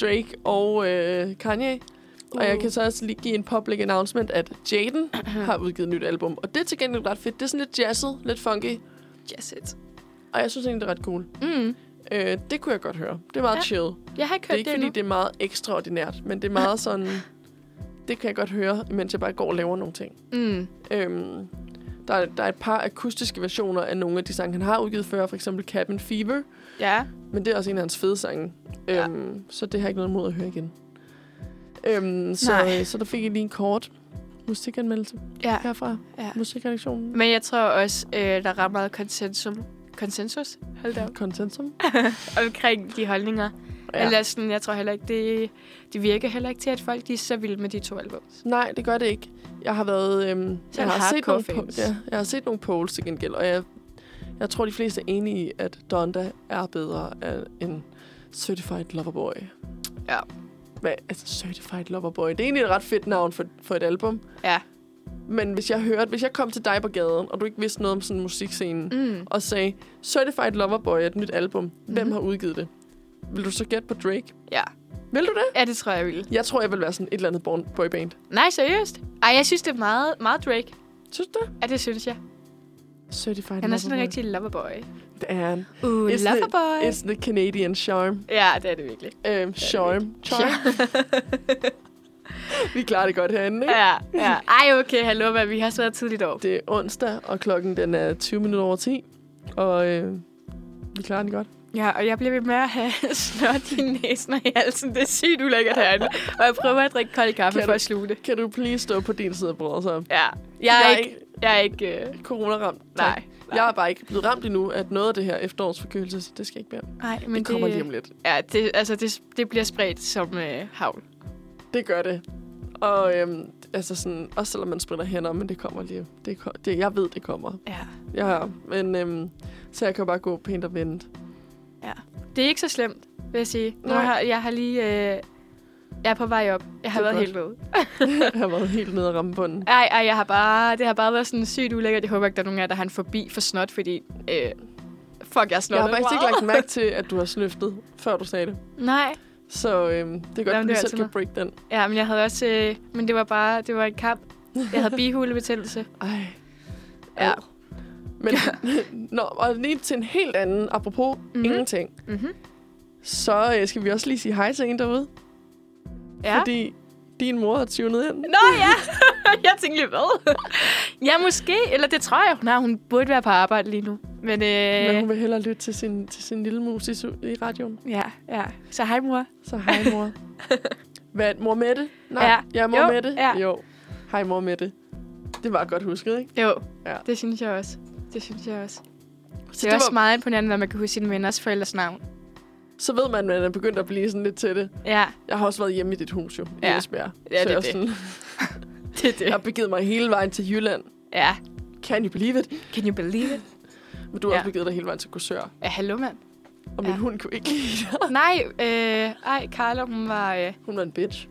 [SPEAKER 1] Drake og øh, Kanye. Uh. Og jeg kan så også lige give en public announcement, at Jaden har udgivet et nyt album. Og det er til gengæld ret fedt. Det er sådan lidt jazzet, lidt funky.
[SPEAKER 2] Yes, it.
[SPEAKER 1] Og jeg synes egentlig, det er ret cool.
[SPEAKER 2] Mm.
[SPEAKER 1] Øh, det kunne jeg godt høre. Det er meget
[SPEAKER 2] Ja.
[SPEAKER 1] ja. chill.
[SPEAKER 2] Jeg har ikke
[SPEAKER 1] Det er
[SPEAKER 2] hørt
[SPEAKER 1] ikke,
[SPEAKER 2] det,
[SPEAKER 1] fordi
[SPEAKER 2] endnu.
[SPEAKER 1] det er meget ekstraordinært, men det er meget sådan... Det kan jeg godt høre, mens jeg bare går og laver nogle ting.
[SPEAKER 2] Mm.
[SPEAKER 1] Øhm, der, er, der er et par akustiske versioner af nogle af de sange, han har udgivet før. For eksempel Cabin Fever.
[SPEAKER 2] Ja.
[SPEAKER 1] Men det er også en af hans fede sange.
[SPEAKER 2] Ja.
[SPEAKER 1] Øhm, så det har jeg ikke noget imod at høre igen. Øhm,
[SPEAKER 2] Nej.
[SPEAKER 1] så, så der fik jeg lige en kort musikanmeldelse
[SPEAKER 2] ja.
[SPEAKER 1] herfra.
[SPEAKER 2] Ja.
[SPEAKER 1] Musikredaktionen.
[SPEAKER 2] Men jeg tror også, øh, der er ret meget konsensum. konsensus hold da op,
[SPEAKER 1] Konsensum.
[SPEAKER 2] omkring de holdninger. Ja. Eller sådan, jeg tror heller ikke, det, det virker heller ikke til, at folk de er så vilde med de to albums.
[SPEAKER 1] Nej, det gør det ikke. Jeg har været... Øhm,
[SPEAKER 2] er
[SPEAKER 1] jeg,
[SPEAKER 2] han
[SPEAKER 1] har set nogle
[SPEAKER 2] hardcore fans.
[SPEAKER 1] po- ja, jeg har set nogle polls til gengæld, og jeg, jeg tror, de fleste er enige i, at Donda er bedre af- end Certified Loverboy.
[SPEAKER 2] Ja.
[SPEAKER 1] Hvad, altså, Certified Loverboy. Det er egentlig et ret fedt navn for, for et album.
[SPEAKER 2] Ja.
[SPEAKER 1] Men hvis jeg hørte, hvis jeg kom til dig på gaden, og du ikke vidste noget om sådan musikscenen, mm.
[SPEAKER 2] Mm.
[SPEAKER 1] og sagde, Certified Loverboy er et nyt album. Hvem
[SPEAKER 2] Mhm.
[SPEAKER 1] har udgivet det? Vil du så gætte på Drake?
[SPEAKER 2] Ja.
[SPEAKER 1] Vil du det?
[SPEAKER 2] ja, det tror jeg, jeg ville.
[SPEAKER 1] Jeg tror, jeg vil være sådan et eller andet born- boyband.
[SPEAKER 2] Nej, seriøst? Ej, jeg synes, det er meget, meget Drake.
[SPEAKER 1] Synes du det?
[SPEAKER 2] Ja, det synes jeg.
[SPEAKER 1] Certified
[SPEAKER 2] Han er sådan en
[SPEAKER 1] Loverboy.
[SPEAKER 2] rigtig loverboy.
[SPEAKER 1] Det er han.
[SPEAKER 2] Uh,
[SPEAKER 1] It's the-
[SPEAKER 2] loverboy.
[SPEAKER 1] It's the Canadian charm.
[SPEAKER 2] Ja, det er det virkelig.
[SPEAKER 1] Øhm, charm. Charm. Vi klarer det godt herinde, ikke?
[SPEAKER 2] Ja, ja. Ej, okay, hallo, hvad vi har så tidligt over.
[SPEAKER 1] Det er onsdag, og klokken den er 20 minutter over 10. Og øh, vi klarer det godt.
[SPEAKER 2] Ja, og jeg bliver ved med at have snot i næsen og i halsen. Det er sygt ulækkert herinde. Og jeg prøver at drikke kold kaffe
[SPEAKER 1] Kan
[SPEAKER 2] for
[SPEAKER 1] du-
[SPEAKER 2] at sluge det.
[SPEAKER 1] Kan du please stå på din side af bordet, så?
[SPEAKER 2] Ja. Jeg er ikke... Jeg er ikke øh,
[SPEAKER 1] coronaramt. Tak.
[SPEAKER 2] nej.
[SPEAKER 1] Jeg er bare ikke blevet ramt endnu, at noget af det her efterårsforkølelse, så det skal jeg ikke være.
[SPEAKER 2] Nej, men
[SPEAKER 1] Det kommer lige om lidt.
[SPEAKER 2] Ja, det, altså, det, det bliver spredt som øh, havl.
[SPEAKER 1] Det gør det. Og øhm, altså sådan, også selvom man spritter hænder, men det kommer lige. Det, ko- det, jeg ved, det kommer.
[SPEAKER 2] Ja.
[SPEAKER 1] Ja, men øhm, så jeg kan jo bare gå pænt og vente.
[SPEAKER 2] Det er ikke så slemt, vil jeg sige. Nu
[SPEAKER 1] Nej.
[SPEAKER 2] har, jeg har lige... Øh, jeg er på vej op. Jeg har
[SPEAKER 1] Det er
[SPEAKER 2] været
[SPEAKER 1] godt.
[SPEAKER 2] helt nede.
[SPEAKER 1] jeg har været helt nede og ramme bunden.
[SPEAKER 2] Ej, ej, jeg har bare, det har bare været sådan sygt ulækkert. Jeg håber ikke, der er nogen af jer, der har en forbi for snot, fordi... Øh, fuck, jeg er snot.
[SPEAKER 1] Jeg har faktisk ikke lagt mærke til, at du har snøftet, før du sagde det.
[SPEAKER 2] Nej.
[SPEAKER 1] Så øhm, det er godt,
[SPEAKER 2] Jamen,
[SPEAKER 1] at
[SPEAKER 2] det
[SPEAKER 1] du
[SPEAKER 2] er
[SPEAKER 1] selv
[SPEAKER 2] altid
[SPEAKER 1] kan
[SPEAKER 2] mig.
[SPEAKER 1] break den.
[SPEAKER 2] Ja, men jeg havde også... Øh, men det var bare... Det var en kamp. Jeg havde bihulebetændelse.
[SPEAKER 1] Ej.
[SPEAKER 2] Ja.
[SPEAKER 1] Au. Men, nå, og lige til en helt anden, apropos
[SPEAKER 2] Mhm.
[SPEAKER 1] mm-hmm. ingenting,
[SPEAKER 2] Mm-hmm.
[SPEAKER 1] så øh, skal vi også lige sige hej til en derude.
[SPEAKER 2] Ja. Fordi...
[SPEAKER 1] Fordi din mor har tunet ind.
[SPEAKER 2] Nå ja! jeg tænkte lige, hvad? ja, måske. Eller det tror jeg, hun har. Hun burde være på arbejde lige nu. Men, øh,
[SPEAKER 1] Men hun vil hellere lytte til sin, til sin lille mus i, su- i radioen.
[SPEAKER 2] Ja, ja. Så hej, mor.
[SPEAKER 1] Så hej, mor. Hvad? Mor Mette? Nej,
[SPEAKER 2] Ja.
[SPEAKER 1] ja, ja mor
[SPEAKER 2] Jo,
[SPEAKER 1] Mette.
[SPEAKER 2] ja.
[SPEAKER 1] Jo. Hej, mor Mette. Det var godt husket, ikke?
[SPEAKER 2] Jo, ja.
[SPEAKER 1] Ja.
[SPEAKER 2] det synes jeg også. Det synes jeg også. Det,
[SPEAKER 1] Så,
[SPEAKER 2] det er også var... meget imponerende, når man kan huske sine venners forældres navn.
[SPEAKER 1] så ved man, at man er begyndt at blive sådan lidt til det.
[SPEAKER 2] Ja,
[SPEAKER 1] Jeg har også været hjemme i dit hus jo,
[SPEAKER 2] Ja.
[SPEAKER 1] ja. i Esbjerg.
[SPEAKER 2] Ja, det er
[SPEAKER 1] så jeg, er også
[SPEAKER 2] det.
[SPEAKER 1] sådan,
[SPEAKER 2] det er det.
[SPEAKER 1] jeg har begivet mig hele vejen til Jylland.
[SPEAKER 2] Ja.
[SPEAKER 1] Can you believe it?
[SPEAKER 2] Can you believe it?
[SPEAKER 1] Men du har
[SPEAKER 2] Ja.
[SPEAKER 1] ja. også begivet dig hele vejen til Korsør.
[SPEAKER 2] Ja, hallo, mand.
[SPEAKER 1] Og min
[SPEAKER 2] Ja.
[SPEAKER 1] ja. hund kunne ikke lide dig.
[SPEAKER 2] Nej, øh, ej, Carla, hun var... Øh,
[SPEAKER 1] Hun var en bitch.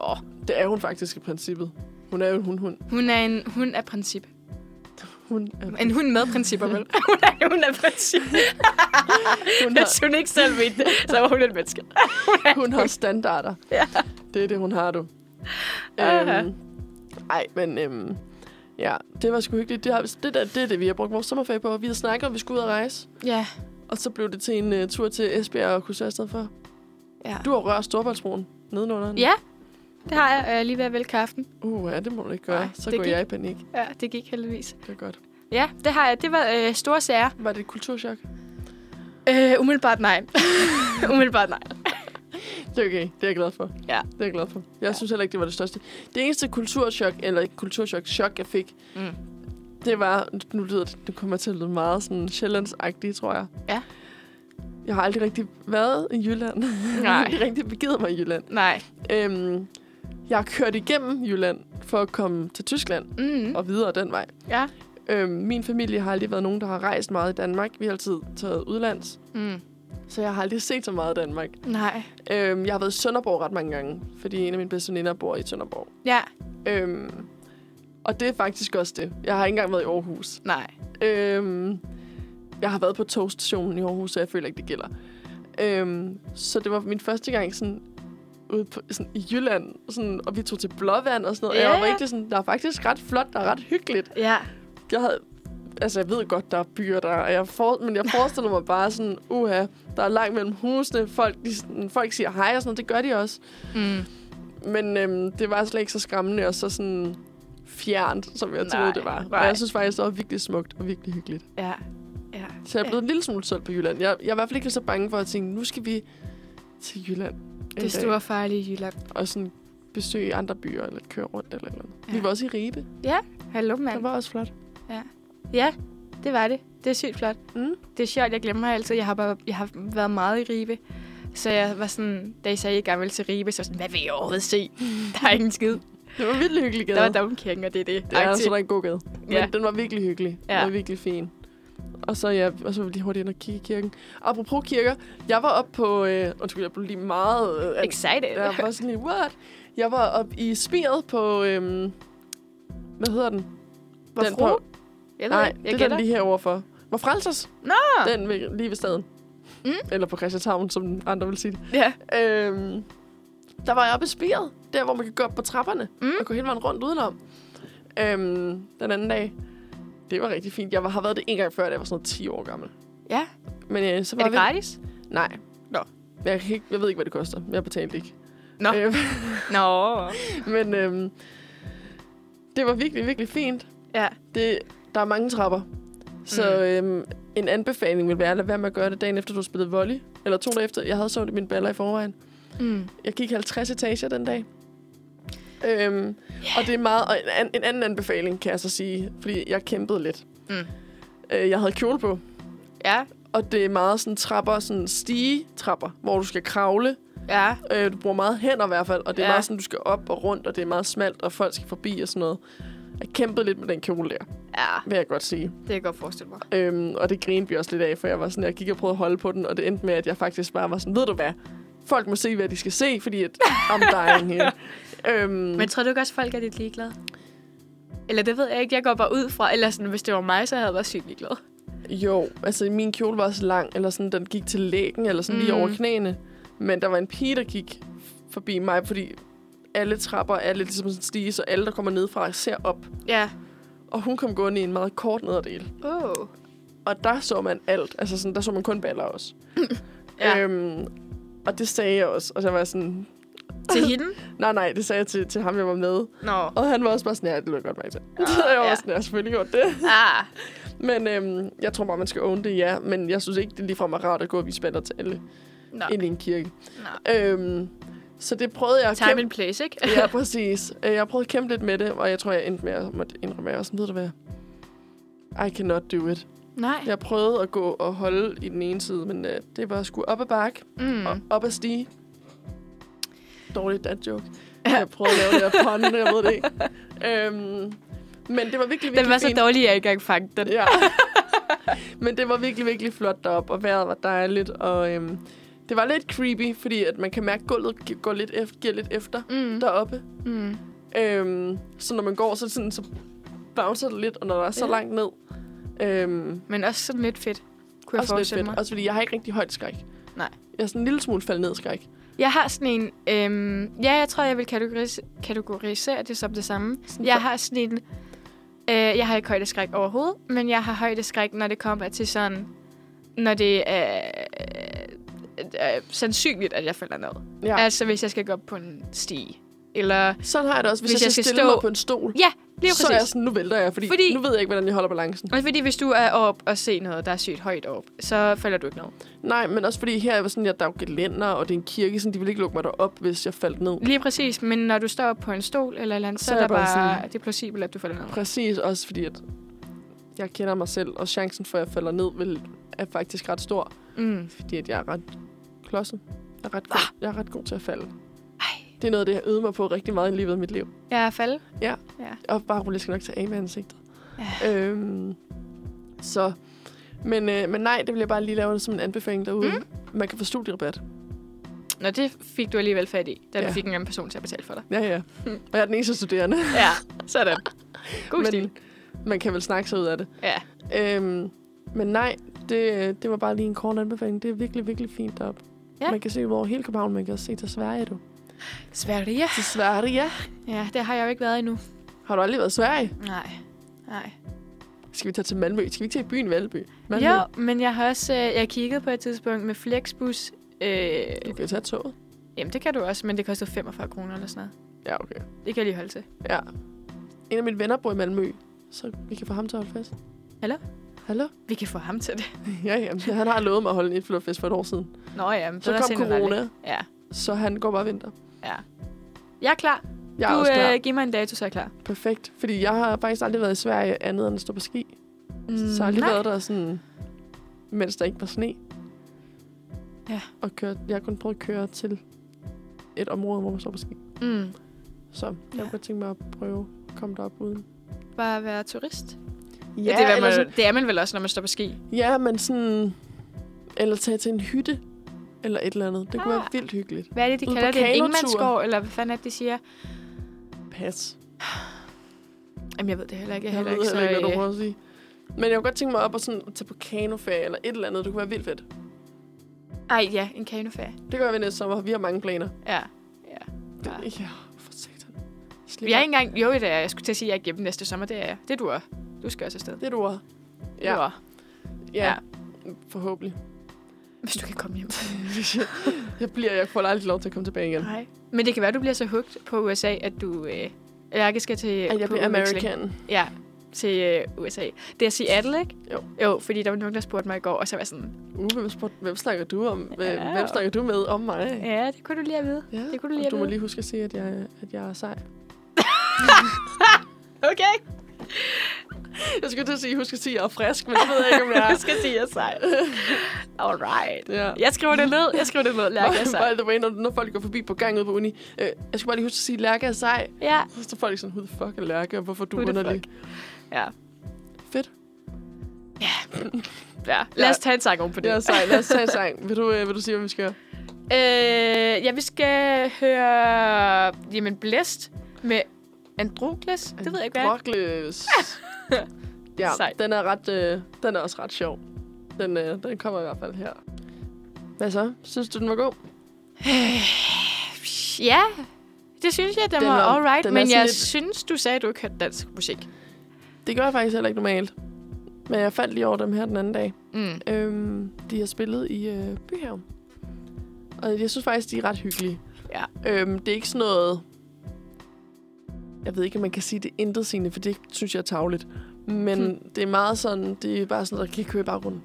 [SPEAKER 1] Åh, oh, det er hun faktisk i princippet. Hun er jo en hundhund.
[SPEAKER 2] hun er en hun er princip.
[SPEAKER 1] Hun er,
[SPEAKER 2] En hund med principper, vel? hun er en hund af princip.
[SPEAKER 1] hun
[SPEAKER 2] Hvis
[SPEAKER 1] har,
[SPEAKER 2] hun ikke selv ved det, så var hun et menneske.
[SPEAKER 1] hun har standarder.
[SPEAKER 2] Ja.
[SPEAKER 1] Det er det, hun har, du.
[SPEAKER 2] Aha.
[SPEAKER 1] Øhm, ej, men øhm, ja, det var sgu hyggeligt. Det, har, det, der, det er det, vi har brugt vores sommerferie på. Vi havde snakket om, at vi skulle ud og rejse.
[SPEAKER 2] Ja,
[SPEAKER 1] Og så blev det til en uh, tur til Esbjerg og Korsør i stedet for.
[SPEAKER 2] ja.
[SPEAKER 1] Du har rørt Storvaldsbroen nedenunder den.
[SPEAKER 2] Ja, det har jeg. og Jeg er lige ved at vælge kaffen.
[SPEAKER 1] Uh, ja, det må du ikke gøre.
[SPEAKER 2] Nej,
[SPEAKER 1] Nej, så
[SPEAKER 2] det
[SPEAKER 1] går
[SPEAKER 2] gik.
[SPEAKER 1] jeg i panik.
[SPEAKER 2] Ja, det gik heldigvis.
[SPEAKER 1] Det er godt.
[SPEAKER 2] Ja, det har jeg. Det var øh, store sager.
[SPEAKER 1] Var det et kulturschok?
[SPEAKER 2] Øh, umiddelbart nej. umiddelbart nej.
[SPEAKER 1] Det er okay. Det er jeg glad for.
[SPEAKER 2] Ja.
[SPEAKER 1] Det er jeg glad for. Jeg ja. synes heller ikke, det var det største. Det eneste kulturschok, eller ikke kulturschok, chok jeg fik,
[SPEAKER 2] Mm.
[SPEAKER 1] det var, nu lyder det, det kommer til at lyde meget sådan sjællandsagtigt, tror jeg.
[SPEAKER 2] Ja.
[SPEAKER 1] Jeg har aldrig rigtig været i Jylland. jeg har
[SPEAKER 2] Nej.
[SPEAKER 1] aldrig rigtig begivet mig i Jylland.
[SPEAKER 2] Nej.
[SPEAKER 1] Øhm, jeg har kørt igennem Jylland for at komme til Tyskland
[SPEAKER 2] Mm.
[SPEAKER 1] og videre den vej.
[SPEAKER 2] Ja.
[SPEAKER 1] Øhm, min familie har aldrig været nogen, der har rejst meget i Danmark. Vi har altid taget udlands,
[SPEAKER 2] Mm.
[SPEAKER 1] så jeg har aldrig set så meget i Danmark.
[SPEAKER 2] Nej.
[SPEAKER 1] Øhm, jeg har været i Sønderborg ret mange gange, fordi en af mine bedste veninder bor i Sønderborg.
[SPEAKER 2] Ja.
[SPEAKER 1] Øhm, og det er faktisk også det. Jeg har ikke engang været i Aarhus.
[SPEAKER 2] Nej.
[SPEAKER 1] Øhm, jeg har været på togstationen i Aarhus, så jeg føler ikke, det gælder. Øhm, så det var min første gang sådan, ude på, sådan, i Jylland, sådan, og vi tog til Blåvand og sådan noget. Yeah. Og
[SPEAKER 2] Ja,
[SPEAKER 1] jeg var
[SPEAKER 2] ja.
[SPEAKER 1] rigtig sådan, der er faktisk ret flot, der er ret hyggeligt.
[SPEAKER 2] Ja.
[SPEAKER 1] Jeg havde altså, jeg ved godt, der er byer der, og jeg for, men jeg forestiller mig bare sådan, uha, der er langt mellem husene, folk, de, sådan- folk siger hej og sådan noget, det gør de også.
[SPEAKER 3] Mm.
[SPEAKER 1] Men øhm, det var slet ikke så skræmmende og så sådan fjernt, som jeg
[SPEAKER 3] Nej,
[SPEAKER 1] troede, det var. Og
[SPEAKER 3] nej.
[SPEAKER 1] jeg synes faktisk, det var virkelig smukt og virkelig hyggeligt.
[SPEAKER 3] Ja.
[SPEAKER 2] Ja.
[SPEAKER 1] Så jeg er blevet en lille smule solgt på Jylland. Jeg, jeg er i hvert fald ikke så bange for at tænke, nu skal vi til Jylland. en
[SPEAKER 2] Det
[SPEAKER 1] dag
[SPEAKER 2] store farlige Jylland.
[SPEAKER 1] Og sådan besøge andre byer, eller køre rundt eller et eller andet. Ja. Vi
[SPEAKER 2] Ja.
[SPEAKER 1] var også i Ribe.
[SPEAKER 2] Hallo,
[SPEAKER 1] Det
[SPEAKER 2] mand.
[SPEAKER 1] var også flot.
[SPEAKER 2] Ja, det var det. Det er sygt flot.
[SPEAKER 1] Mm.
[SPEAKER 2] Det er sjovt, jeg glemmer altid. Jeg har, bare, jeg har været meget i Ribe. Så jeg var sådan, da I sagde, at I gerne ville til Ribe, så var jeg sådan, hvad vil jeg overhovedet se? Der er ingen skid.
[SPEAKER 1] Det var virkelig hyggeligt gade.
[SPEAKER 2] Der var domkirken, og det er det.
[SPEAKER 1] det er
[SPEAKER 2] Aktivt.
[SPEAKER 1] altså der er en god gade. Men
[SPEAKER 2] Ja.
[SPEAKER 1] den var virkelig hyggelig. Ja.
[SPEAKER 2] Ja.
[SPEAKER 1] Den var virkelig fin. Og så, ja, og så var vi lige hurtigt ind og kigge i kirken. Apropos kirker, jeg var oppe på... Øh, undskyld, jeg blev lige meget... Øh,
[SPEAKER 2] Excited.
[SPEAKER 1] jeg var sådan lige, what? Jeg var oppe i spiret på... Øh, hvad hedder den?
[SPEAKER 2] Hvor
[SPEAKER 1] den
[SPEAKER 2] fru?
[SPEAKER 1] på-
[SPEAKER 2] Jeg ved
[SPEAKER 1] Nej,
[SPEAKER 2] ikke.
[SPEAKER 1] jeg
[SPEAKER 2] jeg
[SPEAKER 1] det er
[SPEAKER 2] gætter.
[SPEAKER 1] den lige herovre for. Hvor Frelsers?
[SPEAKER 2] Nå!
[SPEAKER 1] Den ved- lige ved staden.
[SPEAKER 2] Mm.
[SPEAKER 1] Eller på Christianshavn, som andre vil sige det.
[SPEAKER 2] Ja.
[SPEAKER 1] Øhm, der var jeg oppe i spiret. Der, hvor man kan gå op på trapperne.
[SPEAKER 2] Mm.
[SPEAKER 1] Og gå hele vejen rundt udenom. Øhm, den anden dag. Det var rigtig fint. Jeg var- har været det en gang før, da jeg var sådan noget 10 år gammel.
[SPEAKER 2] ja.
[SPEAKER 1] Men øh, så var
[SPEAKER 2] Er det
[SPEAKER 1] vi...
[SPEAKER 2] gratis?
[SPEAKER 1] Nej.
[SPEAKER 2] Nå.
[SPEAKER 1] Jeg, kan ikke, jeg ved ikke, hvad det koster. Jeg betalte ikke.
[SPEAKER 2] Nå.
[SPEAKER 1] Øhm,
[SPEAKER 2] Nå. Mm.
[SPEAKER 1] men øhm, det var virkelig, virkelig fint.
[SPEAKER 2] Ja.
[SPEAKER 1] Det, der er mange trapper. Så øhm, en anbefaling vil være, at lade være med at gøre det dagen efter, du har spillet volley. Eller to dage efter. Jeg havde sovet i mine baller i forvejen.
[SPEAKER 2] Mm.
[SPEAKER 1] Jeg gik 50 etager den dag. Øhm, yeah. Og det er meget... Og en, an, en anden anbefaling, kan jeg så sige. Fordi jeg kæmpede lidt.
[SPEAKER 2] Mm.
[SPEAKER 1] Øh, jeg havde kjole på.
[SPEAKER 2] Ja.
[SPEAKER 1] Og det er meget sådan trapper, sådan stige trapper, hvor du skal kravle.
[SPEAKER 2] Ja.
[SPEAKER 1] Øh, du bruger meget hænder i hvert fald, og det er ja.
[SPEAKER 2] Ja.
[SPEAKER 1] meget sådan, du skal op og rundt, og det er meget smalt, og folk skal forbi og sådan noget. Jeg kæmpede lidt med den kjole der,
[SPEAKER 2] Ja.
[SPEAKER 1] vil jeg godt sige.
[SPEAKER 2] Det kan jeg godt forestille mig.
[SPEAKER 1] Øhm, og det grinede vi også lidt af, for jeg var sådan, jeg gik og prøvede at holde på den, og det endte med, at jeg faktisk bare var sådan, ved du hvad, folk må se, hvad de skal se, fordi at I'm dying here. øhm,
[SPEAKER 2] Men tror du ikke også, folk er lidt ligeglade? Eller det ved jeg ikke. Jeg går bare ud fra... Eller sådan, hvis det var mig, så havde jeg været sygt ligeglad.
[SPEAKER 1] Jo, altså min kjole var også lang, eller sådan, den gik til lægen, eller sådan mm. lige
[SPEAKER 2] Mm.
[SPEAKER 1] over knæene. Men der var en pige, der gik forbi mig, fordi alle trapper er lidt ligesom sådan en stige, så alle, der kommer nedefra, ser op.
[SPEAKER 2] Ja.
[SPEAKER 1] Og hun kom gående i en meget kort nederdel.
[SPEAKER 2] Oh.
[SPEAKER 1] Og der så man alt. Altså sådan, der så man kun baller også.
[SPEAKER 2] Ja.
[SPEAKER 1] Øhm, og det sagde jeg også. Og så var jeg sådan,
[SPEAKER 2] Til hende?
[SPEAKER 1] nej nej, det sagde jeg til, til ham, jeg var med.
[SPEAKER 2] Nå.
[SPEAKER 1] Og han var også bare sådan, ja, det lød godt mærke til. Så jeg var
[SPEAKER 2] ja.
[SPEAKER 1] også sådan, jeg har selvfølgelig gjort det.
[SPEAKER 2] Ah.
[SPEAKER 1] Men øhm, jeg tror bare, man skal own det, ja. Men jeg synes ikke, det er ligefrem er rart at gå og vise baller til alle.
[SPEAKER 2] Nå.
[SPEAKER 1] ind i en kirke.
[SPEAKER 2] Nå.
[SPEAKER 1] Øhm, så det prøvede jeg at
[SPEAKER 2] Time
[SPEAKER 1] kæmpe...
[SPEAKER 2] and place, ikke?
[SPEAKER 1] ja, præcis. Øh, Jeg prøvede at kæmpe lidt med det, og jeg tror, jeg endte med at måtte indrømme, at jeg var sådan, ved du hvad? I cannot do it.
[SPEAKER 2] Nej.
[SPEAKER 1] Jeg prøvede at gå og holde i den ene side, men øh, det var sgu op ad bakke
[SPEAKER 2] Mm.
[SPEAKER 1] og op ad stige. Dårligt dad joke. Jeg prøvede at lave det her pun, jeg ved det ikke. Øhm, men det var virkelig, virkelig
[SPEAKER 2] Den var så
[SPEAKER 1] fint.
[SPEAKER 2] dårlig, at jeg ikke engang fangede den.
[SPEAKER 1] Ja. Men det var virkelig, virkelig flot deroppe, og vejret var dejligt, og øhm, det var lidt creepy, fordi at man kan mærke, at gulvet gi- går lidt efter, giver lidt efter
[SPEAKER 2] Mm.
[SPEAKER 1] mm. deroppe.
[SPEAKER 2] Mm.
[SPEAKER 1] Øhm, så når man går, så, er det sådan, så bouncer det lidt, og når der er så
[SPEAKER 2] Ja.
[SPEAKER 1] langt ned. Øhm,
[SPEAKER 2] Men også sådan lidt fedt, kunne jeg
[SPEAKER 1] også lidt
[SPEAKER 2] forestille
[SPEAKER 1] fedt.
[SPEAKER 2] mig.
[SPEAKER 1] Også fordi jeg har ikke rigtig højt skræk.
[SPEAKER 2] Nej.
[SPEAKER 1] Jeg er sådan en lille smule faldet ned skræk.
[SPEAKER 2] Jeg har sådan en... Øhm, ja, jeg tror, jeg vil kategoris- kategorisere det som det samme.
[SPEAKER 1] Sådan
[SPEAKER 2] Jeg
[SPEAKER 1] for-
[SPEAKER 2] har sådan en... Øh, jeg har ikke højdeskræk overhovedet, men jeg har højdeskræk, når det kommer til sådan... Når det er øh, øh, sandsynligt, at jeg falder ned.
[SPEAKER 1] Ja.
[SPEAKER 2] Ja. Altså, hvis jeg skal gå op på en stige. Eller...
[SPEAKER 1] Sådan har jeg det også, hvis,
[SPEAKER 2] Hvis
[SPEAKER 1] jeg,
[SPEAKER 2] jeg
[SPEAKER 1] skal
[SPEAKER 2] skal
[SPEAKER 1] stille mig
[SPEAKER 2] stå-
[SPEAKER 1] på en stol.
[SPEAKER 2] Ja, lige
[SPEAKER 1] så er jeg
[SPEAKER 2] præcis.
[SPEAKER 1] sådan, nu vælter jeg, fordi, fordi
[SPEAKER 2] Fordi-
[SPEAKER 1] nu ved jeg ikke, hvordan jeg holder balancen.
[SPEAKER 2] Også fordi, hvis du er op og ser noget, der er sygt højt op, så falder du ikke ned.
[SPEAKER 1] Nej, men også fordi her er jeg sådan, at der er jo gelænder, og det er en kirke, sådan, de vil ikke lukke mig derop, hvis jeg faldt ned.
[SPEAKER 2] Lige præcis, men når du står op på en stol eller et eller andet, så,
[SPEAKER 1] Så
[SPEAKER 2] så er
[SPEAKER 1] er
[SPEAKER 2] der
[SPEAKER 1] jeg bare
[SPEAKER 2] bare,
[SPEAKER 1] sådan-
[SPEAKER 2] det er plausibelt, at du falder ned.
[SPEAKER 1] Præcis, også fordi at jeg kender mig selv, og chancen for, at jeg falder ned, vil, er faktisk ret stor,
[SPEAKER 2] Mm.
[SPEAKER 1] fordi at jeg er ret klodset. Jeg er ret, god,
[SPEAKER 2] Ah!
[SPEAKER 1] jeg er ret god til at falde. Det er noget, af det jeg øvede mig på rigtig meget i livet af mit liv.
[SPEAKER 2] Jeg er faldet.
[SPEAKER 1] Og bare roligt jeg skal nok tage af med ansigtet. Øhm, så, men, øh, men nej, det vil jeg bare lige lave som en anbefaling derude. Mm. Man kan få studierabat.
[SPEAKER 2] Nå, det fik du alligevel fat i, da ja.
[SPEAKER 1] Ja.
[SPEAKER 2] du fik en anden person til at betale for dig.
[SPEAKER 1] Ja, ja. Og jeg er den eneste studerende.
[SPEAKER 2] Ja, sådan. God
[SPEAKER 1] Men-
[SPEAKER 2] stil.
[SPEAKER 1] Man kan vel snakke sig ud af det.
[SPEAKER 2] Ja.
[SPEAKER 1] Øhm, men nej, det, det var bare lige en kort anbefaling. Det er virkelig, virkelig fint deroppe.
[SPEAKER 2] Ja.
[SPEAKER 1] Man kan se ud over hele København. Man kan også se til Sverige, du.
[SPEAKER 2] Sverige.
[SPEAKER 1] Til Sverige?
[SPEAKER 2] Ja, det har jeg jo ikke været endnu.
[SPEAKER 1] Har du aldrig været i Sverige?
[SPEAKER 2] Nej. Nej.
[SPEAKER 1] Skal vi tage til Malmø? Skal vi ikke til byen Valby? Malmø?
[SPEAKER 2] Jo, men jeg har også øh, jeg kiggede på et tidspunkt med Flexbus. Øh,
[SPEAKER 1] Du kan jo tage toget.
[SPEAKER 2] jamen, det kan du også, men det kostede 45 kroner eller sådan noget.
[SPEAKER 1] Ja, okay.
[SPEAKER 2] Det kan jeg lige holde til.
[SPEAKER 1] Ja. En af mine venner bor i Malmø, så vi kan få ham til at holde fest.
[SPEAKER 2] Hallo?
[SPEAKER 1] Hallo?
[SPEAKER 2] Vi kan få ham til det.
[SPEAKER 1] Ja, jamen, han har lovet mig at holde en flodfest for et år siden.
[SPEAKER 2] Nå ja, men
[SPEAKER 1] Så
[SPEAKER 2] bedre
[SPEAKER 1] kom
[SPEAKER 2] sent end aldrig.
[SPEAKER 1] corona,
[SPEAKER 2] Ja,
[SPEAKER 1] så han går bare og venter.
[SPEAKER 2] ja. Jeg er klar.
[SPEAKER 1] Jeg er
[SPEAKER 2] du øh,
[SPEAKER 1] også klar.
[SPEAKER 2] giv mig en dato, så er jeg klar.
[SPEAKER 1] Perfekt. Fordi jeg har faktisk aldrig været i Sverige andet end at stå på ski. Mm, så jeg har aldrig
[SPEAKER 2] nej.
[SPEAKER 1] været der sådan, mens der ikke var sne.
[SPEAKER 2] Ja.
[SPEAKER 1] Og køre, jeg har kun prøvet at køre til et område, hvor man står på ski.
[SPEAKER 2] Mm.
[SPEAKER 1] Så jeg ja. kunne
[SPEAKER 2] Ja.
[SPEAKER 1] godt tænke mig at prøve at komme derop uden.
[SPEAKER 2] Bare være turist.
[SPEAKER 1] Ja,
[SPEAKER 2] det, er,
[SPEAKER 1] eller
[SPEAKER 2] man,
[SPEAKER 1] sådan,
[SPEAKER 2] det er man vel også, når man står på ski.
[SPEAKER 1] ja, men sådan... Eller tage til en hytte, eller et eller andet. Det kunne
[SPEAKER 2] Ah.
[SPEAKER 1] være vildt hyggeligt.
[SPEAKER 2] Hvad er det, de
[SPEAKER 1] Ude på
[SPEAKER 2] kalder det? En
[SPEAKER 1] kanotur.
[SPEAKER 2] Ingemandsgård, eller hvad fanden er det, de siger?
[SPEAKER 1] Pas.
[SPEAKER 2] Jamen, jeg ved det heller ikke.
[SPEAKER 1] Jeg,
[SPEAKER 2] er
[SPEAKER 1] jeg ved
[SPEAKER 2] heller
[SPEAKER 1] heller
[SPEAKER 2] ikke,
[SPEAKER 1] ikke, hvad du
[SPEAKER 2] så, øh,
[SPEAKER 1] prøver at sige. Men jeg kunne godt tænke mig op og sådan, tage på kanoferie eller et eller andet. Det kunne være vildt fedt.
[SPEAKER 2] Ej, ja, en kanoferie.
[SPEAKER 1] Det gør vi næste sommer. Vi har mange planer.
[SPEAKER 2] Ja.
[SPEAKER 1] Ja,
[SPEAKER 2] Ja.
[SPEAKER 1] ja for satan. Slip
[SPEAKER 2] Jeg er
[SPEAKER 1] op.
[SPEAKER 2] ikke engang... Jo, det er jeg. Jeg skulle til at sige, at jeg er hjemme næste sommer. Det er jeg. Det er du også. Du skal også afsted.
[SPEAKER 1] Det er et ord.
[SPEAKER 2] Ja. Du
[SPEAKER 1] Ja,
[SPEAKER 2] er.
[SPEAKER 1] ja. forhåbentlig.
[SPEAKER 2] Hvis du kan komme hjem.
[SPEAKER 1] jeg bliver, jeg får aldrig lov til at komme tilbage igen.
[SPEAKER 2] Nej. Men det kan være, du bliver så hugt på USA, at du... Øh, jeg skal til...
[SPEAKER 1] At jeg
[SPEAKER 2] på
[SPEAKER 1] bliver
[SPEAKER 2] udveksling.
[SPEAKER 1] American.
[SPEAKER 2] Ja, til øh, USA. Det er Seattle, ikke?
[SPEAKER 1] Jo.
[SPEAKER 2] Jo, fordi der var nogen, der spurgte mig i går, og så var jeg sådan,
[SPEAKER 1] Uh, hvem, spurgte, hvem snakker du om? Hvem,
[SPEAKER 2] Ja.
[SPEAKER 1] hvem snakker du med om mig?
[SPEAKER 2] ja, det kunne du lige have vide.
[SPEAKER 1] Ja,
[SPEAKER 2] Det kunne du lige
[SPEAKER 1] og
[SPEAKER 2] have
[SPEAKER 1] du må
[SPEAKER 2] vide.
[SPEAKER 1] lige huske at sige, at jeg, at jeg er sej.
[SPEAKER 2] Okay.
[SPEAKER 1] Jeg skulle til at sige, husk at sige, at jeg er frisk, men det ved jeg ikke, om jeg
[SPEAKER 2] Du
[SPEAKER 1] er.
[SPEAKER 2] skal sige, at jeg er sej. Alright.
[SPEAKER 1] Ja.
[SPEAKER 2] Jeg skriver det ned. Jeg skriver det ned. Lærke er sej.
[SPEAKER 1] By the way, når, når folk går forbi på gang ude på uni, øh, jeg skal bare lige huske at sige, at Lærke er sej.
[SPEAKER 2] Ja.
[SPEAKER 1] Så står folk sådan, who the fuck er Lærke, og hvorfor er du
[SPEAKER 2] Who the
[SPEAKER 1] underlig?
[SPEAKER 2] Ja.
[SPEAKER 1] Fedt.
[SPEAKER 2] ja. Lad os tage en sang oven på det.
[SPEAKER 1] Det er sej. Lad os tage en sang. Vil du, øh, vil du sige, hvad vi skal gøre?
[SPEAKER 2] Øh, ja, vi skal høre... Jamen, Blæst med Androkles. Det ved jeg ikke, hvad er.
[SPEAKER 1] Androcles. ja,
[SPEAKER 2] Sejt.
[SPEAKER 1] den er, ret, øh, den er også ret sjov. Den, øh, den kommer i hvert fald her. Hvad så? Synes du, den var god?
[SPEAKER 2] Ja, det synes jeg, den,
[SPEAKER 1] Den
[SPEAKER 2] var
[SPEAKER 1] var-
[SPEAKER 2] alright.
[SPEAKER 1] den er
[SPEAKER 2] men
[SPEAKER 1] sådan
[SPEAKER 2] jeg
[SPEAKER 1] lidt-
[SPEAKER 2] synes, du sagde, at du ikke hørte dansk musik.
[SPEAKER 1] Det gør jeg faktisk heller ikke normalt. Men jeg faldt lige over dem her den anden dag.
[SPEAKER 2] Mm.
[SPEAKER 1] Øhm, de har spillet i øh, Byhaven. Og jeg synes faktisk, de er ret hyggelige.
[SPEAKER 2] Ja.
[SPEAKER 1] Øhm, det er ikke sådan noget... Jeg ved ikke, om man kan sige det er intet sigende, for det synes jeg er tavligt. Men
[SPEAKER 2] Hm.
[SPEAKER 1] hmm. det er meget sådan, det er bare sådan, der kan køre i baggrunden.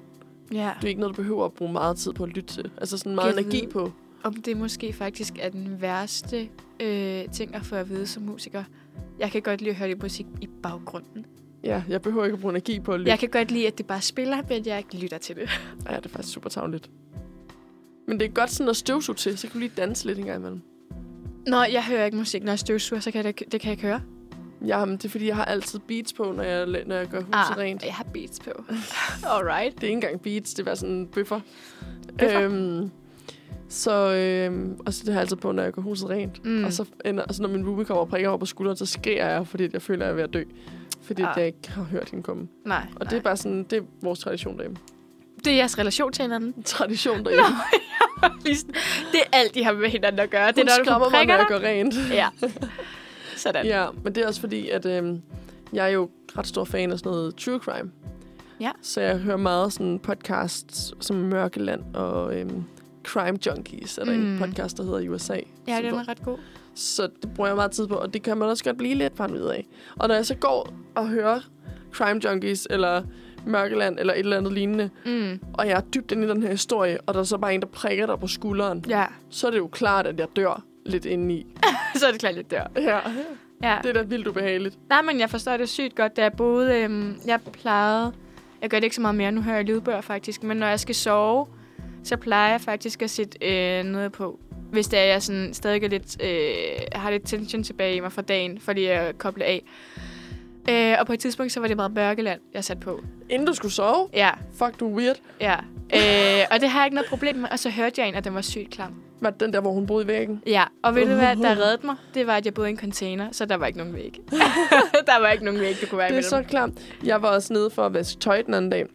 [SPEAKER 2] Ja.
[SPEAKER 1] Det er ikke noget, du behøver at bruge meget tid på at lytte til. Altså sådan meget
[SPEAKER 2] Gad
[SPEAKER 1] energi
[SPEAKER 2] vide-
[SPEAKER 1] på.
[SPEAKER 2] Om det måske faktisk er den værste øh, ting at få at vide som musiker. Jeg kan godt lide at høre det musik i baggrunden.
[SPEAKER 1] Ja, jeg behøver ikke at bruge energi på at lytte.
[SPEAKER 2] Jeg kan godt lide, at det bare spiller, men jeg ikke lytter til det.
[SPEAKER 1] Ja, det er faktisk super tavligt. Men det er godt sådan at støvsuge til, så kan du lige danse lidt en gang imellem.
[SPEAKER 2] Nå, jeg hører ikke musik, når jeg støvsuger, så kan jeg, da- det kan jeg ikke høre.
[SPEAKER 1] Ja, men det er fordi, jeg har altid beats på, når jeg, la- når jeg gør huset ah. rent.
[SPEAKER 2] jeg har beats på. Alright.
[SPEAKER 1] Det er ikke engang beats, det er bare sådan bøffer.
[SPEAKER 2] Bøffer.
[SPEAKER 1] Øhm, så, øhm, og så det har jeg altid på, når jeg gør huset rent.
[SPEAKER 2] Mm.
[SPEAKER 1] Mm. Og så, ender, og så når min roomie kommer og prikker over på skulderen, så skriger jeg, fordi jeg føler, at jeg er ved at dø. Fordi
[SPEAKER 2] Ah.
[SPEAKER 1] ah. jeg ikke har hørt hende komme.
[SPEAKER 2] Nej,
[SPEAKER 1] Og det er bare sådan, det er vores tradition derhjemme.
[SPEAKER 2] det er jeres relation til hinanden.
[SPEAKER 1] Tradition derhjemme. Nå,
[SPEAKER 2] Lige sådan- det er alt, de har med hinanden at gøre. Det er,
[SPEAKER 1] Hun
[SPEAKER 2] når du
[SPEAKER 1] skræmmer
[SPEAKER 2] får
[SPEAKER 1] mig, når
[SPEAKER 2] prikker
[SPEAKER 1] jeg
[SPEAKER 2] dig.
[SPEAKER 1] går rent.
[SPEAKER 2] Ja. Sådan.
[SPEAKER 1] Ja, men det er også fordi, at øh, jeg er jo ret stor fan af sådan noget true crime.
[SPEAKER 2] Ja.
[SPEAKER 1] Så jeg hører meget sådan podcasts som Mørkeland og øh, Crime Junkies, er der mm.
[SPEAKER 2] Mm.
[SPEAKER 1] en podcast, der hedder i USA.
[SPEAKER 2] Ja,
[SPEAKER 1] Så
[SPEAKER 2] den
[SPEAKER 1] hvor-
[SPEAKER 2] er ret god.
[SPEAKER 1] Så det bruger jeg meget tid på, og det kan man også godt blive lidt paranoid af. Og når jeg så går og hører Crime Junkies eller Mørkeland eller et eller andet lignende,
[SPEAKER 2] Mm.
[SPEAKER 1] og jeg er dybt inde i den her historie, og der er så bare en, der prikker dig på skulderen,
[SPEAKER 2] Ja,
[SPEAKER 1] så er det jo klart, at jeg dør lidt indeni.
[SPEAKER 2] så er det klart lidt dør.
[SPEAKER 1] Ja,
[SPEAKER 2] Ja.
[SPEAKER 1] det er da vildt ubehageligt.
[SPEAKER 2] Nej, men jeg forstår det sygt godt, da jeg boede... Øhm, jeg plejede... Jeg gør det ikke så meget mere, nu hører jeg lydbøger faktisk, men når jeg skal sove, så plejer jeg faktisk at sætte øh, noget på. Hvis det er, jeg sådan stadig er lidt, øh, har lidt tension tilbage i mig fra dagen, for lige at koble af. Øh, og på et tidspunkt, så var det meget mørkeland, jeg satte på.
[SPEAKER 1] Inden du skulle sove,
[SPEAKER 2] Ja,
[SPEAKER 1] Fuck, du er weird.
[SPEAKER 2] ja. Øh, og det har jeg ikke noget problem med. Og så hørte jeg en, at den var sygt klam.
[SPEAKER 1] Var det den der, hvor hun boede i væggen?
[SPEAKER 2] Ja, Uhuh. og ved du hvad, der reddede mig, det var, at jeg boede i en container, så der var ikke nogen væg. der var ikke nogen væg, det kunne være
[SPEAKER 1] Det er
[SPEAKER 2] imellem.
[SPEAKER 1] så klamt. Jeg var også nede for at vaske tøj den anden dag.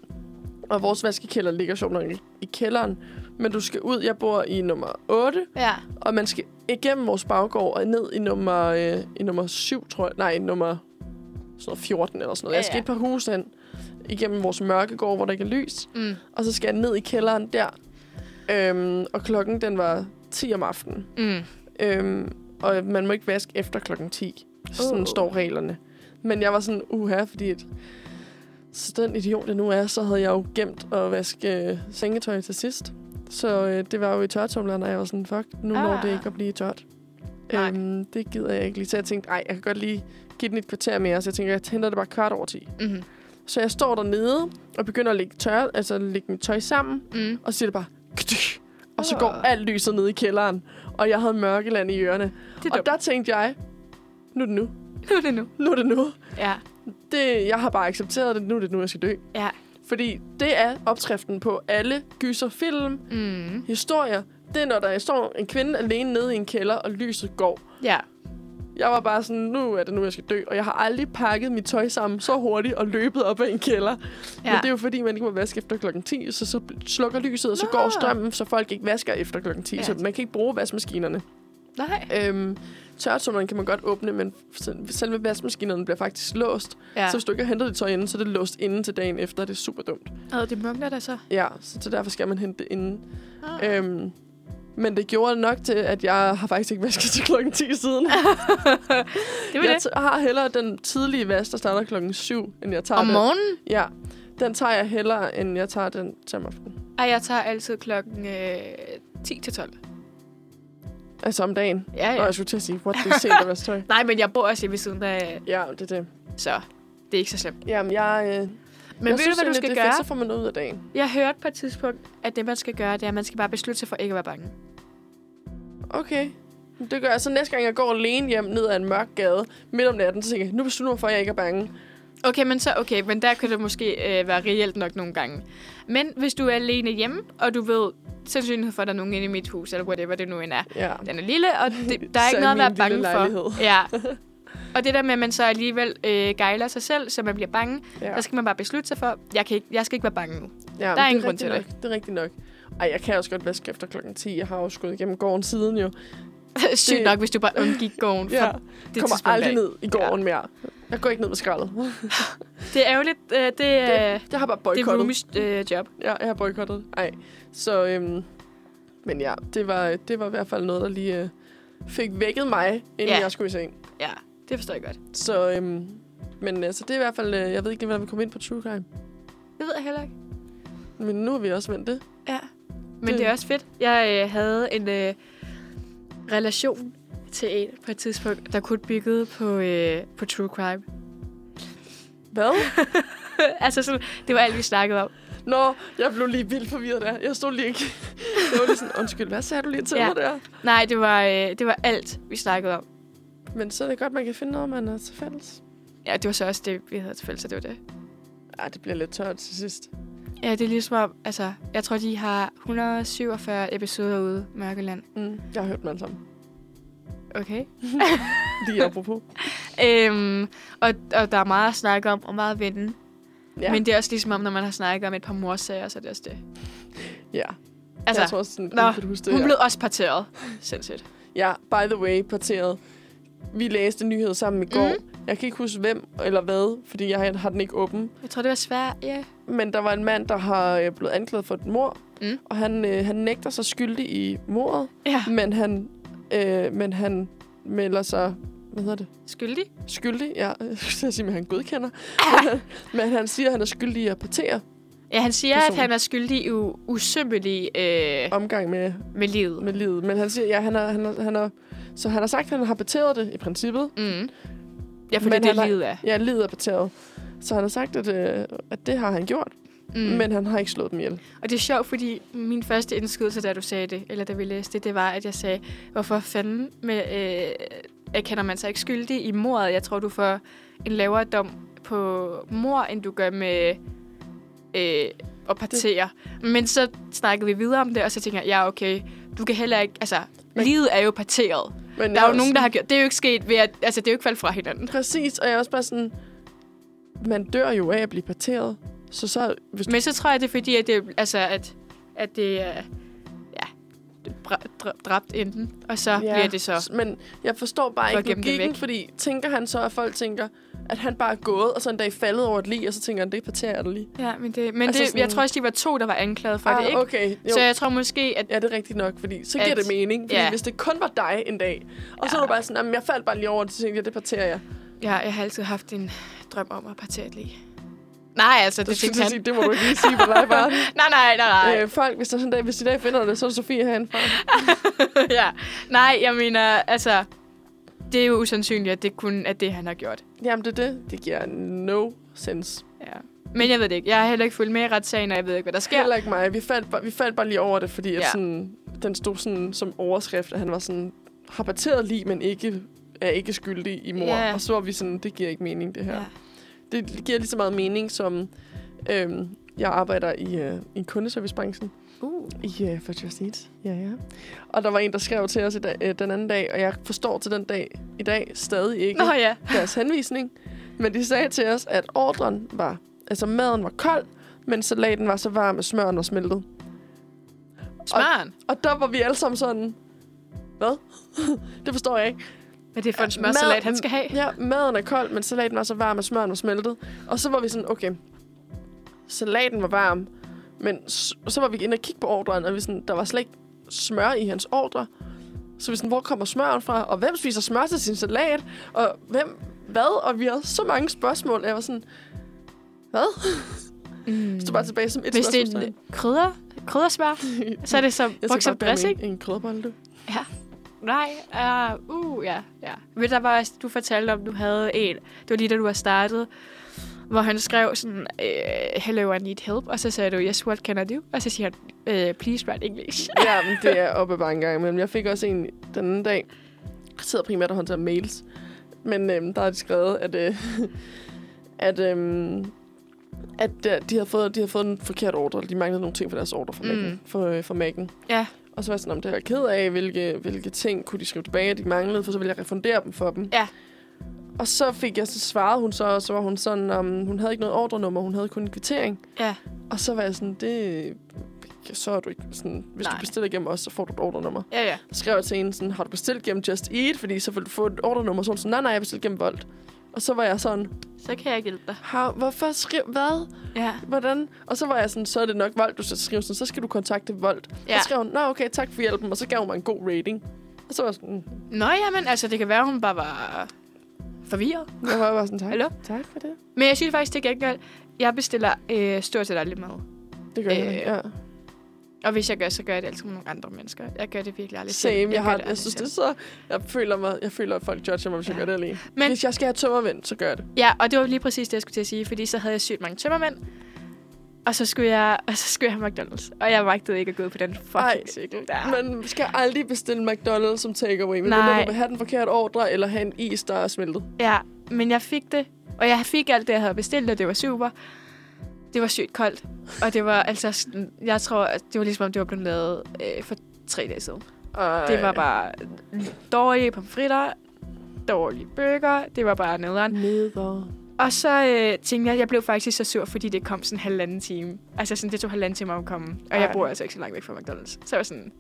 [SPEAKER 1] Og vores vaskekælder ligger sjovt nok i- i kælderen. Men du skal ud. Jeg bor i nummer 8.
[SPEAKER 2] Ja.
[SPEAKER 1] Og man skal igennem vores baggård og ned i nummer, øh, i nummer 7, tror jeg. Nej, i nummer sådan noget 14 eller sådan noget.
[SPEAKER 2] Ja,
[SPEAKER 1] Jeg skal
[SPEAKER 2] ja.
[SPEAKER 1] et par huse hen. igennem vores mørke gård, hvor der ikke er lys.
[SPEAKER 2] Mm.
[SPEAKER 1] Og så skal jeg ned i kælderen der. Øhm, og klokken, den var 10 om aftenen.
[SPEAKER 2] Mm.
[SPEAKER 1] Øhm, og man må ikke vaske efter klokken 10. Sådan
[SPEAKER 2] Åh.
[SPEAKER 1] oh. står reglerne. Men jeg var sådan, uha, fordi at, så den idiot, jeg nu er, så havde jeg jo gemt at vaske øh, sengetøj til sidst. Så øh, det var jo i tørretumleren, og jeg var sådan, fuck, nu ah. når det
[SPEAKER 2] Ah.
[SPEAKER 1] ikke at blive tørt.
[SPEAKER 2] Nej.
[SPEAKER 1] Øhm, det gider jeg ikke lige. Så jeg tænkte, nej, jeg kan godt lige give den et kvarter mere. Så jeg tænker, jeg henter det bare kvart over 10.
[SPEAKER 2] Mm.
[SPEAKER 1] Så jeg står dernede og begynder at lægge, tør, altså, lægge mit tøj sammen,
[SPEAKER 2] Mm.
[SPEAKER 1] og så siger det bare... "Kdyk", Og så
[SPEAKER 2] Åh.
[SPEAKER 1] går alt lyset ned i kælderen, og jeg havde mørkeland i ørerne.
[SPEAKER 2] Det er
[SPEAKER 1] Og
[SPEAKER 2] dumt.
[SPEAKER 1] der tænkte jeg, nu er det nu.
[SPEAKER 2] Nu er det nu.
[SPEAKER 1] Nu er det nu.
[SPEAKER 2] Ja.
[SPEAKER 1] Det, jeg har bare accepteret det. Nu er det nu, jeg skal dø.
[SPEAKER 2] Ja.
[SPEAKER 1] Fordi det er opskriften på alle gyserfilm,
[SPEAKER 2] Mm.
[SPEAKER 1] historier. Det er, når der står en kvinde alene nede i en kælder, og lyset går.
[SPEAKER 2] Ja.
[SPEAKER 1] Jeg var bare sådan, nu er det nu, jeg skal dø. Og jeg har aldrig pakket mit tøj sammen så hurtigt og løbet op ad en kælder. Ja.
[SPEAKER 2] ja.
[SPEAKER 1] Men det er jo fordi, man ikke må vaske efter klokken 10, så, så slukker lyset, og så
[SPEAKER 2] Nå.
[SPEAKER 1] går strømmen, så folk ikke vasker efter klokken 10. Ja.
[SPEAKER 2] Ja.
[SPEAKER 1] Så man kan ikke bruge vaskemaskinerne.
[SPEAKER 2] Nej.
[SPEAKER 1] Øhm, tørretummeren kan man godt åbne, men sel- selve vaskemaskinerne bliver faktisk låst.
[SPEAKER 2] Ja.
[SPEAKER 1] Ja. Så hvis du ikke har hentet dit tøj inden, så er det låst inden til dagen efter. Det er super dumt.
[SPEAKER 2] Og det mungler der så.
[SPEAKER 1] Ja, så, så derfor skal man hente det inden.
[SPEAKER 2] Ah.
[SPEAKER 1] Øhm, men det gjorde nok til, at jeg har faktisk ikke vasket til klokken 10 siden.
[SPEAKER 2] det var
[SPEAKER 1] Jeg
[SPEAKER 2] det.
[SPEAKER 1] t- har hellere den tidlige vask, der starter klokken 7, end jeg tager
[SPEAKER 2] Om
[SPEAKER 1] den.
[SPEAKER 2] morgenen?
[SPEAKER 1] Ja, den tager jeg hellere, end jeg tager den til om aftenen.
[SPEAKER 2] Ej, jeg tager altid klokken øh, 10 til 12.
[SPEAKER 1] Altså om dagen.
[SPEAKER 2] Ja,
[SPEAKER 1] Ja. Og
[SPEAKER 2] ja.
[SPEAKER 1] jeg skulle til at sige, what det er sent at vaske tøj.
[SPEAKER 2] Nej, men jeg bor også hjemme ved siden af,
[SPEAKER 1] Ja, det er det.
[SPEAKER 2] så det er ikke så slemt.
[SPEAKER 1] Jamen, jeg, øh,
[SPEAKER 2] Men
[SPEAKER 1] jeg
[SPEAKER 2] jeg ved du,
[SPEAKER 1] synes
[SPEAKER 2] hvad du
[SPEAKER 1] egentlig,
[SPEAKER 2] skal
[SPEAKER 1] det er
[SPEAKER 2] gøre?
[SPEAKER 1] Fedt, så får man noget ud af dagen.
[SPEAKER 2] Jeg hørte på et tidspunkt, at det, man skal gøre, det er, at man skal bare beslutte sig for ikke at være bange.
[SPEAKER 1] Okay. Det gør jeg. Så næste gang, jeg går alene hjem ned ad en mørk gade midt om natten, så tænker jeg, nu beslutter jeg mig for, at jeg ikke er bange.
[SPEAKER 2] Okay, men så okay, men der kan det måske øh, være reelt nok nogle gange. Men hvis du er alene hjemme, og du ved sandsynligheden for, at der er nogen inde i mit hus, eller whatever det nu end er,
[SPEAKER 1] Ja.
[SPEAKER 2] den er lille, og det, der er
[SPEAKER 1] Så
[SPEAKER 2] ikke
[SPEAKER 1] i
[SPEAKER 2] noget at
[SPEAKER 1] min
[SPEAKER 2] være
[SPEAKER 1] lille
[SPEAKER 2] bange for.
[SPEAKER 1] lejlighed.
[SPEAKER 2] Ja. Og det der med, at man så alligevel øh, gejler sig selv, så man bliver bange, ja.
[SPEAKER 1] ja.
[SPEAKER 2] der skal man bare beslutte sig for, jeg, kan ikke, jeg skal ikke være bange nu.
[SPEAKER 1] ja men
[SPEAKER 2] der er
[SPEAKER 1] det
[SPEAKER 2] ingen grund
[SPEAKER 1] rigtigt
[SPEAKER 2] til
[SPEAKER 1] nok. Det er rigtigt nok. Ej, jeg kan også godt vaske efter klokken 10. Jeg har jo skudt igennem gården siden jo.
[SPEAKER 2] Sygt
[SPEAKER 1] Det-
[SPEAKER 2] nok, hvis du bare undgik gården.
[SPEAKER 1] Ja.
[SPEAKER 2] Ja.
[SPEAKER 1] Det
[SPEAKER 2] Det
[SPEAKER 1] kommer
[SPEAKER 2] tidspunkt
[SPEAKER 1] aldrig
[SPEAKER 2] af.
[SPEAKER 1] ned i gården ja. mere. Jeg går ikke ned med skraldet.
[SPEAKER 2] Det er ærgerligt. Øh, det, det,
[SPEAKER 1] Jeg har bare
[SPEAKER 2] det er
[SPEAKER 1] boykottet.
[SPEAKER 2] roomies øh, job.
[SPEAKER 1] Ja, jeg har boykottet. Nej. Så, øhm, men ja, det var, det var i hvert fald noget, der lige øh, fik vækket mig, inden
[SPEAKER 2] Ja.
[SPEAKER 1] jeg skulle i seng.
[SPEAKER 2] Ja, det forstår jeg godt.
[SPEAKER 1] Så, øhm, men altså, det er i hvert fald, øh, jeg ved ikke lige, hvordan vi kom ind på True Crime.
[SPEAKER 2] Det ved jeg heller ikke.
[SPEAKER 1] Men nu har vi også vendt det.
[SPEAKER 2] Ja. Men
[SPEAKER 1] Det-
[SPEAKER 2] det, det er også fedt. Jeg øh, havde en øh, relation til en på et tidspunkt, der kun byggede på, øh, på true crime.
[SPEAKER 1] Hvad?
[SPEAKER 2] altså, sådan, det var alt, vi snakkede om.
[SPEAKER 1] Nå, jeg blev lige vildt forvirret der. Jeg stod lige ikke. Jeg var lige sådan, undskyld, hvad sagde du lige til ja.
[SPEAKER 2] Ja.
[SPEAKER 1] mig der?
[SPEAKER 2] Nej, det var, øh, det var alt, vi snakkede om.
[SPEAKER 1] Men så er det godt, man kan finde noget, man er til fælles.
[SPEAKER 2] Ja, det var så også det, vi havde til fælles, så det var det.
[SPEAKER 1] Ej, Ah, det bliver lidt tørt til sidst.
[SPEAKER 2] Ja, det er ligesom om, altså, jeg tror, de har 147 episoder ude, Mørkeland.
[SPEAKER 1] Mm. Jeg har hørt mig sammen.
[SPEAKER 2] Okay.
[SPEAKER 1] Lige apropos.
[SPEAKER 2] Øhm, og, og der er meget at snakke om, og meget at vinde.
[SPEAKER 1] Ja,
[SPEAKER 2] Ja. Men det er også ligesom om, når man har snakket om et par morsager, så er det også det.
[SPEAKER 1] ja. Altså,
[SPEAKER 2] Altså,
[SPEAKER 1] jeg tror også, sådan,
[SPEAKER 2] nå,
[SPEAKER 1] Nå, kan du huske det
[SPEAKER 2] hun
[SPEAKER 1] her?
[SPEAKER 2] blev også parteret. Sindssygt.
[SPEAKER 1] Ja, by the way, parteret. Vi læste nyheder sammen i går. Mm. Jeg kan ikke huske, hvem eller hvad, fordi jeg har den ikke åben.
[SPEAKER 2] Jeg tror, det var svært, ja.
[SPEAKER 1] Men der var en mand, der har øh, blevet anklaget for et mor.
[SPEAKER 2] Mm. Ah.
[SPEAKER 1] Og han, øh, han nægter sig skyldig i mordet.
[SPEAKER 2] Ja.
[SPEAKER 1] Men han, øh, men han melder sig... Hvad hedder det?
[SPEAKER 2] Skyldig?
[SPEAKER 1] Skyldig? Ja, jeg skulle til at sige, at han godkender. Men
[SPEAKER 2] Ah.
[SPEAKER 1] han- men han siger, at han er skyldig i at partere
[SPEAKER 2] Ja, han siger,
[SPEAKER 1] Person.
[SPEAKER 2] at han er skyldig i u- usømmelig øh,
[SPEAKER 1] omgang med,
[SPEAKER 2] med livet.
[SPEAKER 1] med livet. Men han siger, ja, han er, han er, han er, så han har sagt, at han har parteret det i princippet.
[SPEAKER 2] Mm. Ja, for det
[SPEAKER 1] Men
[SPEAKER 2] er det,
[SPEAKER 1] han er-
[SPEAKER 2] livet er.
[SPEAKER 1] Ja, livet er parteret. Så han har sagt, at, øh, at det har han gjort, mm. men han har ikke slået dem ihjel.
[SPEAKER 2] Og det er sjovt, fordi min første indskydelse, da du sagde det, eller da vi læste det, det var, at jeg sagde, hvorfor fanden med, øh, erkender man sig ikke skyldig i mordet? Jeg tror, du får en lavere dom på mor, end du gør med øh, at partere. Det. Men så snakkede vi videre om det, og så tænker jeg, ja okay, du kan heller ikke, altså,
[SPEAKER 1] Men-
[SPEAKER 2] Men... livet er jo parteret.
[SPEAKER 1] Men
[SPEAKER 2] Der
[SPEAKER 1] jeg
[SPEAKER 2] er jo nogen, der har gjort, det er jo ikke sket ved at, altså, det er jo ikke faldet fra hinanden.
[SPEAKER 1] Præcis, og jeg er også bare sådan... Man dør jo af at blive parteret. Så så... Hvis du,
[SPEAKER 2] Men så tror jeg, det er fordi, at det, altså, at, at det er ja, dra- dra- dræbt enten, og så ja. bliver det så.
[SPEAKER 1] Men jeg forstår bare
[SPEAKER 2] For
[SPEAKER 1] ikke
[SPEAKER 2] at gemme det
[SPEAKER 1] logikken,
[SPEAKER 2] væk.
[SPEAKER 1] fordi tænker han så, at folk tænker, at han bare er gået, og så en dag faldet over et lig, og så tænker han, det parterer jeg da lige.
[SPEAKER 2] Ja, men, det, men
[SPEAKER 1] Altså
[SPEAKER 2] altså det,
[SPEAKER 1] sådan-
[SPEAKER 2] jeg tror også, de var to, der var anklaget for ah, det, ikke? Okay.
[SPEAKER 1] okay. Jo.
[SPEAKER 2] Så jeg tror måske, at
[SPEAKER 1] Ja, det er rigtigt nok, fordi så
[SPEAKER 2] At-
[SPEAKER 1] giver det mening. Fordi
[SPEAKER 2] ja.
[SPEAKER 1] hvis det kun var dig en dag, og så
[SPEAKER 2] Ja.
[SPEAKER 1] er du bare sådan, "Jamen, jeg faldt bare lige over det, så tænkte jeg, det parterer jeg.
[SPEAKER 2] ja, jeg har altid haft en drøm om at partere et lige. Nej, altså,
[SPEAKER 1] Det,
[SPEAKER 2] det
[SPEAKER 1] skal
[SPEAKER 2] tænkte
[SPEAKER 1] jeg
[SPEAKER 2] han.
[SPEAKER 1] sige, det må du ikke lige sige på live bare.
[SPEAKER 2] Nej, nej, nej, nej.
[SPEAKER 1] Øh, folk, hvis, der sådan en dag, hvis de i dag finder det, så er det Sofie herindefra.
[SPEAKER 2] ja. Nej, jeg mener, altså... Det er jo usandsynligt, at det kun er det, han har gjort.
[SPEAKER 1] Jamen, det er det. Det giver no sense.
[SPEAKER 2] Ja. Men jeg ved det ikke. Jeg har heller ikke fulgt med i retssagen, og jeg ved ikke, hvad der sker.
[SPEAKER 1] Heller ikke mig. Vi faldt, bare, vi faldt bare lige over det, fordi at
[SPEAKER 2] Ja.
[SPEAKER 1] sådan, den stod sådan, som overskrift, at han var sådan, har parteret lige, men ikke, er ikke skyldig i mor.
[SPEAKER 2] Ja.
[SPEAKER 1] Og så var vi sådan, det giver ikke mening, det her.
[SPEAKER 2] Ja.
[SPEAKER 1] Det giver lige så meget mening, som øhm, jeg arbejder i, øh, i kundeservicebranchen.
[SPEAKER 2] Uh.
[SPEAKER 1] I øh, for Just Eat. Ja, ja. Og der var en, der skrev til os i dag, øh, den anden dag, og jeg forstår til den dag i dag stadig ikke
[SPEAKER 2] Nå ja.
[SPEAKER 1] deres henvisning. Men de sagde til os, at ordren var... Altså, maden var kold, men salaten var så varm, at smøren var smeltet.
[SPEAKER 2] Smøren.
[SPEAKER 1] Og der var vi alle sammen sådan... Hvad? det forstår jeg ikke.
[SPEAKER 2] Hvad er det for en
[SPEAKER 1] Ja,
[SPEAKER 2] smørsalat,
[SPEAKER 1] mad-
[SPEAKER 2] han skal have?
[SPEAKER 1] Ja, maden er kold, men salaten var så varm, at smøren var smeltet. Og så var vi sådan, okay... Salaten var varm, men s- så var vi inde og kigge på ordren, og vi sådan, der var slet ikke smør i hans ordre. Så vi sådan, hvor kommer smøren fra? Og hvem spiser smør til sin salat? Og hvem, hvad? Og vi havde så mange spørgsmål, at jeg var sådan, hvad?
[SPEAKER 2] Mm.
[SPEAKER 1] Jeg stod bare tilbage som et
[SPEAKER 2] Hvis det er
[SPEAKER 1] spørgsmålstegn.
[SPEAKER 2] en krydder, kryddersmør, så er det som
[SPEAKER 1] Jeg
[SPEAKER 2] brugt
[SPEAKER 1] skal
[SPEAKER 2] som
[SPEAKER 1] bare bære
[SPEAKER 2] dressing.
[SPEAKER 1] med en, en krydderbolle, du.
[SPEAKER 2] Ja. Nej, uh, uh, ja, ja. Ved du, der var også, du fortalte om, du havde en, det var lige da du var startet, hvor han skrev sådan, øh, hello, I need help, og så sagde du, yes, what can I do? Og så siger han, øh, please write English.
[SPEAKER 1] Ja, men det er oppe bare en gang imellem. Jeg fik også en den anden dag. Jeg sidder primært og håndterer mails. Men øhm, der har de skrevet, at, øh, at, øhm, at øh, de, har fået, de har fået en forkert ordre. eller De manglede nogle ting for deres ordre fra
[SPEAKER 2] Mm.
[SPEAKER 1] Mac'en. For, øh, fra Mac'en.
[SPEAKER 2] Ja.
[SPEAKER 1] Og så var jeg sådan, om det er jeg ked af, hvilke, hvilke ting kunne de skrive tilbage, de manglede, for så ville jeg refundere dem for dem.
[SPEAKER 2] Ja.
[SPEAKER 1] Og så fik jeg, så svarede hun så, og så var hun sådan, om hun havde ikke noget ordrenummer, hun havde kun en kvittering.
[SPEAKER 2] ja.
[SPEAKER 1] Og så var jeg sådan, det... Så er du ikke sådan... Hvis Nej.
[SPEAKER 2] Nej.
[SPEAKER 1] du bestiller gennem os, så får du et ordrenummer.
[SPEAKER 2] Ja, ja.
[SPEAKER 1] Så skrev jeg til hende sådan, har du bestilt gennem Just Eat? Fordi så vil du få et ordrenummer. Så var hun sådan, nej, nej, jeg bestilte gennem Volt. Og så var jeg sådan,
[SPEAKER 2] Så kan jeg ikke hjælpe dig.
[SPEAKER 1] har, hvorfor skriv... Hvad?
[SPEAKER 2] Ja.
[SPEAKER 1] Hvordan? Og så var jeg sådan, så er det nok Volt, du skal skrive sådan, så skal du kontakte Volt. Ja.
[SPEAKER 2] Ja.
[SPEAKER 1] Og så skrev hun, nå okay, tak for hjælpen. Og så gav hun mig en god rating. Og så var jeg sådan, "Mm."
[SPEAKER 2] Nå, jamen, altså, det kan være, hun bare var forvirret.
[SPEAKER 1] "Mm, jeg var bare sådan, tak.
[SPEAKER 2] Hallo?
[SPEAKER 1] Tak for det.
[SPEAKER 2] Men jeg synes faktisk til gengæld, jeg bestiller øh, stort set aldrig mad.
[SPEAKER 1] Det gør øh, jeg.
[SPEAKER 2] Øh,
[SPEAKER 1] Ja.
[SPEAKER 2] Og hvis jeg gør, så gør jeg det altid med nogle andre mennesker. Jeg gør det virkelig aldrig selv.
[SPEAKER 1] Same. Jeg, jeg,
[SPEAKER 2] gør
[SPEAKER 1] har,
[SPEAKER 2] det
[SPEAKER 1] jeg
[SPEAKER 2] aldrig
[SPEAKER 1] synes,
[SPEAKER 2] selv.
[SPEAKER 1] det er så... Jeg føler, mig, jeg føler at folk judger mig, hvis ja. jeg
[SPEAKER 2] Ja.
[SPEAKER 1] gør det alene. Men,
[SPEAKER 2] Men-
[SPEAKER 1] hvis jeg skal have tømmervendt, så gør jeg det.
[SPEAKER 2] Ja, og det var lige præcis det, jeg skulle til at sige, fordi så havde jeg sygt mange tømmermænd. Og så skulle jeg, og så skulle jeg have McDonald's. Og jeg magtede ikke at gå ud på den
[SPEAKER 1] Ej,
[SPEAKER 2] fucking cykel der.
[SPEAKER 1] Man skal aldrig bestille McDonald's som takeaway, men
[SPEAKER 2] Nej.
[SPEAKER 1] når du vil have den forkerte ordre, eller have en is, der er smeltet.
[SPEAKER 2] Ja, men jeg fik det. Og jeg fik alt det, jeg havde bestilt, og det var super. Det var sygt koldt. Og det var altså, sådan- jeg tror, at det var ligesom om, det var blevet lavet øh, for tre dage siden.
[SPEAKER 1] Ej.
[SPEAKER 2] Det var bare dårlige pomfritter, dårlige burger. Det var bare nederen.
[SPEAKER 1] Neder.
[SPEAKER 2] Og så øh, tænkte jeg, at jeg blev faktisk så sur, fordi det kom sådan en halvanden time. Altså sådan, det tog halvanden time at komme. Og jeg
[SPEAKER 1] Ej.
[SPEAKER 2] bor altså ikke så langt væk fra McDonald's. Så jeg var sådan,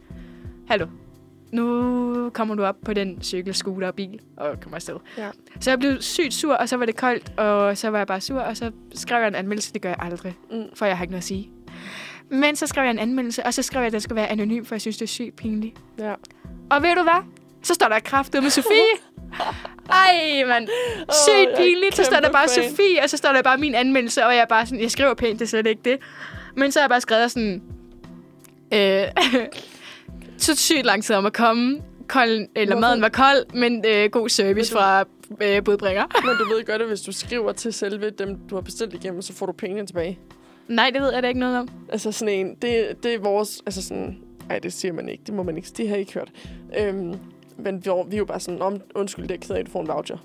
[SPEAKER 2] hallo, nu kommer du op på den cykel, scooter og bil og kommer afsted.
[SPEAKER 1] Ja.
[SPEAKER 2] Så jeg blev sygt sur, og så var det koldt, og så var jeg bare sur, og så skrev jeg en anmeldelse. Det gør jeg aldrig,
[SPEAKER 1] Mm.
[SPEAKER 2] mm. for jeg har ikke noget at sige. Men så skrev jeg en anmeldelse, og så skrev jeg, at den skulle være anonym, for jeg synes, det er sygt pinligt.
[SPEAKER 1] Ja.
[SPEAKER 2] Og ved du hvad? Så står der kraftet med Sofie. Ej, mand. Sygt
[SPEAKER 1] jeg er
[SPEAKER 2] pinligt. Så står der
[SPEAKER 1] kæmpe
[SPEAKER 2] bare
[SPEAKER 1] fan.
[SPEAKER 2] Sofie, og så står der bare min anmeldelse, og jeg er bare sådan, jeg skriver pænt, det er slet ikke det. Men så har jeg bare skrevet sådan, øh, så sygt lang tid om at komme. Kold, eller
[SPEAKER 1] Hvorfor?
[SPEAKER 2] maden var kold, men øh, god service
[SPEAKER 1] Men
[SPEAKER 2] fra øh, budbringer.
[SPEAKER 1] Men du ved godt, at hvis du skriver til selve dem, du har bestilt igennem, så får du pengene tilbage.
[SPEAKER 2] Nej, det ved jeg da ikke noget om.
[SPEAKER 1] Altså sådan en, det, det er vores, altså sådan, nej, det siger man ikke, det må man ikke, det har jeg ikke hørt. Øhm, men vi, vi er jo bare sådan, om, undskyld, det er jeg ked af, at du får en voucher.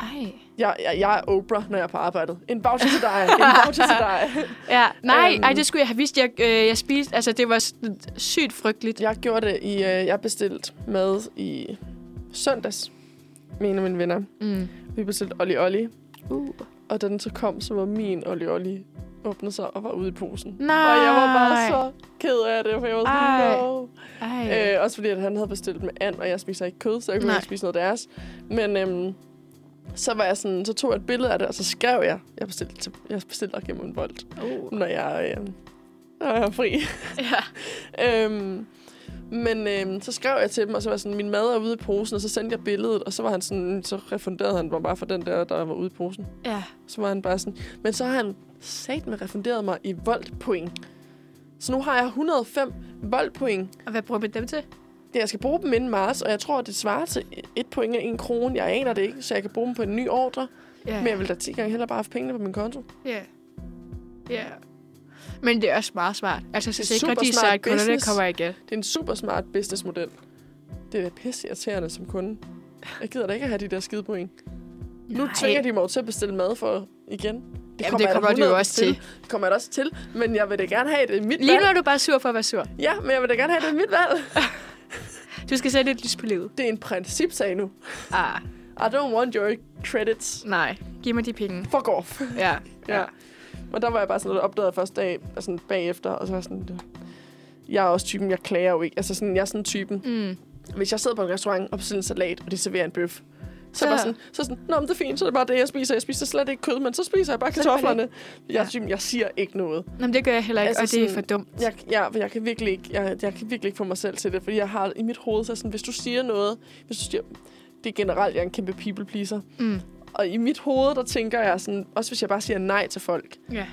[SPEAKER 2] Ej.
[SPEAKER 1] Jeg, jeg, jeg er Oprah, når jeg er på arbejdet. En voucher til dig, en voucher til dig.
[SPEAKER 2] Ja, nej,
[SPEAKER 1] Øhm.
[SPEAKER 2] ej, det skulle jeg have vidst. Jeg, øh, jeg spiste, altså det var s- sygt frygteligt.
[SPEAKER 1] Jeg gjorde det i, øh, jeg bestilte mad i søndags med en af mine venner.
[SPEAKER 2] Mm.
[SPEAKER 1] Vi bestilte Olli Olli,
[SPEAKER 2] Uh.
[SPEAKER 1] og da den så kom, så var min Olli Olli åbnet sig og var ude i posen.
[SPEAKER 2] Nej.
[SPEAKER 1] Og jeg var bare så ked af det, for jeg var sådan,
[SPEAKER 2] Ej.
[SPEAKER 1] no.
[SPEAKER 2] Ej.
[SPEAKER 1] Øh, også fordi, at han havde bestilt med and, og jeg spiser ikke kød, så jeg kunne
[SPEAKER 2] Nej.
[SPEAKER 1] ikke spise noget af deres. Men øhm, Så, var jeg sådan, så tog jeg et billede af det, og så skrev jeg, jeg bestilte, til- jeg bestilte dig gennem en vold,
[SPEAKER 2] Oh.
[SPEAKER 1] når jeg, øh, når jeg er fri.
[SPEAKER 2] Ja.
[SPEAKER 1] øhm, men øhm, så skrev jeg til dem, og så var jeg sådan, min mad er ude i posen, og så sendte jeg billedet, og så var han sådan, så refunderede han mig bare for den der, der var ude i posen.
[SPEAKER 2] ja.
[SPEAKER 1] Så var han bare sådan, men så har han sat med refunderet mig i voldpoint. Så nu har jeg 105 voldpoint.
[SPEAKER 2] Og hvad bruger man dem til?
[SPEAKER 1] Det, jeg skal bruge dem inden marts, og jeg tror, det svarer til et point af en krone. Jeg aner det ikke, så jeg kan bruge dem på en ny ordre.
[SPEAKER 2] Ja.
[SPEAKER 1] Men jeg vil da 10 gange hellere bare have haft pengene på min konto.
[SPEAKER 2] Ja. Ja. Men det er også meget smart. Altså, så
[SPEAKER 1] Det er
[SPEAKER 2] sikrer de sig,
[SPEAKER 1] supersmart
[SPEAKER 2] at kunderne
[SPEAKER 1] business.
[SPEAKER 2] kommer igen.
[SPEAKER 1] Det er en super smart businessmodel. Det er da pisse irriterende som kunde. Jeg gider da ikke at have de der skide point. Nu tvinger de mig jo til at bestille mad for igen. Det
[SPEAKER 2] Jamen, det
[SPEAKER 1] jeg da
[SPEAKER 2] kommer du jo
[SPEAKER 1] 100
[SPEAKER 2] også
[SPEAKER 1] til. Det kommer jeg da også til, men jeg vil da gerne have det i mit
[SPEAKER 2] Lige nu
[SPEAKER 1] valg.
[SPEAKER 2] er du bare sur for at være sur.
[SPEAKER 1] Ja, men jeg vil da gerne have det i mit valg.
[SPEAKER 2] Du skal sætte et lys på livet.
[SPEAKER 1] Det er en principsag nu.
[SPEAKER 2] Ah,
[SPEAKER 1] I don't want your credits.
[SPEAKER 2] nej. Giv mig de penge.
[SPEAKER 1] Fuck off.
[SPEAKER 2] Ja.
[SPEAKER 1] Ja. Og der var jeg bare sådan lidt opdaget første dag, og sådan bagefter, og så var jeg sådan... Jeg er også typen, jeg klager jo ikke. Altså sådan, jeg er sådan typen,
[SPEAKER 2] Mm.
[SPEAKER 1] hvis jeg sidder på en restaurant og bestiller en salat, og de serverer en bøf, så,
[SPEAKER 2] Ja.
[SPEAKER 1] ja. bare sådan, så sådan, nå, men det er fint, så er det bare det, jeg spiser. Jeg spiser slet ikke kød, men så spiser jeg bare
[SPEAKER 2] Så er det bare
[SPEAKER 1] kartoflerne. Jeg er
[SPEAKER 2] Ja.
[SPEAKER 1] typen, jeg siger ikke noget.
[SPEAKER 2] Nå, men det gør jeg heller ikke, altså,
[SPEAKER 1] Altså
[SPEAKER 2] og det er for
[SPEAKER 1] sådan-
[SPEAKER 2] dumt.
[SPEAKER 1] Jeg, jeg, jeg, kan virkelig ikke, jeg, jeg kan virkelig ikke få mig selv til det, fordi jeg har i mit hoved, så er sådan, hvis du siger noget, hvis du siger, det er generelt, jeg er en kæmpe people pleaser.
[SPEAKER 2] Mm.
[SPEAKER 1] Og i mit hoved, der tænker jeg sådan, også hvis jeg bare siger nej til folk,
[SPEAKER 2] Ja.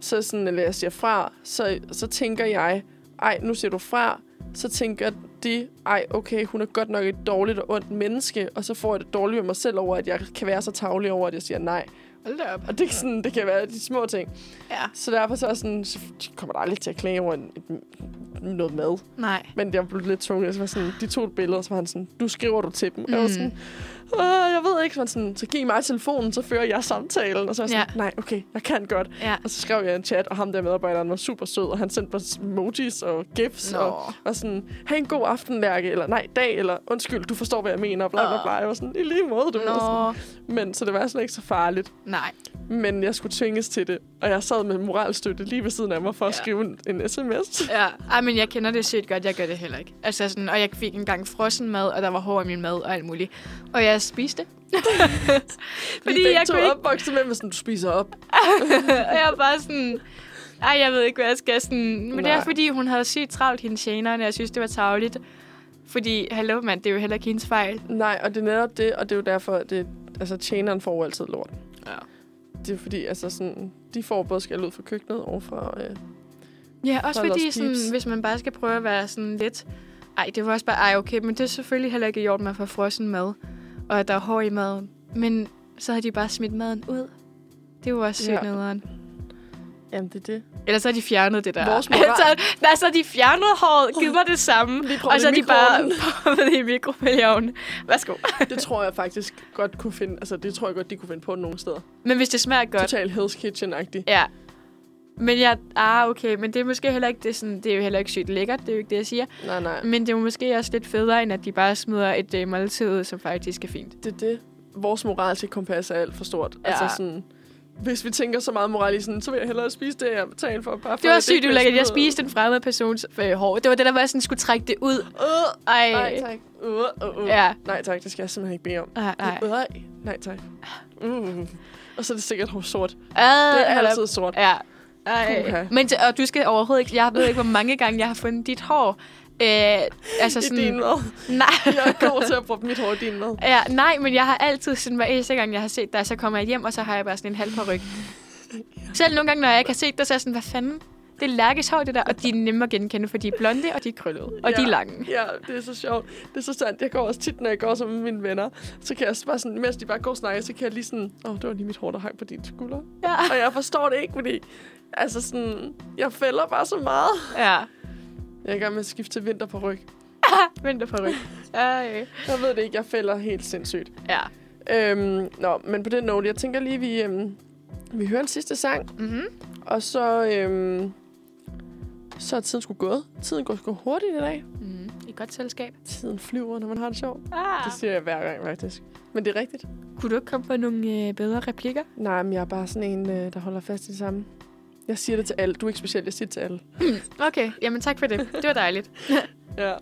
[SPEAKER 1] så sådan, eller jeg siger fra, så, så tænker jeg, ej, nu siger du fra, så tænker de, ej, okay, hun er godt nok et dårligt og ondt menneske, og så får jeg det dårligt med mig selv over, at jeg kan være så tavlig over, at jeg siger nej.
[SPEAKER 2] Hold da op.
[SPEAKER 1] Og det, er sådan, det kan være de små ting.
[SPEAKER 2] Ja.
[SPEAKER 1] Så derfor så er jeg sådan, så kommer der aldrig til at klage over en, et- noget mad.
[SPEAKER 2] Nej.
[SPEAKER 1] Men jeg blev lidt tvunget. Så var sådan, de to billeder, så var han sådan, du skriver du til dem. Mm. Jeg var
[SPEAKER 2] Mm.
[SPEAKER 1] sådan, Åh, jeg ved ikke. Så, var han sådan, så giv mig telefonen, så fører jeg samtalen. Og så var jeg sådan, ja.
[SPEAKER 2] Ja.
[SPEAKER 1] nej, okay, jeg kan godt.
[SPEAKER 2] Ja.
[SPEAKER 1] Og så skrev jeg en chat, og ham der medarbejderen var super sød, og han sendte mig emojis og gifs,
[SPEAKER 2] Nå.
[SPEAKER 1] og var sådan, have en god aften, Lærke, eller nej, dag, eller undskyld, du forstår, hvad jeg mener, bla bla bla. Jeg var sådan, i lige måde, du ved. Sådan.
[SPEAKER 2] Nå.
[SPEAKER 1] Men så det var slet ikke så farligt.
[SPEAKER 2] Nej.
[SPEAKER 1] Men jeg skulle tvinges til det, og jeg sad med moralstøtte lige ved siden af mig for at
[SPEAKER 2] Ja.
[SPEAKER 1] skrive en, en sms.
[SPEAKER 2] Ja, Ej, men jeg kender det sygt godt, jeg gør det heller ikke. Altså sådan, og jeg fik engang frossen mad, og der var hår i min mad og alt muligt. Og jeg spiste det. Fordi jeg kunne ikke,
[SPEAKER 1] opvokset med, hvis du spiser op.
[SPEAKER 2] og jeg var bare sådan... Ej, jeg ved ikke, hvad jeg skal sådan... Men Nej. det er,
[SPEAKER 1] Nej.
[SPEAKER 2] fordi hun havde sygt travlt, hende tjeneren, og jeg synes, det var tavligt. Fordi, hallo mand, det er jo heller ikke hendes fejl.
[SPEAKER 1] Nej, og det er netop det, og det er jo derfor, at det, altså, tjeneren får jo altid lort.
[SPEAKER 2] Ja.
[SPEAKER 1] Det er fordi, altså sådan, de får både skæld ud fra køkkenet og fra... Øh,
[SPEAKER 2] Ja, også
[SPEAKER 1] Hold
[SPEAKER 2] fordi,
[SPEAKER 1] os
[SPEAKER 2] sådan,
[SPEAKER 1] pips.
[SPEAKER 2] hvis man bare skal prøve at være sådan lidt... Ej, det var også bare, ej, okay, men det er selvfølgelig heller ikke i orden, man får frossen mad, og at der er hår i maden. Men så havde de bare smidt maden ud. Det var også sygt ja.
[SPEAKER 1] Ja.
[SPEAKER 2] nederen.
[SPEAKER 1] jamen, det er det.
[SPEAKER 2] Eller så har de fjernet det der.
[SPEAKER 1] Vores moral-
[SPEAKER 2] så, nej, så har de fjernet håret, givet mig det samme.
[SPEAKER 1] Lige prøv
[SPEAKER 2] og så har
[SPEAKER 1] det i
[SPEAKER 2] de bare
[SPEAKER 1] mikroovnen.
[SPEAKER 2] proppet det i mikrobølgeovnen. Værsgo.
[SPEAKER 1] Det tror jeg faktisk godt kunne finde... Altså, det tror jeg godt, de kunne finde på nogle steder.
[SPEAKER 2] Men hvis det smager godt.
[SPEAKER 1] Total Hell's Kitchen-agtigt.
[SPEAKER 2] Ja. Men jeg, ah, okay, men det er måske heller ikke, det er, sådan, det er jo heller ikke sygt lækkert, det er jo ikke det, jeg siger.
[SPEAKER 1] Nej, nej.
[SPEAKER 2] Men det er jo måske også lidt federe, end at de bare smider et øh, måltid ud, som faktisk er fint.
[SPEAKER 1] Det er det. Vores moralske kompas er alt for stort. Ja.
[SPEAKER 2] Ja.
[SPEAKER 1] Altså sådan... Hvis vi tænker så meget moral i sådan, så vil jeg hellere spise det, jeg betaler for. Bare for
[SPEAKER 2] Det var
[SPEAKER 1] at ikke
[SPEAKER 2] sygt
[SPEAKER 1] bliver
[SPEAKER 2] ulækkert, jeg
[SPEAKER 1] smidt ud.
[SPEAKER 2] spiste en fremmed persons øh, hår. Det var det, der var sådan, skulle trække det ud.
[SPEAKER 1] Øh,
[SPEAKER 2] Ej,
[SPEAKER 1] nej, tak. Øh, øh, øh.
[SPEAKER 2] Ja.
[SPEAKER 1] Nej, tak. Det skal jeg simpelthen ikke bede om.
[SPEAKER 2] Ej, ej.
[SPEAKER 1] Nej, nej tak. Mm. Og så er det sikkert hår sort. Det
[SPEAKER 2] Ah,
[SPEAKER 1] er
[SPEAKER 2] hold op.
[SPEAKER 1] altid sort.
[SPEAKER 2] Ja. Ej.
[SPEAKER 1] Puha.
[SPEAKER 2] Men det- og du skal overhovedet ikke... Jeg ved ikke, hvor mange gange jeg har fundet dit hår. Øh, altså
[SPEAKER 1] I
[SPEAKER 2] sådan...
[SPEAKER 1] din mad.
[SPEAKER 2] Nej.
[SPEAKER 1] Jeg er god til at bruge mit hår i din mad.
[SPEAKER 2] Ja, nej, men jeg har altid, sådan hver eneste gang, jeg har set dig, så kommer jeg hjem, og så har jeg bare sådan en halv ryg. Selv nogle gange, når jeg ikke har set dig, så er jeg sådan, hvad fanden? Det er Lærkes hår, det der, og de er nemme at genkende, for de er blonde, og de er krøllede, og ja. de er lange.
[SPEAKER 1] Ja, det er så sjovt. Det er så sandt. Jeg går også tit, når jeg går sammen med mine venner. Så kan jeg bare sådan, mens de bare går og snakker, så kan jeg lige sådan, åh, oh, det var lige mit hår, der hang på dine skulder.
[SPEAKER 2] Ja.
[SPEAKER 1] Og jeg forstår det ikke, fordi altså sådan, jeg fælder bare så meget.
[SPEAKER 2] ja.
[SPEAKER 1] Jeg er i gang med at skifte til vinter på ryg.
[SPEAKER 2] Venter på ryg. Ej.
[SPEAKER 1] Jeg ved det ikke, jeg fælder helt sindssygt.
[SPEAKER 2] Ja.
[SPEAKER 1] Øhm, nå, men på den note, jeg tænker lige, vi, øhm, vi hører en sidste sang.
[SPEAKER 2] Mm-hmm.
[SPEAKER 1] Og så, øhm, så er tiden sgu gået. Tiden går sgu hurtigt i dag.
[SPEAKER 2] Mm. I godt selskab.
[SPEAKER 1] Tiden flyver, når man har det sjovt.
[SPEAKER 2] Ah.
[SPEAKER 1] Det siger jeg hver gang, faktisk. Men det er rigtigt.
[SPEAKER 2] Kunne du ikke komme på nogle øh, bedre replikker?
[SPEAKER 1] Nej, men jeg er bare sådan en, øh, der holder fast i det samme. Jeg siger det til alle. Du er ikke speciel, jeg siger det til alle.
[SPEAKER 2] Okay, jamen tak for det. Det var dejligt.
[SPEAKER 1] Ja.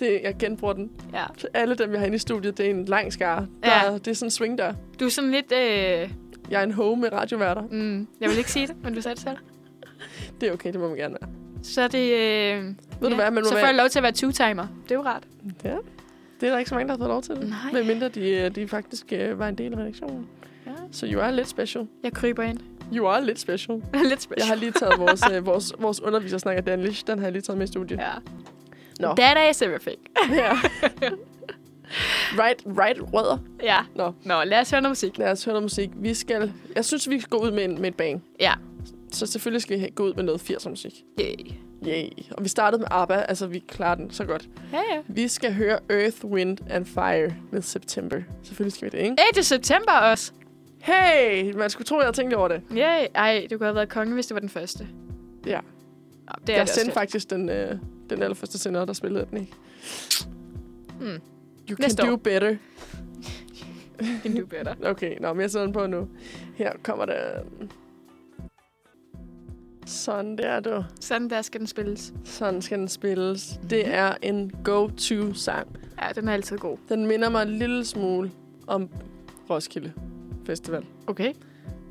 [SPEAKER 1] Det, jeg genbruger den.
[SPEAKER 2] Ja.
[SPEAKER 1] Alle dem, jeg har inde i studiet, det er en lang skare. Der,
[SPEAKER 2] Ja.
[SPEAKER 1] ja. Det er sådan en swingdør.
[SPEAKER 2] Du er sådan lidt... Øh,
[SPEAKER 1] Jeg er en home med radioværter.
[SPEAKER 2] mm, jeg vil ikke sige det, men du sagde det selv.
[SPEAKER 1] Det er okay, det må man gerne være.
[SPEAKER 2] Så er det... Øh,
[SPEAKER 1] Ved du hvad, man må
[SPEAKER 2] så får
[SPEAKER 1] være-
[SPEAKER 2] jeg lov til at være two-timer. Det er jo rart.
[SPEAKER 1] Ja. Det er der ikke så mange, der har fået lov til det.
[SPEAKER 2] Nej.
[SPEAKER 1] Men mindre de, øh, de faktisk øh, var en del af redaktionen.
[SPEAKER 2] Ja.
[SPEAKER 1] Så you are lidt special.
[SPEAKER 2] Jeg kryber ind.
[SPEAKER 1] You are lidt special.
[SPEAKER 2] lidt special.
[SPEAKER 1] Jeg har lige taget vores, øh, vores, vores underviser snakker Danlish. Den har jeg lige taget med i studiet.
[SPEAKER 2] Ja.
[SPEAKER 1] Nå.
[SPEAKER 2] That is everything.
[SPEAKER 1] Ja. right, right rødder.
[SPEAKER 2] Ja.
[SPEAKER 1] Nå.
[SPEAKER 2] Nå, lad os høre noget musik.
[SPEAKER 1] Lad os høre noget musik. Vi skal, jeg synes, vi skal gå ud med, en, med et bang.
[SPEAKER 2] Ja.
[SPEAKER 1] Så selvfølgelig skal vi ha- gå ud med noget 80'er musik.
[SPEAKER 2] Yay.
[SPEAKER 1] Yay. Og vi startede med ABBA. Altså, vi klarer den så godt.
[SPEAKER 2] Ja, ja.
[SPEAKER 1] Vi skal høre Earth, Wind and Fire med September. Selvfølgelig skal vi det, ikke?
[SPEAKER 2] 8. september også.
[SPEAKER 1] Hey! Man skulle tro, jeg havde tænkt over det.
[SPEAKER 2] Yay. Ej, du kunne have været konge, hvis det var den første.
[SPEAKER 1] Ja.
[SPEAKER 2] Nå, det er
[SPEAKER 1] jeg
[SPEAKER 2] det
[SPEAKER 1] sendte
[SPEAKER 2] også
[SPEAKER 1] faktisk den, øh, den allerførste sender, der spillede den, ikke?
[SPEAKER 2] Mm.
[SPEAKER 1] You can
[SPEAKER 2] Næste
[SPEAKER 1] do
[SPEAKER 2] år.
[SPEAKER 1] better.
[SPEAKER 2] lidt. Can do better.
[SPEAKER 1] Okay, nå, men jeg sidder den på nu. Her kommer der... Sådan der, du.
[SPEAKER 2] Sådan der skal den spilles.
[SPEAKER 1] Sådan skal den spilles. Det er en go-to-sang.
[SPEAKER 2] Ja, den er altid god.
[SPEAKER 1] Den minder mig en lille smule om Roskilde Festival.
[SPEAKER 2] Okay.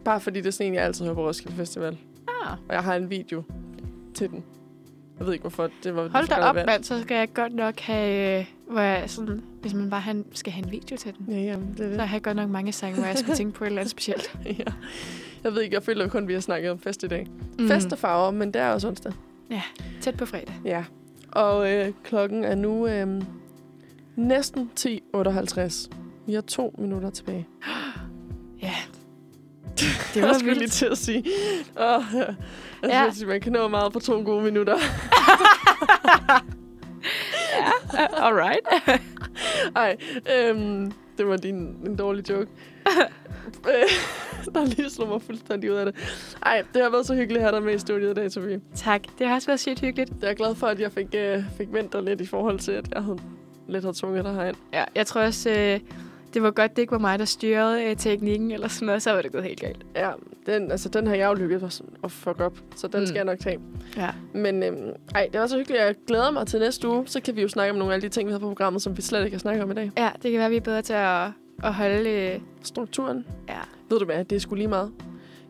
[SPEAKER 1] Bare fordi det er sådan en, jeg altid hører på Roskilde Festival.
[SPEAKER 2] Ah,
[SPEAKER 1] Og jeg har en video til den. Jeg ved ikke, hvorfor det var...
[SPEAKER 2] hold
[SPEAKER 1] det var
[SPEAKER 2] da op,
[SPEAKER 1] relevant.
[SPEAKER 2] mand. Så skal jeg godt nok have... øh, Hvor jeg sådan, hvis man bare han, skal have en video til den.
[SPEAKER 1] Ja, ja, det er det.
[SPEAKER 2] Så har jeg godt nok mange sange, hvor jeg skulle tænke på et eller andet specielt.
[SPEAKER 1] ja. Jeg ved ikke, jeg føler kun, vi har snakket om fest i dag. Mm. Fest og farver, men det er også onsdag.
[SPEAKER 2] Mm. Tæt på fredag.
[SPEAKER 1] Ja. Og øh, klokken er nu øh, næsten 10.58. Vi har to minutter tilbage.
[SPEAKER 2] Ja.
[SPEAKER 1] Det
[SPEAKER 2] var
[SPEAKER 1] var jeg
[SPEAKER 2] vildt.
[SPEAKER 1] lige til at sige. Og, øh, jeg
[SPEAKER 2] Ja.
[SPEAKER 1] ja. sige, man kan nå meget på to gode minutter.
[SPEAKER 2] Uh, all right.
[SPEAKER 1] Ej, øhm, det var din en dårlig joke. Øh, der lige slog mig fuldstændig ud af det. Ej, det har været så hyggeligt at have dig med i studiet i dag, Sofie.
[SPEAKER 2] tak. Det har også været sygt hyggeligt.
[SPEAKER 1] Jeg er glad for, at jeg fik, øh, fik vendt dig lidt i forhold til, at jeg havde lidt har tvunget dig herind.
[SPEAKER 2] Ja, jeg tror også, øh, det var godt, det ikke var mig, der styrede øh, teknikken eller sådan noget. Så var det gået helt galt.
[SPEAKER 1] Ja, den, altså, den har jeg jo lykkedes at, at fuck op, så den
[SPEAKER 2] Mm.
[SPEAKER 1] mm. skal jeg nok tage.
[SPEAKER 2] Ja.
[SPEAKER 1] Men øhm, ej, det var så hyggeligt. Jeg glæder mig til næste uge. Så kan vi jo snakke om nogle af de ting, vi har på programmet, som vi slet ikke har snakket om i dag.
[SPEAKER 2] Ja, det kan være, vi er bedre til at, at holde... Øh,
[SPEAKER 1] Strukturen.
[SPEAKER 2] ja.
[SPEAKER 1] Ved du hvad, det er sgu lige meget.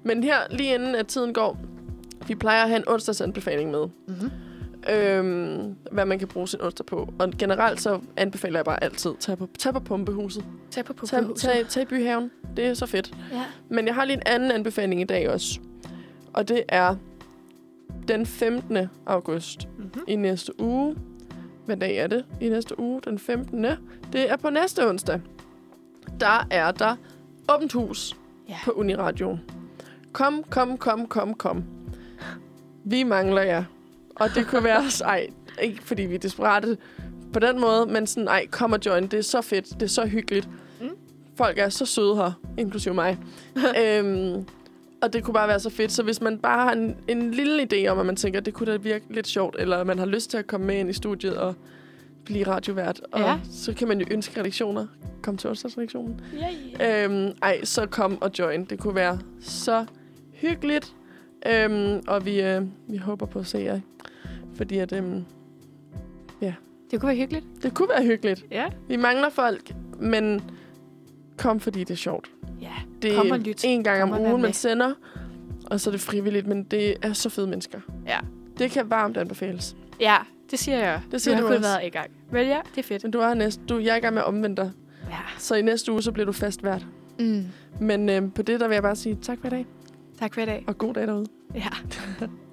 [SPEAKER 1] Men her, lige inden at tiden går, vi plejer at have en onsdagsanbefaling med.
[SPEAKER 2] Mm-hmm.
[SPEAKER 1] Øhm, hvad man kan bruge sin onsdag på. Og generelt så anbefaler jeg bare altid, tag på, tag på pumpehuset.
[SPEAKER 2] Tag på på
[SPEAKER 1] Tag, tag, tag i byhaven. Det er så fedt.
[SPEAKER 2] Ja.
[SPEAKER 1] Men jeg har lige en anden anbefaling i dag også. Og det er den 15. august
[SPEAKER 2] Mm-hmm.
[SPEAKER 1] i næste uge. Hvad dag er det i næste uge? Den 15. Det er på næste onsdag. Der er der åbent hus
[SPEAKER 2] Ja.
[SPEAKER 1] på Uniradioen. Kom, kom, kom, kom, kom. Vi mangler jer. Og det kunne være os. Ej, ikke fordi vi er desperate på den måde, men sådan, ej, kom og join. Det er så fedt. Det er så hyggeligt.
[SPEAKER 2] Mm.
[SPEAKER 1] Mm. Folk er så søde her, inklusive mig. øhm, og det kunne bare være så fedt. Så hvis man bare har en, en lille idé om, at man tænker, det kunne da virke lidt sjovt, eller man har lyst til at komme med ind i studiet og blive radiovært, og
[SPEAKER 2] Ja.
[SPEAKER 1] så kan man jo ønske redaktioner. Kom til onsdagsredaktionen.
[SPEAKER 2] Ja, ja.
[SPEAKER 1] Øhm, ej, så kom og join. Det kunne være så hyggeligt. Øhm, og vi, øh, vi håber på at se jer. Fordi at, øhm,
[SPEAKER 2] Det kunne være hyggeligt.
[SPEAKER 1] det kunne være hyggeligt.
[SPEAKER 2] Ja.
[SPEAKER 1] Vi mangler folk, men kom, fordi det er sjovt.
[SPEAKER 2] Ja.
[SPEAKER 1] Det
[SPEAKER 2] Kom og lyt.
[SPEAKER 1] en gang
[SPEAKER 2] Kom og
[SPEAKER 1] om
[SPEAKER 2] vær
[SPEAKER 1] ugen,
[SPEAKER 2] med.
[SPEAKER 1] man sender. Og så er det frivilligt, men det er så fede mennesker.
[SPEAKER 2] Ja.
[SPEAKER 1] Det kan varmt anbefales.
[SPEAKER 2] Ja, det siger jeg.
[SPEAKER 1] Det siger
[SPEAKER 2] du
[SPEAKER 1] du
[SPEAKER 2] har kun
[SPEAKER 1] også.
[SPEAKER 2] været i gang. Men ja, det er fedt.
[SPEAKER 1] Men du er næste, du, jeg er i gang med at omvende dig.
[SPEAKER 2] Ja.
[SPEAKER 1] Så i næste uge, så bliver du fast vært.
[SPEAKER 2] Mm.
[SPEAKER 1] Men øhm, på det, der vil jeg bare sige tak for i dag.
[SPEAKER 2] Tak for i dag.
[SPEAKER 1] Og god dag derude.
[SPEAKER 2] Ja.